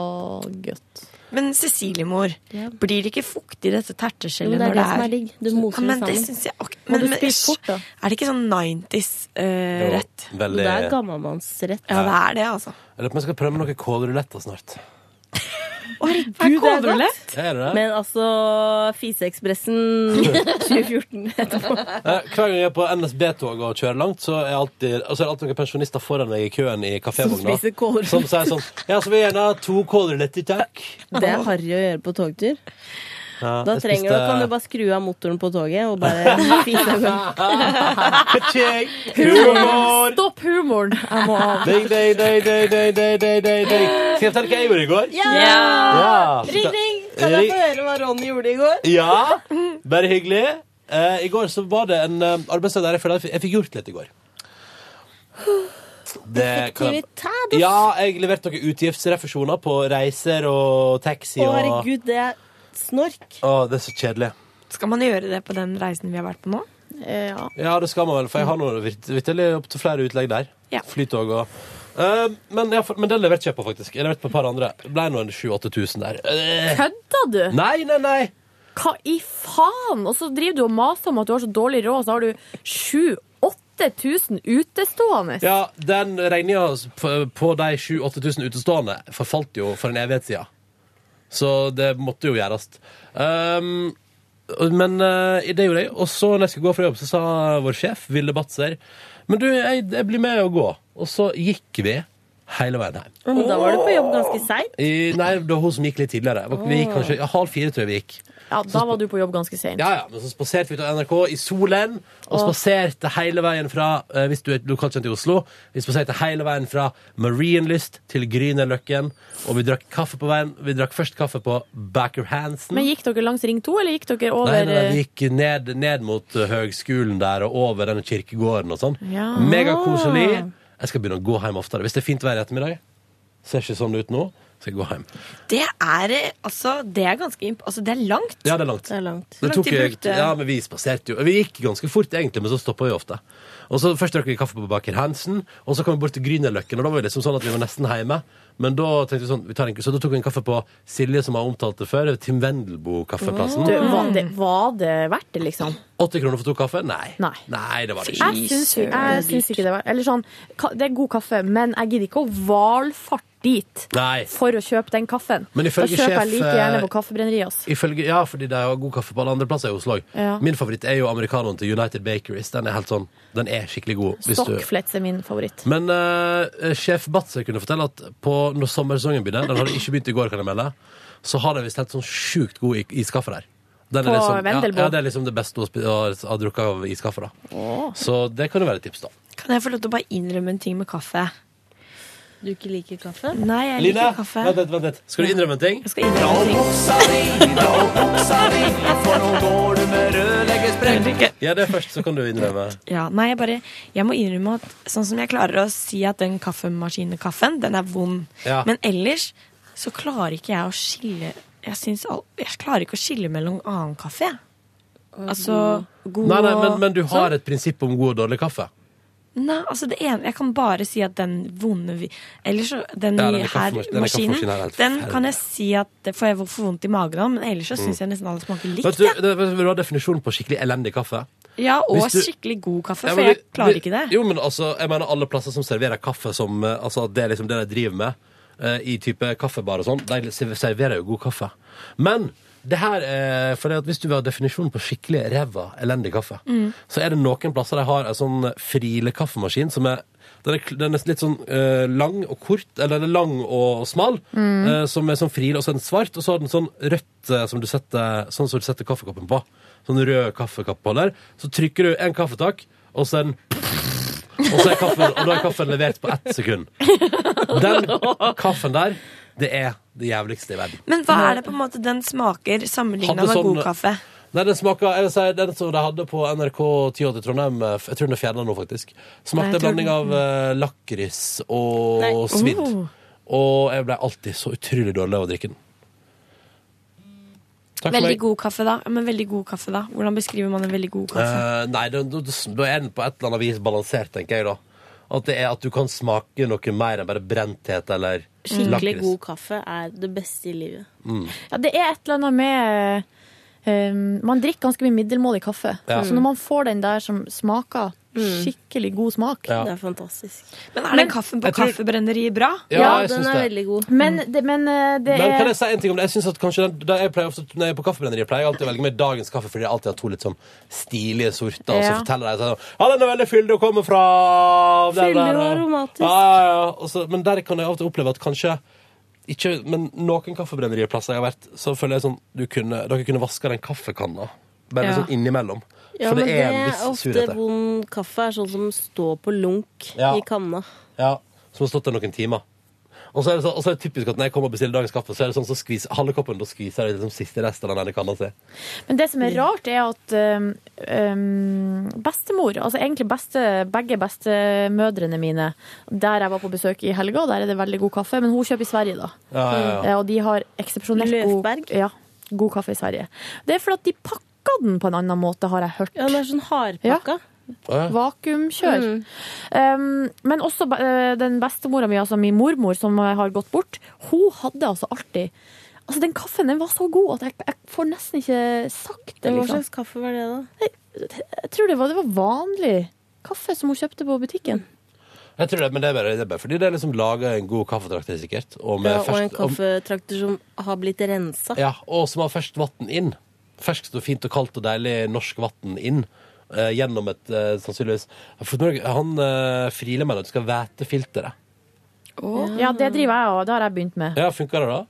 [SPEAKER 13] godt.
[SPEAKER 5] Men Cecilie-mor, blir det ikke fuktig i dette terteskjellet
[SPEAKER 4] Jo, det er
[SPEAKER 5] når
[SPEAKER 4] det som er digg. Du moser
[SPEAKER 5] ja,
[SPEAKER 4] det
[SPEAKER 5] men det
[SPEAKER 4] sammen.
[SPEAKER 5] synes jeg ok-
[SPEAKER 4] Må du
[SPEAKER 5] men-
[SPEAKER 4] spise fort, da?
[SPEAKER 5] Er det ikke sånn 90s-rett?
[SPEAKER 2] Jo, veldig. Det er
[SPEAKER 4] gammelmannsrett.
[SPEAKER 5] Ja, det er det, altså.
[SPEAKER 2] Jeg lurer på om jeg skal prøve med noen kålruletter snart.
[SPEAKER 4] Herregud, det er godt!
[SPEAKER 2] Er det det?
[SPEAKER 4] Men altså Fiseekspressen 2014 etterpå.
[SPEAKER 2] Eh, Hver gang jeg er på NSB-toget og kjører langt, så er, alltid, og så er det alltid noen pensjonister foran meg i køen i kafévogna.
[SPEAKER 4] spiser kålruller.
[SPEAKER 2] Som sier sånn Ja, så vil jeg gjerne ha to kålruletter, takk.
[SPEAKER 4] Det er harry å gjøre på togtur.
[SPEAKER 2] Ja,
[SPEAKER 4] Da
[SPEAKER 2] jeg
[SPEAKER 4] trenger du,
[SPEAKER 2] spiste-
[SPEAKER 4] kan du bare skru av motoren på toget og bare fise av
[SPEAKER 2] Ka-ching!
[SPEAKER 13] Humor!
[SPEAKER 2] Humor!
[SPEAKER 13] Stopp humoren! Jeg må av.
[SPEAKER 2] Ding, ding, ding, ding, ding, ding, ding, ding, ding. Skal jeg fortelle hva jeg gjorde i går? Ja.
[SPEAKER 4] Ring, ring! Kan jeg få høre hva Ronny gjorde i går?
[SPEAKER 2] Ja, bare hyggelig. Eh, I går så var det en eh, arbeidsdag der jeg følte at jeg fikk gjort litt i går. Det kan jeg-
[SPEAKER 4] Effektivitados.
[SPEAKER 2] Ja, jeg leverte noen utgiftsrefusjoner på reiser og taxi
[SPEAKER 4] Å,
[SPEAKER 2] og
[SPEAKER 4] herregud, det er snork.
[SPEAKER 2] Å, det er så kjedelig.
[SPEAKER 5] Skal man gjøre det på den reisen vi har vært på nå?
[SPEAKER 13] Ja.
[SPEAKER 2] Ja, det skal man vel, for jeg har noe virt- vitterlig opp til flere utlegg der.
[SPEAKER 5] Ja.
[SPEAKER 2] Flytog og Eh, men, jeg, men den leverte jeg på, faktisk. Jeg leverte på et par andre. Det ble nå en 7000-8000 der. Eh,
[SPEAKER 13] Kødda du?
[SPEAKER 2] Nei, nei, nei!
[SPEAKER 13] Hva i faen? Og så driver du og maser om at du har så dårlig råd, så har du 7000-8000 utestående.
[SPEAKER 2] Ja, den regninga på- på de 7000-8000 utestående forfalt jo for en evighet siden. Så det måtte jo gjøres. Um, men eh, det gjorde jeg. Og så når jeg skulle gå fra jobb, så sa vår sjef, Ville Batzer, men du, jeg, jeg blir med og gå. Og så gikk vi hele veien hjem.
[SPEAKER 4] Men da var du på jobb ganske seint.
[SPEAKER 2] I, nei, det var hun som gikk litt tidligere. Vi gikk kanskje ja, halv fire, tror jeg vi gikk.
[SPEAKER 13] Ja, da var du på jobb ganske sent.
[SPEAKER 2] Ja, ja, men så spaserte vi ut av NRK i solen, og
[SPEAKER 13] Åh.
[SPEAKER 2] spaserte hele veien fra eh, Hvis du er lokalt kjent i Oslo, vi spaserte hele veien fra Marienlyst til Grünerløkken, og vi drakk kaffe på veien. Vi drakk først kaffe på Backer Hansen.
[SPEAKER 13] Men gikk dere langs Ring 2, eller gikk dere over
[SPEAKER 2] Nei, nei, nei, vi gikk ned, ned mot eh, høgskolen der og over denne kirkegården og sånn.
[SPEAKER 13] Ja.
[SPEAKER 2] Megakoselig. Jeg skal begynne å gå hjem oftere. Hvis det er fint vær i ettermiddag, ser ikke sånn ut nå, så jeg går hjem.
[SPEAKER 5] Det er eh, altså Det er ganske imp... Altså, det er langt.
[SPEAKER 2] Ja, det er langt.
[SPEAKER 4] Det er langt.
[SPEAKER 2] Det
[SPEAKER 5] Hvor lang
[SPEAKER 2] tok,
[SPEAKER 5] tid
[SPEAKER 2] jo-
[SPEAKER 5] brukte-
[SPEAKER 2] ja, men Vi spaserte jo Vi gikk ganske fort, egentlig, men så stoppa vi ofte. Og så Først drakk vi kaffe på Baker Hansen, og så kom vi bort til Grünerløkken. Og da var vi liksom sånn at vi var nesten hjemme. Men da tenkte vi sånn, vi tar en, så da tok vi en kaffe på Silje, som har omtalt det før. Tim Wendelboe-kaffeplassen.
[SPEAKER 13] Du, var, det, var det verdt det, liksom?
[SPEAKER 2] 80 kroner for to kaffe? Nei.
[SPEAKER 13] Nei.
[SPEAKER 2] det var det ikke.
[SPEAKER 13] Jeg syns, jeg syns ikke det var Eller sånn, ka- det er god kaffe, men jeg gidder ikke å valfarte dit
[SPEAKER 2] Nei.
[SPEAKER 13] for å kjøpe den kaffen.
[SPEAKER 2] Men
[SPEAKER 13] Da
[SPEAKER 2] ifølge
[SPEAKER 13] kjøper jeg
[SPEAKER 2] sjef,
[SPEAKER 13] like
[SPEAKER 2] eh,
[SPEAKER 13] gjerne på kaffebrenneriet. ass.
[SPEAKER 2] Ifølge, ja, fordi de har god kaffe på alle andre plasser i Oslo.
[SPEAKER 13] Ja.
[SPEAKER 2] Min favoritt er jo americanoen til United Bakeries. Den er helt sånn, den er skikkelig god. hvis du-
[SPEAKER 13] Stokkflets er min favoritt.
[SPEAKER 2] Men eh, sjef Batzer kunne fortelle at på, når sommersesongen begynner Den hadde ikke begynt i går, kan jeg melde. Så har de visst helt sånn sjukt god i- iskaffe der. Den er
[SPEAKER 13] På
[SPEAKER 2] liksom, ja,
[SPEAKER 13] Vendelbo?
[SPEAKER 2] ja, det er liksom det beste å spi- å ha drukket av iskaffe. da Så det kan jo være et tips, da.
[SPEAKER 5] Kan jeg få lov til å bare innrømme en ting med kaffe?
[SPEAKER 4] Du ikke liker kaffe?
[SPEAKER 5] Nei, jeg
[SPEAKER 2] Line,
[SPEAKER 5] liker kaffe.
[SPEAKER 2] vent litt, vent litt. Skal du innrømme en ting?
[SPEAKER 5] Jeg skal innrømme en ting.
[SPEAKER 2] Ja, det er først, så kan du innrømme.
[SPEAKER 5] Ja, nei, jeg bare Jeg må innrømme at sånn som jeg klarer å si at den kaffemaskinekaffen, den er vond.
[SPEAKER 2] Ja.
[SPEAKER 5] Men ellers så klarer ikke jeg å skille Jeg, syns al- jeg klarer ikke å skille mellom annen kaffe, jeg. Altså god
[SPEAKER 2] Nei, nei, men, men du
[SPEAKER 5] og
[SPEAKER 2] har
[SPEAKER 5] sånn.
[SPEAKER 2] et prinsipp om god og dårlig kaffe?
[SPEAKER 5] Nei, altså det ene Jeg kan bare si at den vonde vi- Eller så Den
[SPEAKER 2] Ja,
[SPEAKER 5] ja,
[SPEAKER 2] denne
[SPEAKER 5] her
[SPEAKER 2] kaffemas- denne
[SPEAKER 5] maskinen,
[SPEAKER 2] kaffemaskinen er helt
[SPEAKER 5] den
[SPEAKER 2] forferdelig. Mm.
[SPEAKER 5] kan jeg si at det får jeg får vondt i magen av, men ellers så syns jeg nesten alle smaker likt.
[SPEAKER 2] Vet du, det, vet du hva definisjonen på skikkelig elendig kaffe? er?
[SPEAKER 5] Ja, og
[SPEAKER 2] Hvis du-
[SPEAKER 5] skikkelig god kaffe,
[SPEAKER 2] Ja,
[SPEAKER 5] for
[SPEAKER 2] men
[SPEAKER 5] jeg
[SPEAKER 2] vi-
[SPEAKER 5] klarer
[SPEAKER 2] vi-
[SPEAKER 5] ikke det.
[SPEAKER 2] Jo, men altså, jeg mener alle plasser som serverer kaffe som eh, Altså, det er liksom det de driver med eh, i type kaffebar og sånn. De serv- serverer jo god kaffe. Men det her er for det at hvis du vil ha definisjonen på skikkelig ræva, elendig kaffe,
[SPEAKER 1] Mm.
[SPEAKER 2] så er det noen plasser de har en sånn Friele kaffemaskin som er den er, kl- den er nesten litt sånn eh, lang og kort, eller den er lang og smal,
[SPEAKER 1] Mm.
[SPEAKER 2] eh, som er sånn friel, og så er den svart, og så har den sånn rødt eh, som du setter, sånn som du setter kaffekoppen på. Sånn rød kaffekoppholder. Så trykker du en kaffetak, og så er den og, så er kaffen, og da er kaffen levert på ett sekund. Den kaffen der, det er det jævligste i verden.
[SPEAKER 5] Men hva er det på en måte den smaker sammenligna
[SPEAKER 2] Hadde
[SPEAKER 5] med
[SPEAKER 2] sånn-
[SPEAKER 5] god kaffe?
[SPEAKER 2] Nei, den smaker jeg vil si, Den som de hadde på NRK 1080 Trondheim, eh, f- jeg tror den er fjerna nå, faktisk,
[SPEAKER 5] Nei, jeg
[SPEAKER 2] smakte en
[SPEAKER 5] tror
[SPEAKER 2] blanding
[SPEAKER 5] den-
[SPEAKER 2] av eh, lakris og
[SPEAKER 5] Nei.
[SPEAKER 2] svidd.
[SPEAKER 5] Oh.
[SPEAKER 2] Og jeg ble alltid så utrolig dårlig av å drikke den. Takk for
[SPEAKER 5] Veldig
[SPEAKER 2] meg.
[SPEAKER 5] god kaffe, da. Men veldig god kaffe, da. Hvordan beskriver man en veldig god kaffe?
[SPEAKER 2] Eh, nei, da, da, da er den på et eller annet vis balansert, tenker jeg da. At det er at du kan smake noe mer enn bare brenthet eller
[SPEAKER 4] Skikkelig
[SPEAKER 2] lakris.
[SPEAKER 4] god kaffe er det beste i livet.
[SPEAKER 2] Mm.
[SPEAKER 3] Ja, det er et eller annet med eh, Man drikker ganske mye middelmådig kaffe.
[SPEAKER 2] Ja.
[SPEAKER 3] Så når man får den der som smaker skikkelig god smak
[SPEAKER 2] Ja. Det
[SPEAKER 4] er fantastisk.
[SPEAKER 5] Men er den kaffen på kaffebrenneriet bra?
[SPEAKER 2] Ja, Ja, jeg den syns er det.
[SPEAKER 4] veldig god.
[SPEAKER 3] Men det, men, eh, det
[SPEAKER 2] Men kan
[SPEAKER 3] er
[SPEAKER 2] jeg si en ting om det? Jeg synes at kanskje den, da jeg pleier ofte, Når jeg er på kaffebrenneriet, pleier jeg alltid å velge meg dagens kaffe fordi jeg alltid har to litt sånn stilige sorter. Og så
[SPEAKER 1] Ja.
[SPEAKER 2] forteller de sånn Ja, den er veldig fyldig og kommer fra der,
[SPEAKER 1] Fyldig og
[SPEAKER 2] der, der.
[SPEAKER 1] aromatisk.
[SPEAKER 2] Ja, ja, ja. Og så- men der kan jeg alltid oppleve at kanskje ikke, men noen kaffebrenneriplasser jeg har vært, så føler jeg sånn du kunne, Dere kunne vaska den kaffekanna bare
[SPEAKER 4] Ja.
[SPEAKER 2] sånn innimellom.
[SPEAKER 4] Ja,
[SPEAKER 2] For
[SPEAKER 4] men
[SPEAKER 2] det er en
[SPEAKER 4] ofte
[SPEAKER 2] viss surhet der.
[SPEAKER 4] vond kaffe er sånn som står på lunk
[SPEAKER 2] Ja.
[SPEAKER 4] i kanna.
[SPEAKER 2] Ja, som har stått der noen timer. Og så er det, så, og så er det typisk at når jeg kommer og bestiller dagens kaffe, så er det sånn så skviser halve koppen, da skviser jeg liksom siste rest av den ene kanna si.
[SPEAKER 3] Men det som er rart, er at øhm, øhm, bestemor, altså egentlig beste, begge bestemødrene mine, der jeg var på besøk i helga, der er det veldig god kaffe, men hun kjøper i Sverige, da.
[SPEAKER 1] Ja, ja, ja.
[SPEAKER 3] Eh, Og de har eksepsjonelt god, ja, god kaffe i Sverige. Det er fordi at de pakker den på en annen måte, har jeg hørt.
[SPEAKER 4] Ja, det er sånn hardpakka.
[SPEAKER 2] Ja.
[SPEAKER 3] Vakuumkjør. Um, men også eh, den bestemora mi, altså min mormor, som har gått bort, hun hadde altså alltid Altså, den kaffen den var så god at jeg, jeg får nesten ikke sagt det.
[SPEAKER 4] Hva
[SPEAKER 3] Liksom.
[SPEAKER 4] slags kaffe var det, da?
[SPEAKER 3] Jeg tror det var, det var vanlig kaffe som hun kjøpte på butikken.
[SPEAKER 2] Jeg tror det, men det er bare, det er bare fordi det er liksom laga en god kaffetrakter, sikkert. Og, med
[SPEAKER 4] Ja, og en
[SPEAKER 2] ferskt- og-
[SPEAKER 4] kaffetrakter som har blitt rensa.
[SPEAKER 2] Ja, og som har ferskt vann inn. Ferskt og fint og kaldt og deilig norsk vann inn. eh, gjennom et eh, sannsynligvis Jeg har fått med meg- Han uh, friler meg at du skal væte filteret.
[SPEAKER 3] Ja, det driver jeg og Det har jeg begynt med.
[SPEAKER 2] Ja, funker det da?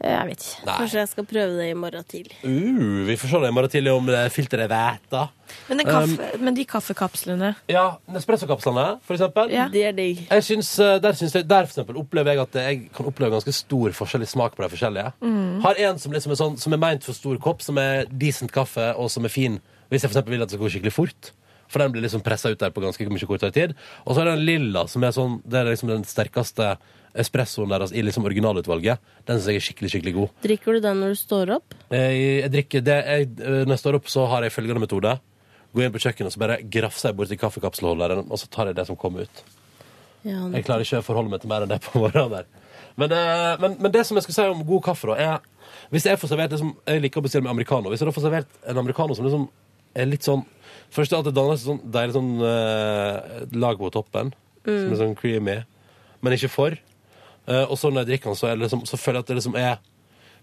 [SPEAKER 3] Jeg vet ikke.
[SPEAKER 2] Nei.
[SPEAKER 4] Kanskje jeg skal prøve det i morgen tidlig.
[SPEAKER 2] Uh, vi får se det i morgen tidlig om det filteret er væta.
[SPEAKER 5] Men, den
[SPEAKER 2] Um,
[SPEAKER 5] kaffe, men de kaffekapslene
[SPEAKER 2] Ja, Nespresso-kapslene, for eksempel.
[SPEAKER 4] Det er digg.
[SPEAKER 2] Jeg syns, eh, der, syns jeg, der for eksempel opplever jeg at jeg kan oppleve ganske stor forskjell i smak på de forskjellige.
[SPEAKER 1] Mm.
[SPEAKER 2] Har en som liksom er sånn, som er meint for stor kopp, som er decent kaffe, og som er fin, hvis jeg for eksempel vil at det skal gå skikkelig fort. For den blir liksom pressa ut der på ganske mye kortere tid. Og så er det den lilla, som er sånn, det er liksom den sterkeste espressoen deres i liksom originalutvalget. Den syns jeg er skikkelig, skikkelig god.
[SPEAKER 4] Drikker du den når du står opp?
[SPEAKER 2] Jeg, jeg drikker det jeg, eh, Når jeg står opp, så har jeg følgende metode. Går inn på kjøkkenet og så bare grafser jeg borti kaffekapselholderen, og så tar jeg det som kommer ut.
[SPEAKER 4] Ja,
[SPEAKER 2] Jeg klarer ikke å forholde meg til mer enn det på morgenen. der men, eh, men, men det som jeg skulle si om god kaffe, da, er Hvis jeg får servert liksom, Jeg liker å bestille meg americano. Hvis jeg da får servert en americano som liksom er litt sånn Først at det danner et sånn deilig sånn eh, lag på toppen, som
[SPEAKER 1] Mm.
[SPEAKER 2] er sånn creamy, men ikke for. Eh, og så når jeg drikker den, så, er det liksom, så føler jeg at det liksom er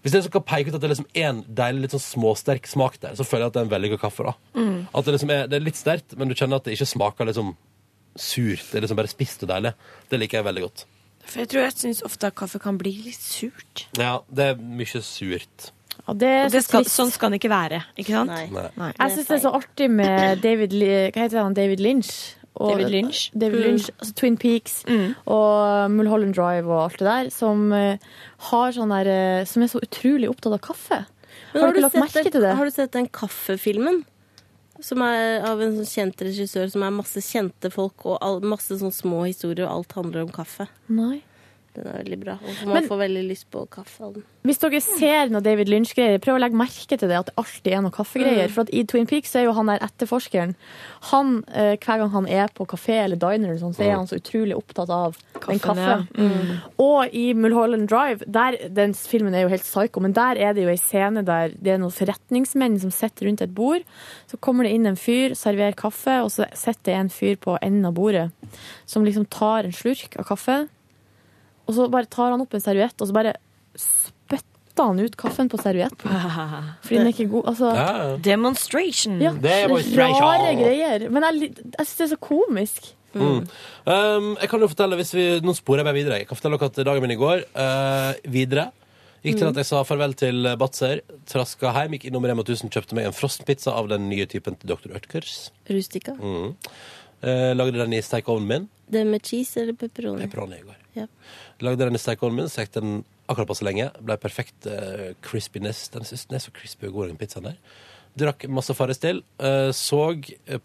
[SPEAKER 2] Hvis jeg skal peke ut at det er liksom én deilig, litt sånn småsterk smak der, så føler jeg at det er en veldig god kaffe, da. Mm. At det liksom er, det er litt sterkt, men du kjenner at det ikke smaker liksom surt. Det er liksom bare spist og deilig. Det liker jeg veldig godt.
[SPEAKER 5] For jeg tror jeg syns ofte at kaffe kan bli litt surt.
[SPEAKER 2] Ja, det er mye surt.
[SPEAKER 3] Og det er
[SPEAKER 5] Og det
[SPEAKER 3] så
[SPEAKER 5] skal,
[SPEAKER 3] trist.
[SPEAKER 5] sånn skal det ikke være. Ikke sant?
[SPEAKER 2] Nei.
[SPEAKER 3] Jeg syns det er så artig med David, Li- hva heter han, David Lynch.
[SPEAKER 5] David Lynch.
[SPEAKER 3] David
[SPEAKER 5] Mm.
[SPEAKER 3] Lynch altså Twin Peaks og Mulholland Drive og alt det der, som, eh, har sånn der, eh, som er så utrolig opptatt av kaffe.
[SPEAKER 4] Men
[SPEAKER 3] har du ikke lagt merke
[SPEAKER 4] sett den,
[SPEAKER 3] til det?
[SPEAKER 4] Har du sett den kaffefilmen? Som er av en sånn kjent regissør som er masse kjente folk og all, masse sånn små historier, og alt handler om kaffe.
[SPEAKER 3] Nei.
[SPEAKER 4] Den er veldig bra. Og man
[SPEAKER 3] Men-
[SPEAKER 4] får veldig lyst på kaffe av den.
[SPEAKER 3] Hvis dere ser noe David Lynch-greier, prøv å legge merke til det at det alltid er noe kaffegreier.
[SPEAKER 4] Mm.
[SPEAKER 3] For at i Twin Peaks så er jo han der etterforskeren. Han, eh, hver gang han er på kafé eller diner, eller sånn, så er han så utrolig opptatt av den
[SPEAKER 5] Kaffen, ja. Mm.
[SPEAKER 3] kaffen. Og i Mulholland Drive, der, den filmen er jo helt psyko, men der er det jo ei scene der det er noen forretningsmenn som sitter rundt et bord. Så kommer det inn en fyr, serverer kaffe, og så sitter det en fyr på enden av bordet som liksom tar en slurk av kaffen. Og så bare tar han opp en serviett, og så bare spytter han ut kaffen på servietten. Fordi den er ikke god. Altså,
[SPEAKER 2] Ja.
[SPEAKER 14] Demonstration.
[SPEAKER 3] ja,
[SPEAKER 2] Demonstration.
[SPEAKER 3] rare greier. Men jeg, li- jeg syns det er så komisk.
[SPEAKER 2] Mm. Um, jeg kan jo fortelle, hvis vi, Nå sporer jeg meg videre. Jeg kan fortelle dere at dagen min i går eh, videre gikk til
[SPEAKER 15] Mm.
[SPEAKER 2] at jeg sa farvel til Batzer, traska hjem, gikk innom Rema 1000, kjøpte meg en frossenpizza av den nye typen til Dr. Oetkers.
[SPEAKER 4] Rustica.
[SPEAKER 2] Mm. Eh, lagde den i stekeovnen min.
[SPEAKER 4] Det med cheese eller pepperoni?
[SPEAKER 2] Pepperoni i går.
[SPEAKER 4] Ja.
[SPEAKER 2] Lagde den i stekeovnen min, stekte den akkurat passe lenge. Ble perfekt eh, crispiness. Den, synes, den er så crispy og god, den pizzaen der. Drakk masse Farris til. eh, så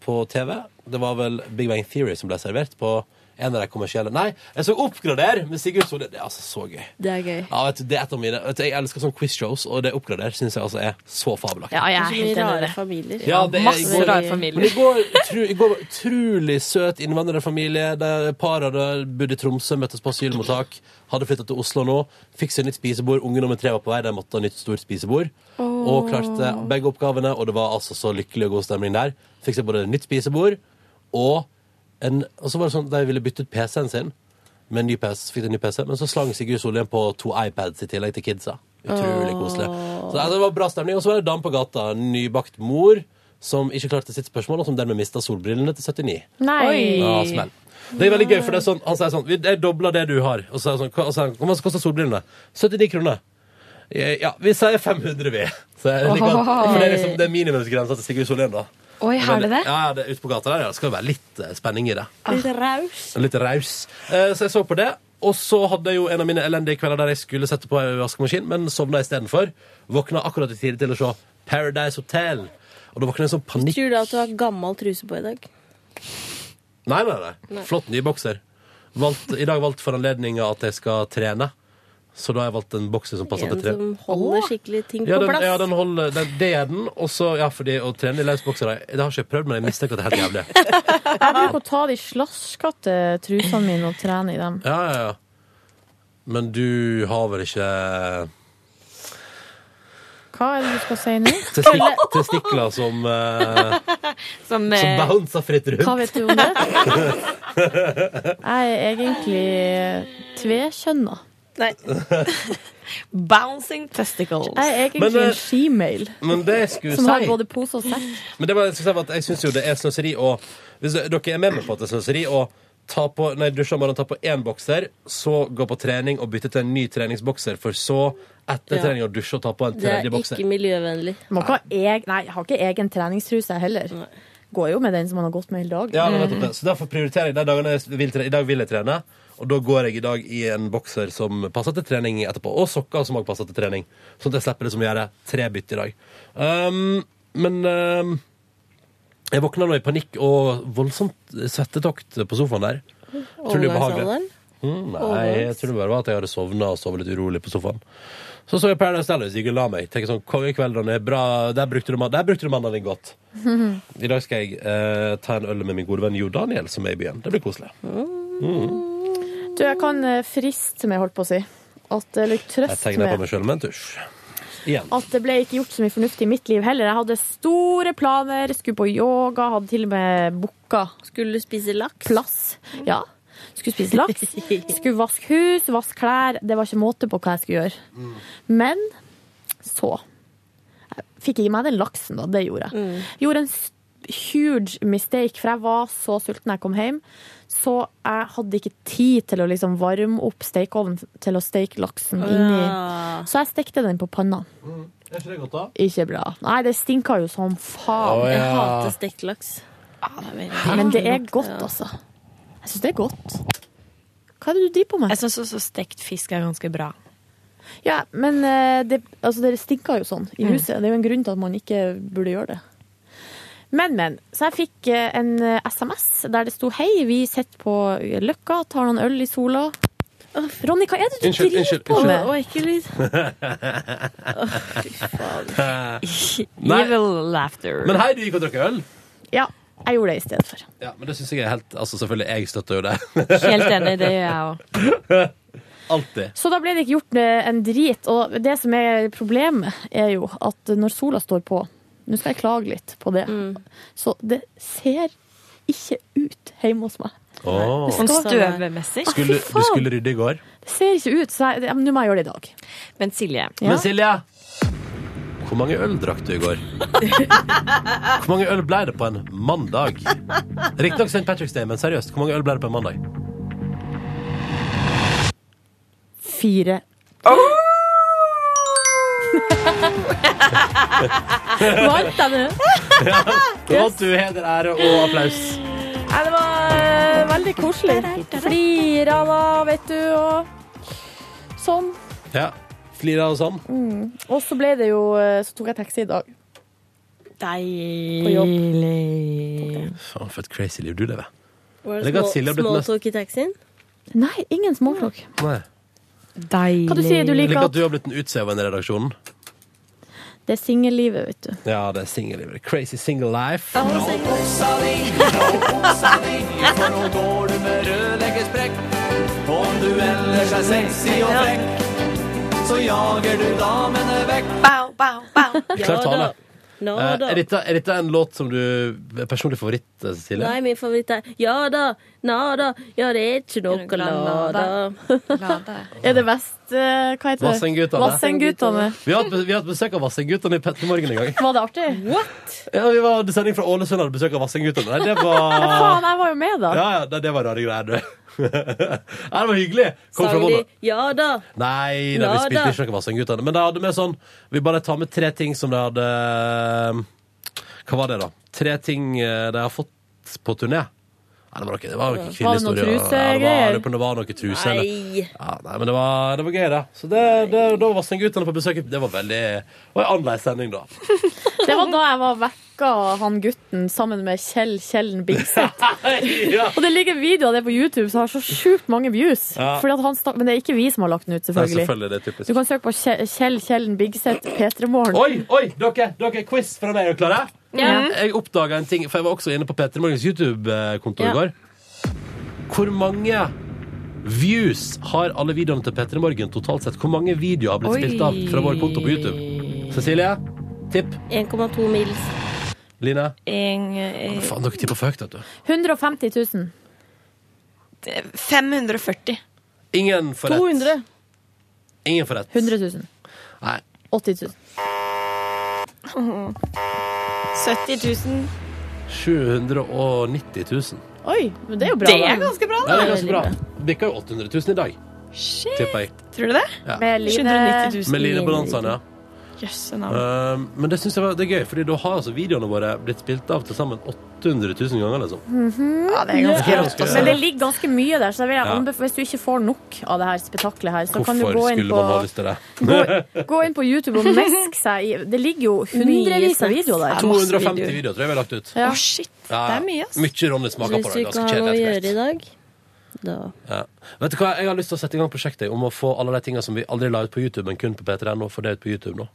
[SPEAKER 2] på TV Det var vel Big Bang Theory som ble servert på en av de kommersielle. Nei, jeg så Oppgrader med Sigurd Solli. Det er altså så gøy.
[SPEAKER 4] Det er gøy.
[SPEAKER 2] Ja, vet du, det er et av mine vet du, Jeg elsker sånn quiz-shows, og det Oppgrader syns jeg altså er så fabelaktig.
[SPEAKER 5] Ja, jeg er
[SPEAKER 4] Det er så
[SPEAKER 5] helt
[SPEAKER 4] mye
[SPEAKER 5] enig i
[SPEAKER 4] rare
[SPEAKER 5] det.
[SPEAKER 4] familier. Ah.
[SPEAKER 2] Ja, det er i går- Men i
[SPEAKER 5] familier.
[SPEAKER 2] går, utru- i går var det utrolig søt innvandrerfamilie. Der par hadde bodd i Tromsø, møttes på asylmottak. Hadde flytta til Oslo nå. Fikk seg nytt spisebord. Unge nummer tre var på vei, de måtte ha nytt stort spisebord. Og klarte begge oppgavene, og det var altså så lykkelig og god stemning der. Fikk seg både nytt spisebord og en Og så var det sånn de ville bytte ut PC-en sin med en ny PC, fikk de en ny PC, men så slang Sigurd Solhjem på to iPads i tillegg til kidsa. Utrolig koselig. Så nei, det var bra stemning. Og så var det en dame på gata, en nybakt mor, som ikke klarte sitt spørsmål, og som dermed mista solbrillene til 79.
[SPEAKER 3] Nei. Oi.
[SPEAKER 2] Ja, smell. Det er veldig gøy, for det er sånn, han sier sånn «Vi- Jeg dobler det du har. Og så er jeg sånn, hva, og så er han, hvor mye koster solbrillene? 79 kroner. «Ja, Ja, vi sier 500, vi. Så jeg liker at, for det er liksom det er minimumsgrensa til Sigurd Solhjem, da.
[SPEAKER 5] Oi,
[SPEAKER 2] Men-
[SPEAKER 5] er det det?
[SPEAKER 2] Ja, det er ute på gata der, ja. Det skal jo være litt eh, spenning i det.
[SPEAKER 4] Litt raus.
[SPEAKER 2] Litt raus. Eh, Så jeg så på det. Og så hadde jeg jo en av mine elendige kvelder der jeg skulle sette på en vaskemaskin, men sovna istedenfor. Våkna akkurat i tide til å se Paradise Hotel. Og da våkna jeg i sånn panikk.
[SPEAKER 4] Tror du at du har gammel truse på i dag?
[SPEAKER 2] Nei, nei, nei.
[SPEAKER 4] Nei.
[SPEAKER 2] Flott ny bokser. Valgt, I dag valgt for anledninga at jeg skal trene. Så da har jeg valgt en bokser som passer
[SPEAKER 4] En
[SPEAKER 2] til tre.
[SPEAKER 4] som holder skikkelig ting
[SPEAKER 2] Ja,
[SPEAKER 4] på
[SPEAKER 2] den,
[SPEAKER 4] plass?
[SPEAKER 2] ja, den holder, den, det er den. Og så, ja, fordi å trene i løsbokser Det har ikke jeg prøvd, men jeg mistenker at det er helt jævlig.
[SPEAKER 3] Jeg bruker å ta de slaskete trusene mine og trene i dem.
[SPEAKER 2] Ja, ja, ja. Men du har vel ikke
[SPEAKER 3] Hva er det du skal si nå?
[SPEAKER 2] testik testikler som eh,
[SPEAKER 5] Som,
[SPEAKER 2] Som
[SPEAKER 5] eh,
[SPEAKER 2] bouncer fritt rundt.
[SPEAKER 3] Hva vet du om det? Jeg er egentlig tvekjønna.
[SPEAKER 4] Nei.
[SPEAKER 5] Bouncing testicles.
[SPEAKER 3] Jeg
[SPEAKER 2] Men,
[SPEAKER 3] er egentlig
[SPEAKER 2] eh,
[SPEAKER 3] en skimail
[SPEAKER 2] men det jeg skulle
[SPEAKER 3] som har
[SPEAKER 2] si-
[SPEAKER 3] både pose og sekk.
[SPEAKER 2] Men det var, jeg, skulle si var at jeg syns jo det er sløseri å Hvis dere er med meg på at det er sløseri å ta på, nei, dusje om morgenen, ta på én bokser, så gå på trening og bytte til en ny treningsbokser, for så, etter
[SPEAKER 4] Ja.
[SPEAKER 2] trening, å dusje og ta på en
[SPEAKER 4] Det er
[SPEAKER 2] tredje bokser.
[SPEAKER 4] ikke miljøvennlig.
[SPEAKER 3] Man kan ha eg, nei, jeg har ikke egen treningstruse jeg heller. Går jo med den som man har gått med hele dagen.
[SPEAKER 2] Ja, det var nettopp det. Så derfor prioriterer jeg de dagene jeg vil trene. I dag vil jeg trene, og da går jeg i dag i en bokser som passer til trening etterpå. Og sokker som også passer til trening. Sånn at jeg slipper det som å gjøre tre bytt i dag. Um, men um, jeg våkna nå i panikk og voldsomt svettetokt på sofaen der. Utrolig ubehagelig.
[SPEAKER 4] Overgangsalderen?
[SPEAKER 2] Mm, nei, jeg tror det bare var at jeg hadde sovna og sovet litt urolig på sofaen. Så så jeg Paradise Dallas, gikk og la meg. Tenker sånn, Kongekveldene er bra. Der brukte du mann- der brukte du mannen din godt. I dag skal jeg eh, ta en øl med min gode venn Jo Daniel, som er i byen. Det blir koselig. Mm.
[SPEAKER 3] Du, jeg kan eh, friste meg, holdt på å si. At, eh, eller
[SPEAKER 2] Jeg
[SPEAKER 3] trøst
[SPEAKER 2] tegner på
[SPEAKER 3] med
[SPEAKER 2] meg sjøl med en tusj. Igjen.
[SPEAKER 3] at det ble ikke gjort så mye fornuftig i mitt liv heller. Jeg hadde store planer, skulle på yoga, hadde til og med booka
[SPEAKER 4] Skulle spise laks?
[SPEAKER 3] Plass. Ja. Skulle spise laks. Skulle vaske hus, vaske klær. Det var ikke måte på hva jeg skulle gjøre. Men så jeg fikk jeg i meg den laksen, da. Det gjorde jeg. Gjorde en s- huge mistake, for jeg var så sulten da jeg kom hjem. Så jeg hadde ikke tid til å liksom varme opp stekeovnen til å steke laksen inni.
[SPEAKER 2] Ah.
[SPEAKER 3] Så jeg stekte den på panna.
[SPEAKER 2] Er ikke det godt, da?
[SPEAKER 3] Ikke bra. Nei, det stinka jo som
[SPEAKER 2] Å,
[SPEAKER 3] faen.
[SPEAKER 2] ja.
[SPEAKER 4] Jeg
[SPEAKER 2] Ah.
[SPEAKER 4] hater stekt laks. Ah,
[SPEAKER 3] Men det er godt, altså. Jeg syns det er godt. Hva er det du driver på med?
[SPEAKER 5] Jeg syns også stekt fisk er ganske bra.
[SPEAKER 3] Ja, men eh, det, altså, dere stinker jo sånn i
[SPEAKER 5] Mm.
[SPEAKER 3] huset. Det er jo en grunn til at man ikke burde gjøre det. Men, men. Så jeg fikk eh, en eh, SMS der det sto 'Hei, vi sitter på Løkka, tar noen øl i sola'. Ronny, hva er det du
[SPEAKER 2] Unnskyld,
[SPEAKER 3] driver
[SPEAKER 2] unnskyld,
[SPEAKER 3] på
[SPEAKER 2] unnskyld.
[SPEAKER 3] med?
[SPEAKER 2] Å,
[SPEAKER 4] ikke lyd.
[SPEAKER 2] Nei.
[SPEAKER 16] Evil laughter.
[SPEAKER 2] Men hei, du gikk og drakk øl?
[SPEAKER 3] Ja, jeg gjorde det i stedet for.
[SPEAKER 2] Ja, men det syns jeg er helt Altså, selvfølgelig, jeg støtter jo det.
[SPEAKER 3] Helt enig, det gjør jeg
[SPEAKER 17] òg.
[SPEAKER 2] Alltid.
[SPEAKER 3] Så da ble det ikke gjort eh, en drit. Og det som er problemet, er jo at når sola står på Nå skal jeg klage litt på det. Så det ser ikke ut hjemme hos meg.
[SPEAKER 2] Åh.
[SPEAKER 3] Det skal- Sånn støvmessig?
[SPEAKER 2] Skulle,
[SPEAKER 3] Å,
[SPEAKER 2] du
[SPEAKER 3] fy faen.
[SPEAKER 2] skulle rydde i går?
[SPEAKER 3] Det ser ikke ut, så jeg, ja, men nå må jeg gjøre det i dag.
[SPEAKER 17] Men Silje
[SPEAKER 2] Men Silje, hvor mange øl drakk du i går? Hvor mange øl ble det på en mandag? Riktignok St. Patrick's Day, men seriøst, hvor mange øl ble det på en mandag?
[SPEAKER 3] Fire.
[SPEAKER 1] Vant
[SPEAKER 3] jeg nå?
[SPEAKER 2] Ja, da vant du heder, ære og applaus.
[SPEAKER 3] Nei, det var eh, veldig koselig. Flira da, vet du, og sånn.
[SPEAKER 2] Ja. Flira og sånn.
[SPEAKER 3] Mm. Og så ble det jo eh, Så tok jeg taxi i dag. På jobb.
[SPEAKER 16] Deilig.
[SPEAKER 2] Faen, for et crazy liv du lever.
[SPEAKER 4] Var
[SPEAKER 2] Det er
[SPEAKER 4] det
[SPEAKER 2] godt Silje har
[SPEAKER 4] små,
[SPEAKER 2] blitt mest-
[SPEAKER 4] smalltalk i taxien?
[SPEAKER 3] Nei, ingen småklokk.
[SPEAKER 2] Nei.
[SPEAKER 16] Deilig.
[SPEAKER 3] Hva du sier du
[SPEAKER 2] Jeg
[SPEAKER 3] liker
[SPEAKER 2] liker
[SPEAKER 3] at
[SPEAKER 2] at du har blitt en utseven i redaksjonen.
[SPEAKER 3] Det er singellivet, vet du.
[SPEAKER 2] Ja, det er singellivet. Crazy single life.
[SPEAKER 1] Om du ellers er sexy og frekk, så jager du damene vekk.
[SPEAKER 5] Bow, bow, bow.
[SPEAKER 2] Klar tale.
[SPEAKER 4] Nå
[SPEAKER 2] Eh,
[SPEAKER 4] da.
[SPEAKER 2] er, dette, er dette en låt som du er personlig favoritt, eh, Cecilie?
[SPEAKER 4] Nei, min favoritt er Ja da, na da, ja det er ikke noe la da.
[SPEAKER 3] Er det best eh, Hva heter det?
[SPEAKER 2] Vassendgutane.
[SPEAKER 3] Vassendgutane.
[SPEAKER 2] Vi har hatt vi har hatt besøk av Vassendgutene i Petter Morgen en gang.
[SPEAKER 3] Var det artig?
[SPEAKER 2] Ja, vi var i sending fra Ålesund og hadde besøk av Vassendgutene. Nei, det
[SPEAKER 3] Ja,
[SPEAKER 2] var
[SPEAKER 3] faen, jeg var jo med, da.
[SPEAKER 2] Ah. Ja, ja, det, det var rare greier, du. Nei, det var hyggelig. Kom fra
[SPEAKER 4] Sang de
[SPEAKER 2] Volda.
[SPEAKER 4] ja da?
[SPEAKER 2] Nei, da, vi
[SPEAKER 4] Ja,
[SPEAKER 2] spilte
[SPEAKER 4] da.
[SPEAKER 2] ikke noe Vassendgutene. Men de hadde med sånn Vi bare tar med tre ting som de hadde eh, Hva var det, da? Tre ting eh, de har fått på turné. Nei, det var noe, det var noe
[SPEAKER 3] Var det noen
[SPEAKER 2] kvinnehistorie.
[SPEAKER 3] trusegreier?
[SPEAKER 2] Ja, det var- det var noe truse. eller-
[SPEAKER 4] Nei.
[SPEAKER 2] Ja, nei, men det var, det var gøy, da. Så det, det, da var Vassendgutene på besøk. Det var veldig Det var en annerledes sending, da.
[SPEAKER 3] Det var da jeg var vekka av han gutten sammen med Kjell Kjellen Bigseth.
[SPEAKER 2] Ja.
[SPEAKER 3] Og det ligger video av det på YouTube som har så sjukt mange views.
[SPEAKER 2] Ja.
[SPEAKER 3] Fordi at han stak, men det er ikke vi som har lagt den ut,
[SPEAKER 2] Nei,
[SPEAKER 3] selvfølgelig.
[SPEAKER 2] selvfølgelig, det er typisk.
[SPEAKER 3] Du kan søke på Kje- Kjell Kjellen Bigseth P3morgen.
[SPEAKER 2] Oi, oi, dere, dere quiz fra deg, er dere klare?
[SPEAKER 3] Ja.
[SPEAKER 2] Jeg oppdaga en ting, for jeg var også inne på Peter Morgens YouTube-konto
[SPEAKER 3] Ja.
[SPEAKER 2] i går. Hvor mange views har alle videoene til Peter Morgen totalt sett? Hvor mange videoer har blitt
[SPEAKER 4] Oi.
[SPEAKER 2] spilt av fra vår konto på YouTube? Cecilie? Tipp.
[SPEAKER 4] 1,2 mils.
[SPEAKER 2] Line?
[SPEAKER 5] Eh,
[SPEAKER 2] Faen, dere tipper for høyt, vet du.
[SPEAKER 3] 150 000.
[SPEAKER 5] 540.
[SPEAKER 2] Ingen får rett.
[SPEAKER 3] 200.
[SPEAKER 2] Ingen får rett.
[SPEAKER 3] 100 000.
[SPEAKER 2] Nei.
[SPEAKER 3] 80 000.
[SPEAKER 5] 70 000.
[SPEAKER 2] 790 000.
[SPEAKER 3] Oi, men det er jo bra.
[SPEAKER 5] Det
[SPEAKER 3] da.
[SPEAKER 5] er ganske bra,
[SPEAKER 2] Nei, det er ganske bra. Bikka jo 800 000 i dag, tipper jeg.
[SPEAKER 5] Tror du det?
[SPEAKER 2] Ja.
[SPEAKER 3] Med Line-
[SPEAKER 5] 190 000.
[SPEAKER 2] Med Line Bonanzaen, ja.
[SPEAKER 5] Jøsse navn.
[SPEAKER 2] Um, men det synes jeg var, det er gøy, Fordi da har altså videoene våre blitt spilt av til sammen 800 000 ganger. liksom
[SPEAKER 3] Mhm.
[SPEAKER 5] Ja, det er ganske altså.
[SPEAKER 2] Det er ganske-
[SPEAKER 3] Men det ligger ganske mye der, så da vil jeg
[SPEAKER 2] Ja.
[SPEAKER 3] anbef- hvis du ikke får nok av det her spetakkelet her, så kan du
[SPEAKER 2] Hvorfor
[SPEAKER 3] gå inn
[SPEAKER 2] skulle
[SPEAKER 3] på
[SPEAKER 2] man ha lyst til det?
[SPEAKER 3] Gå inn på YouTube og mesk seg i Det ligger jo hundrevis av videoer der.
[SPEAKER 2] 250 videoer. tror jeg vi har lagt ut.
[SPEAKER 3] Ja.
[SPEAKER 5] Å, shit.
[SPEAKER 2] Ja,
[SPEAKER 3] det er mye, ass.
[SPEAKER 2] Mye Ronny smaker på
[SPEAKER 4] Hvis
[SPEAKER 2] det.
[SPEAKER 4] vi ikke
[SPEAKER 2] Ganske
[SPEAKER 4] har noe å
[SPEAKER 2] kjedelig. etter hvert.
[SPEAKER 4] gjøre i dag, da
[SPEAKER 2] Ja. Vet du hva, Jeg har lyst til å sette i gang prosjektet om å få alle de tingene som vi aldri la ut på YouTube, men kun på P3.no, få det ut på YouTube nå.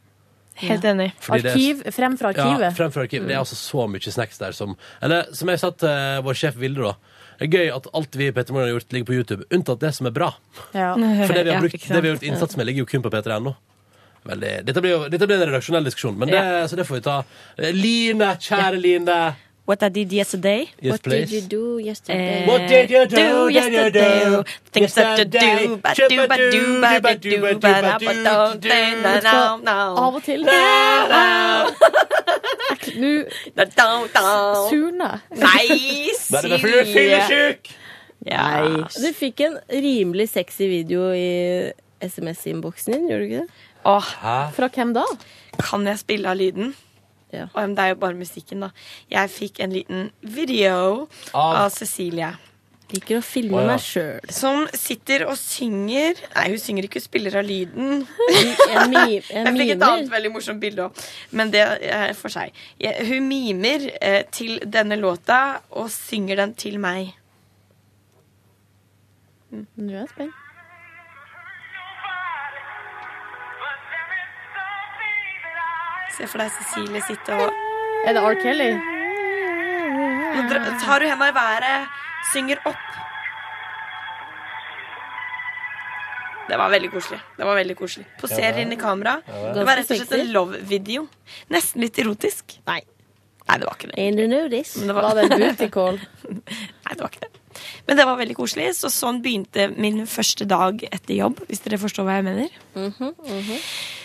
[SPEAKER 5] Helt enig.
[SPEAKER 2] Fordi det er-
[SPEAKER 3] Arkiv frem fra
[SPEAKER 2] Ja,
[SPEAKER 3] arkivet.
[SPEAKER 2] fremfor arkivet. Det er altså så mye snacks der som Eller som jeg sa til eh, vår sjef Vilde, da. Det er gøy at alt vi i Petter Morgen har gjort, ligger på YouTube, unntatt det som er bra.
[SPEAKER 3] Ja.
[SPEAKER 2] For det vi har,
[SPEAKER 5] Ja,
[SPEAKER 2] brukt,
[SPEAKER 5] ikke sant?
[SPEAKER 2] det vi har gjort innsats med, ligger jo kun på P3.no. Veldig. Dette blir, jo- dette blir en redaksjonell diskusjon, men det, så det får vi ta. Line, kjære Line.
[SPEAKER 5] What I did yesterday.
[SPEAKER 2] Yes, What did please. you
[SPEAKER 5] do yesterday?
[SPEAKER 4] Eh,
[SPEAKER 2] What did you do,
[SPEAKER 5] do
[SPEAKER 2] did you
[SPEAKER 5] yesterday?
[SPEAKER 2] do?
[SPEAKER 5] Things that you
[SPEAKER 2] Yesterday.
[SPEAKER 5] do, ba do, ba do, ba da do, ba da ba da do, na na na.
[SPEAKER 3] Av og til
[SPEAKER 5] Na, na.
[SPEAKER 3] Nå
[SPEAKER 5] Da, da, da.
[SPEAKER 3] surner jeg.
[SPEAKER 5] Nei,
[SPEAKER 2] Det er derfor du er fyllesyk!
[SPEAKER 5] Ja.
[SPEAKER 4] Du fikk en rimelig sexy video i SMS-innboksen din, gjorde du ikke det?
[SPEAKER 5] Åh,
[SPEAKER 3] Fra hvem da?
[SPEAKER 5] kan jeg spille av lyden?
[SPEAKER 4] Ja.
[SPEAKER 5] Og, men det er jo bare musikken, da. Jeg fikk en liten video
[SPEAKER 2] Av-
[SPEAKER 5] av Cecilie.
[SPEAKER 4] Liker å filme
[SPEAKER 2] Å, ja.
[SPEAKER 4] meg sjøl.
[SPEAKER 5] Som sitter og synger Nei, hun synger ikke, hun spiller av lyden.
[SPEAKER 4] Jeg, mi- jeg,
[SPEAKER 5] Jeg fikk et
[SPEAKER 4] mimer.
[SPEAKER 5] annet veldig morsomt bilde òg, men det er for seg. Jeg, hun mimer eh, til denne låta og synger den til meg.
[SPEAKER 3] Nå er jeg spent.
[SPEAKER 5] Se for deg Cecilie sitte og
[SPEAKER 3] Er det R. Kelly?
[SPEAKER 5] Nå dra-
[SPEAKER 4] Eh.
[SPEAKER 5] tar hun henda i været, synger opp. Det var veldig koselig. Det var veldig koselig. Poserer inn i kamera.
[SPEAKER 4] Ja, det er.
[SPEAKER 5] Det var rett og slett en
[SPEAKER 4] Ganske sexy.
[SPEAKER 5] love-video. Nesten litt erotisk. Nei. Nei, det var ikke det.
[SPEAKER 4] And you know this.
[SPEAKER 5] Men det
[SPEAKER 4] var...
[SPEAKER 5] var-
[SPEAKER 4] Eh, det en booty call?
[SPEAKER 5] Nei, det var ikke det. Men det var veldig koselig. Så sånn begynte min første dag etter jobb, hvis dere forstår hva jeg mener.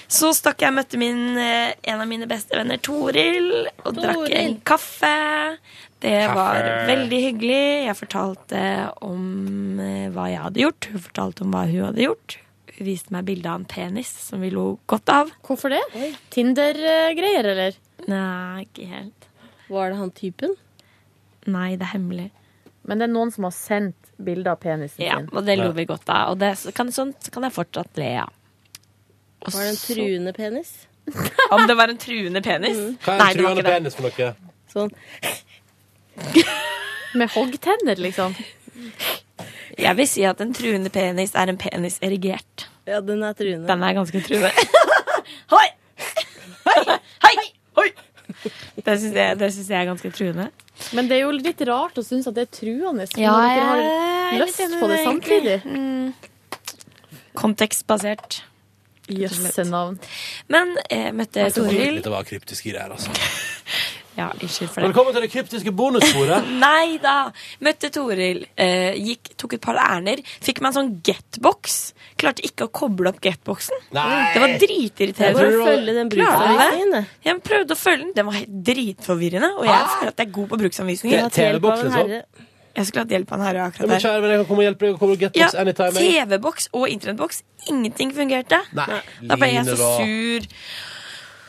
[SPEAKER 5] Så stakk jeg og møtte min, eh, en av mine beste venner, Toril, og drakk en kaffe. Det
[SPEAKER 18] Kaffe.
[SPEAKER 5] var veldig hyggelig. Jeg fortalte om eh, hva jeg hadde gjort. Hun fortalte om hva hun hadde gjort. Hun viste meg bilde av en penis som vi lo godt av.
[SPEAKER 3] Hvorfor det? Tinder-greier, eller?
[SPEAKER 5] Nei, ikke helt.
[SPEAKER 4] Var det han typen?
[SPEAKER 5] Nei, det er hemmelig.
[SPEAKER 3] Men det er noen som har sendt bilder av penisen
[SPEAKER 5] Ja,
[SPEAKER 3] sin.
[SPEAKER 5] og det lo vi godt av. Og det, så kan, sånt kan jeg fortsatt le av. Og
[SPEAKER 4] Var det en
[SPEAKER 5] så-
[SPEAKER 4] truende penis?
[SPEAKER 5] Om det var en truende penis?
[SPEAKER 4] Mm.
[SPEAKER 2] Hva er
[SPEAKER 5] Nei,
[SPEAKER 2] en
[SPEAKER 5] det var
[SPEAKER 2] truende
[SPEAKER 5] ikke det.
[SPEAKER 2] penis for noe?
[SPEAKER 4] Sånn.
[SPEAKER 3] Med hoggtenner, liksom.
[SPEAKER 5] Jeg vil si at en truende penis er en penis erigert.
[SPEAKER 4] Ja, den er truende.
[SPEAKER 5] Den er ganske truende. Hoi! Hei! Hei! Hoi! Det syns jeg, det synes jeg er ganske truende.
[SPEAKER 3] Men det er jo litt rart å synes at det er truende. når
[SPEAKER 5] Ja,
[SPEAKER 3] dere
[SPEAKER 5] jeg
[SPEAKER 3] har lyst
[SPEAKER 5] er litt enig
[SPEAKER 3] på det
[SPEAKER 5] med
[SPEAKER 3] samtidig.
[SPEAKER 5] deg, Kontekstbasert.
[SPEAKER 3] Jøsse navn.
[SPEAKER 5] Men jeg møtte Toril.
[SPEAKER 2] Dette var kryptiske greier, altså.
[SPEAKER 5] Ja, unnskyld for det.
[SPEAKER 2] Velkommen til det kryptiske bonussporet.
[SPEAKER 5] Nei da! Møtte Toril, eh, gikk, tok et par ærender. Fikk meg en sånn getbox. Klarte ikke å koble opp getboxen.
[SPEAKER 4] Nei.
[SPEAKER 5] Det var dritirriterende.
[SPEAKER 4] Jeg må jo følge den
[SPEAKER 5] Klarer du det?
[SPEAKER 4] bruksanvisningen, jeg.
[SPEAKER 5] Jeg prøvde å følge den. Den var helt dritforvirrende, og jeg føler at jeg er god på
[SPEAKER 2] Ah. Te-
[SPEAKER 5] bruksanvisninger.
[SPEAKER 2] TV-boks, liksom.
[SPEAKER 5] Jeg skulle hatt hjelp av en herre
[SPEAKER 2] Ja, men
[SPEAKER 5] akkurat der.
[SPEAKER 2] kjære venn, jeg kan komme og hjelpe deg. Jeg kommer og get
[SPEAKER 5] Ja,
[SPEAKER 2] box anytime. jeg.
[SPEAKER 5] TV-boks og internettboks. Ingenting fungerte.
[SPEAKER 2] Nei,
[SPEAKER 5] Da ble jeg
[SPEAKER 2] Line,
[SPEAKER 5] så
[SPEAKER 2] da.
[SPEAKER 5] sur.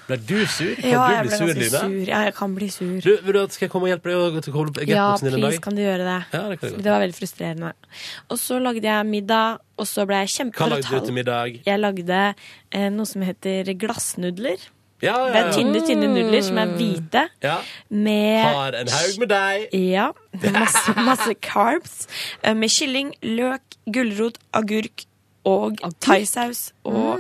[SPEAKER 2] Ble du sur? Kan
[SPEAKER 5] Ja, jeg
[SPEAKER 2] du bli
[SPEAKER 5] ble
[SPEAKER 2] sur,
[SPEAKER 5] ganske
[SPEAKER 2] Line?
[SPEAKER 5] sur. Ja, jeg kan bli sur.
[SPEAKER 2] Du, vil du at skal jeg komme og hjelpe deg å koble opp
[SPEAKER 5] Ja,
[SPEAKER 2] getboxen din en dag?
[SPEAKER 5] please, kan du gjøre det?
[SPEAKER 2] Ja, det kan jeg godt.
[SPEAKER 5] det var veldig frustrerende. Og så lagde jeg middag, og så ble jeg
[SPEAKER 2] Hva lagde du til
[SPEAKER 5] kjempeparatall.
[SPEAKER 2] middag?
[SPEAKER 5] Jeg lagde eh, noe som heter glassnudler.
[SPEAKER 2] Ja, ja,
[SPEAKER 5] Det er Eh,
[SPEAKER 2] ja.
[SPEAKER 5] tynne, tynne nudler som er hvite.
[SPEAKER 2] Ja.
[SPEAKER 5] Med
[SPEAKER 2] Har en haug med deg.
[SPEAKER 5] Ja. Masse, masse carbs. eh, Med kylling, løk, gulrot, agurk og thaisaus. Og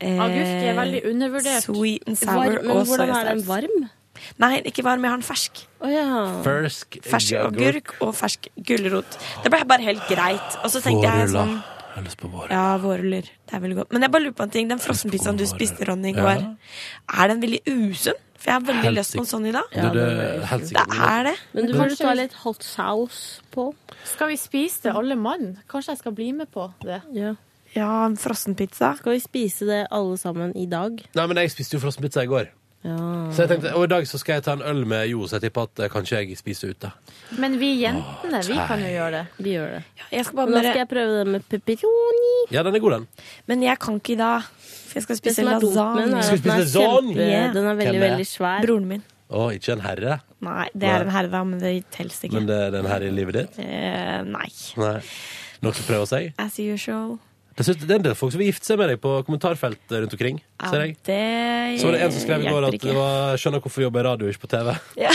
[SPEAKER 5] eh,
[SPEAKER 3] Mm. Agurk er veldig undervurdert.
[SPEAKER 5] Sweet and sour
[SPEAKER 3] Varm, men
[SPEAKER 5] og
[SPEAKER 3] hvordan er den
[SPEAKER 5] soyasaus.
[SPEAKER 4] varm?
[SPEAKER 5] Nei, ikke varm. Jeg har den fersk.
[SPEAKER 2] Fersk
[SPEAKER 5] Fersk agurk og fersk gulrot. Det ble bare helt greit. Og så tenkte jeg
[SPEAKER 2] Vårruller.
[SPEAKER 5] sånn
[SPEAKER 2] Jeg har lyst på vår.
[SPEAKER 5] ja, vårruller. Det er veldig godt. Men jeg bare lurer på en ting. Den frossenpizzaen du spiste, Ronny, i
[SPEAKER 2] Ja.
[SPEAKER 5] går, er den veldig usunn? For jeg har veldig
[SPEAKER 2] Helt
[SPEAKER 5] lyst på en
[SPEAKER 2] sikkert.
[SPEAKER 5] sånn i dag.
[SPEAKER 2] Ja, det er helt
[SPEAKER 5] det
[SPEAKER 2] sikkert.
[SPEAKER 5] er det.
[SPEAKER 4] Men du burde ta litt hot sauce på.
[SPEAKER 3] Skal vi spise det, alle mann? Kanskje jeg skal bli med på det?
[SPEAKER 4] Ja.
[SPEAKER 5] Ja, en frossenpizza.
[SPEAKER 4] Skal vi spise det alle sammen i dag?
[SPEAKER 2] Nei, men jeg spiste jo frossenpizza i går. Så jeg tenkte, Og i dag så skal jeg ta en øl med Jo, så jeg tipper at eh, kanskje jeg spiser ute.
[SPEAKER 3] Men vi jentene, vi kan jo gjøre det.
[SPEAKER 4] Vi gjør det.
[SPEAKER 5] Jeg skal bare
[SPEAKER 4] Men da
[SPEAKER 5] bare-
[SPEAKER 4] skal jeg prøve det med pepperoni.
[SPEAKER 2] Ja, den er god, den.
[SPEAKER 5] Men jeg kan ikke i dag, for jeg skal
[SPEAKER 4] Det
[SPEAKER 5] spise
[SPEAKER 4] som er dumt med den,
[SPEAKER 5] lasagne.
[SPEAKER 4] er at den er,
[SPEAKER 2] lasagne?
[SPEAKER 4] kjempe, den er veldig,
[SPEAKER 2] Hvem er det?
[SPEAKER 4] veldig svær.
[SPEAKER 5] Broren min.
[SPEAKER 2] Å, ikke en herre,
[SPEAKER 5] Nei, det
[SPEAKER 2] Nei.
[SPEAKER 5] er en herre, da, men det telles ikke.
[SPEAKER 2] men det det er en herre i livet ditt?
[SPEAKER 5] Eh, nei.
[SPEAKER 2] Nei. Nok til å prøve seg?
[SPEAKER 5] As usual.
[SPEAKER 2] Dessuten, det er en del folk som vil gifte seg med deg på kommentarfelt eh, rundt omkring.
[SPEAKER 5] Ja,
[SPEAKER 2] Ser jeg.
[SPEAKER 5] det
[SPEAKER 2] Så var det en som skrev i går
[SPEAKER 5] hjelper
[SPEAKER 2] at det var 'skjønner hvorfor jobber i radio, ikke på TV'.
[SPEAKER 5] ikke.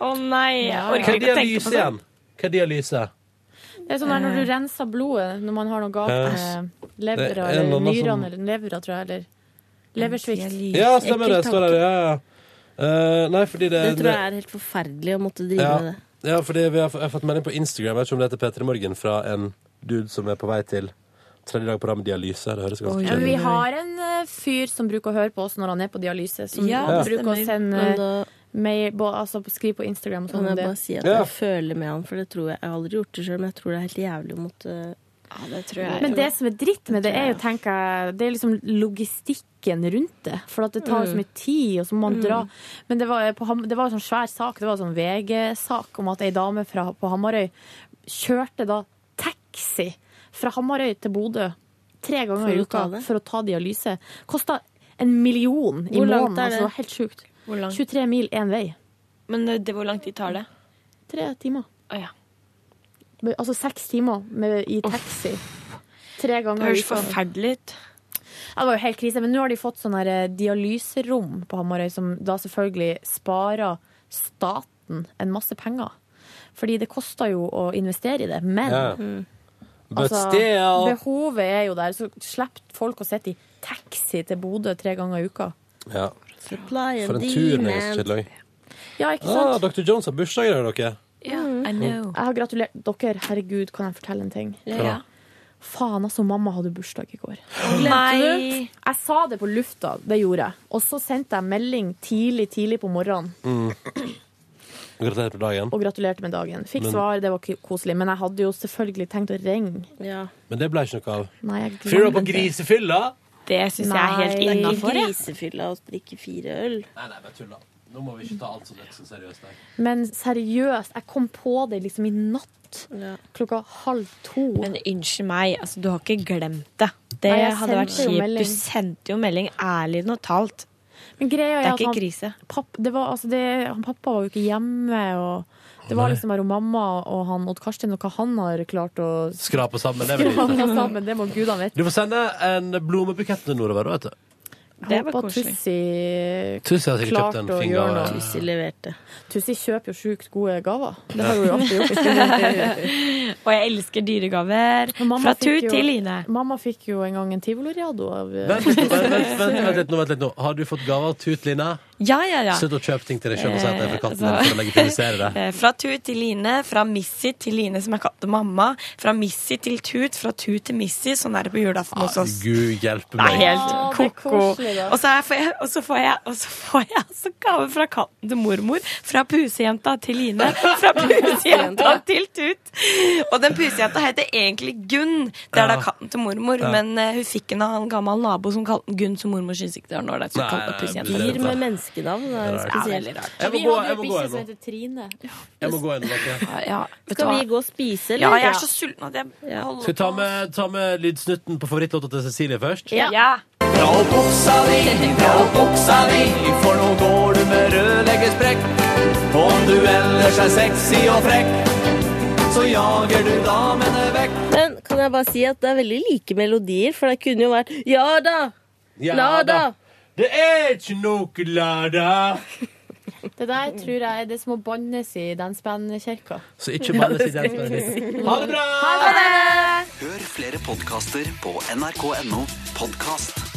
[SPEAKER 5] Å nei, jeg
[SPEAKER 2] Hva
[SPEAKER 5] orker
[SPEAKER 2] er
[SPEAKER 5] ikke
[SPEAKER 2] det
[SPEAKER 5] å tenke
[SPEAKER 2] lyset
[SPEAKER 5] på sånn. det.
[SPEAKER 2] igjen? Hva er det lyset?
[SPEAKER 3] Det er sånn der når du renser blodet når man har noe galt med
[SPEAKER 2] Eh, Det er
[SPEAKER 3] levra
[SPEAKER 2] en
[SPEAKER 3] eller
[SPEAKER 2] annen som-
[SPEAKER 3] nyrene eller levra, tror jeg, eller leversvikt.
[SPEAKER 2] Ja, stemmer det. Står der, ja, ja. Eh, nei, fordi det
[SPEAKER 4] Det tror jeg er helt forferdelig å måtte drive
[SPEAKER 2] ja,
[SPEAKER 4] med det.
[SPEAKER 2] ja, fordi vi har, f- jeg har fått melding på Instagram, jeg vet ikke om det heter Peter i Morgen, fra en dude som er på vei til tredje dag på rad med dialyse. Det høres ganske
[SPEAKER 3] Ja,
[SPEAKER 2] kjedelig
[SPEAKER 3] men
[SPEAKER 2] ut.
[SPEAKER 3] vi har en eh, fyr som bruker å høre på oss når han er på dialyse, som
[SPEAKER 4] Ja, det
[SPEAKER 3] bruker å
[SPEAKER 4] stemmer.
[SPEAKER 3] sende
[SPEAKER 4] Men da-
[SPEAKER 3] mail, bo- altså skrive på Instagram og
[SPEAKER 4] Kan
[SPEAKER 3] sånn
[SPEAKER 4] jeg
[SPEAKER 3] om det.
[SPEAKER 4] bare si at
[SPEAKER 3] Ja.
[SPEAKER 4] jeg føler med han, for det tror jeg Jeg har aldri gjort det sjøl, men jeg tror det er helt jævlig eh, å måtte
[SPEAKER 5] Ja, det
[SPEAKER 3] Men det som er dritt med det, er jo, tenker jeg, det er liksom logistikken rundt det. For at det tar
[SPEAKER 4] Mm.
[SPEAKER 3] så mye tid, og så må man
[SPEAKER 4] Mm.
[SPEAKER 3] dra. Men det var, på, Ham- det var en sånn svær sak, det var en sånn VG-sak om at ei dame fra, på Hamarøy kjørte da taxi fra Hamarøy til Bodø tre ganger
[SPEAKER 4] For
[SPEAKER 3] i
[SPEAKER 4] å
[SPEAKER 3] uka
[SPEAKER 4] ta det?
[SPEAKER 3] for å ta dialyse. Kosta en million i
[SPEAKER 4] Hvor langt
[SPEAKER 3] måneden.
[SPEAKER 4] er
[SPEAKER 3] Altså,
[SPEAKER 4] det?
[SPEAKER 3] det var helt sjukt.
[SPEAKER 5] Hvor langt?
[SPEAKER 3] 23 mil én vei.
[SPEAKER 5] Men eh, det, hvor lang tid tar det?
[SPEAKER 3] Tre timer.
[SPEAKER 5] Å ja.
[SPEAKER 3] Altså seks timer med, i taxi. Tre
[SPEAKER 5] Det
[SPEAKER 3] ganger i
[SPEAKER 5] høres
[SPEAKER 3] uka.
[SPEAKER 5] forferdelig ut.
[SPEAKER 3] Ja, det var jo helt krise, men nå har de fått sånne her, eh, dialyserom på Hamarøy, som da selvfølgelig sparer staten en masse penger. Fordi det koster jo å investere i det, men
[SPEAKER 2] Ja. But
[SPEAKER 3] Altså,
[SPEAKER 2] still.
[SPEAKER 3] Behovet er jo der. Så slipper folk å sitte i taxi til Bodø tre ganger i uka.
[SPEAKER 2] Ja.
[SPEAKER 3] Supply
[SPEAKER 2] For en tur Nils Kjelløy.
[SPEAKER 3] Ja, ikke
[SPEAKER 2] Ah,
[SPEAKER 3] sant?
[SPEAKER 2] Dr. Jones har bursdag i dag, dere.
[SPEAKER 3] Mm.
[SPEAKER 2] I know.
[SPEAKER 3] Jeg har gratulert dere. Herregud, kan jeg fortelle en ting?
[SPEAKER 2] Ja. Ja.
[SPEAKER 3] Faen, altså, mamma hadde bursdag i går.
[SPEAKER 5] Glemte
[SPEAKER 3] Nei. Jeg sa det på lufta, det gjorde jeg. Og så sendte jeg melding tidlig, tidlig på morgenen
[SPEAKER 2] Mm. Gratulerer med dagen.
[SPEAKER 3] og gratulerte med dagen. Fikk
[SPEAKER 2] Men-
[SPEAKER 3] svar, det var k- koselig. Men jeg hadde jo selvfølgelig tenkt å ringe.
[SPEAKER 2] Men det ble ikke noe av.
[SPEAKER 3] Nei, jeg
[SPEAKER 2] Fyr du opp på
[SPEAKER 3] glemte.
[SPEAKER 2] grisefylla?
[SPEAKER 3] Det
[SPEAKER 4] Nei, grisefylla og drikke fire øl.
[SPEAKER 2] Nei, nei, bare tulla. Nå må vi ikke ta alt så lett så seriøst. Nei.
[SPEAKER 3] Men seriøst, jeg kom på det liksom i natt. Klokka halv to.
[SPEAKER 5] Men unnskyld meg, altså, du har ikke glemt det. Det
[SPEAKER 3] Nei, jeg
[SPEAKER 5] hadde vært
[SPEAKER 3] sendte jo
[SPEAKER 5] kjipt.
[SPEAKER 3] melding.
[SPEAKER 5] Du sendte jo melding ærlig og talt.
[SPEAKER 3] Men greia
[SPEAKER 5] Det
[SPEAKER 3] er
[SPEAKER 5] er
[SPEAKER 3] at
[SPEAKER 5] ikke
[SPEAKER 3] han-
[SPEAKER 5] krise.
[SPEAKER 3] Papp, det var, altså det, han pappa var jo ikke hjemme, og det var
[SPEAKER 2] Nei.
[SPEAKER 3] liksom bare mamma og han Odd Karsten og hva han har klart å
[SPEAKER 2] Skrape sammen. Det er vel
[SPEAKER 3] skrape
[SPEAKER 2] lite.
[SPEAKER 3] sammen. Det må gudene vite.
[SPEAKER 2] Du får sende en blomebukett til nordover, vet du.
[SPEAKER 3] Jeg håper at Tussi
[SPEAKER 2] Tussi har sikkert kjøpt en
[SPEAKER 3] klarte å
[SPEAKER 2] fin
[SPEAKER 3] gjøre
[SPEAKER 2] gave.
[SPEAKER 3] noe.
[SPEAKER 2] Tussi
[SPEAKER 3] leverte. Tussi kjøper jo sjukt gode gaver. Det
[SPEAKER 2] Ja.
[SPEAKER 3] har hun jo alltid gjort. i skolen.
[SPEAKER 5] Og jeg elsker dyregaver.
[SPEAKER 3] Mamma
[SPEAKER 5] Fra
[SPEAKER 3] fikk
[SPEAKER 5] Tut
[SPEAKER 3] jo-
[SPEAKER 5] til Line.
[SPEAKER 3] Mamma fikk jo en gang en tivoliriado av
[SPEAKER 2] Vent, vent, vent, vent, vent, vent litt nå, vent litt nå. Har du fått gave av Tut, Line?
[SPEAKER 5] Ja, ja, ja.
[SPEAKER 2] Slutt å kjøpe ting til deg sjøl og si at det er fra katten
[SPEAKER 5] Eh,
[SPEAKER 2] din for å legitimisere det.
[SPEAKER 5] Eh, Fra Tut til Line, fra Missy til Line som er katt og mamma. Fra Missy til Tut, fra Tut til Missy. Sånn er det på julaften hos oss.
[SPEAKER 2] Ah, Gud hjelpe
[SPEAKER 5] Det er
[SPEAKER 2] meg.
[SPEAKER 5] helt ko-ko.
[SPEAKER 2] koselig, da.
[SPEAKER 5] Og så er- får jeg- og så får jeg og så får jeg altså gave fra katten til mormor, fra pusejenta til Line, fra pusejenta til Tut. Og den pusejenta heter egentlig Gunn. Det er da
[SPEAKER 2] Ja.
[SPEAKER 5] katten til mormor,
[SPEAKER 2] Ja.
[SPEAKER 5] men eh, hun fikk en av en gammel nabo som kalte den Gunn, så mormor syntes ikke det var noe ålreit. så hun
[SPEAKER 2] Nei,
[SPEAKER 5] kalte den
[SPEAKER 2] nei,
[SPEAKER 5] pusejenta.
[SPEAKER 2] det er Dyr med rart.
[SPEAKER 5] menneskenavn
[SPEAKER 2] er rart.
[SPEAKER 4] spesielt.
[SPEAKER 2] Jeg må
[SPEAKER 3] Vi
[SPEAKER 2] gå,
[SPEAKER 3] hadde
[SPEAKER 2] jeg
[SPEAKER 3] jo
[SPEAKER 2] må gå
[SPEAKER 3] bikkje som
[SPEAKER 2] ennå.
[SPEAKER 3] heter Trine.
[SPEAKER 2] Jeg må gå ennå, dere.
[SPEAKER 5] vet
[SPEAKER 4] Skal
[SPEAKER 5] du hva?
[SPEAKER 4] vi gå og spise, eller?
[SPEAKER 5] Ja, jeg er så sulten at jeg holder
[SPEAKER 2] Skal vi ta med, ta med lydsnutten på favorittlåta til Cecilie først?
[SPEAKER 5] Ja. ja.
[SPEAKER 19] Dra opp buksa di, dra opp buksa di, for nå går du med rødleggersprekk. Og om du ellers er sexy og frekk, så jager du damene vekk.
[SPEAKER 4] Men kan jeg bare si at det er veldig like melodier, for det kunne jo vært Ja da!
[SPEAKER 2] Ja
[SPEAKER 4] la da!
[SPEAKER 2] Det er ikke noe lada!
[SPEAKER 3] Det der tror jeg er det som må bannes i dansebandkirka.
[SPEAKER 2] Så ikke bannes i dansebandkirka. Ha det bra!
[SPEAKER 3] Ha det!
[SPEAKER 19] Hør flere podkaster på nrk.no podkast.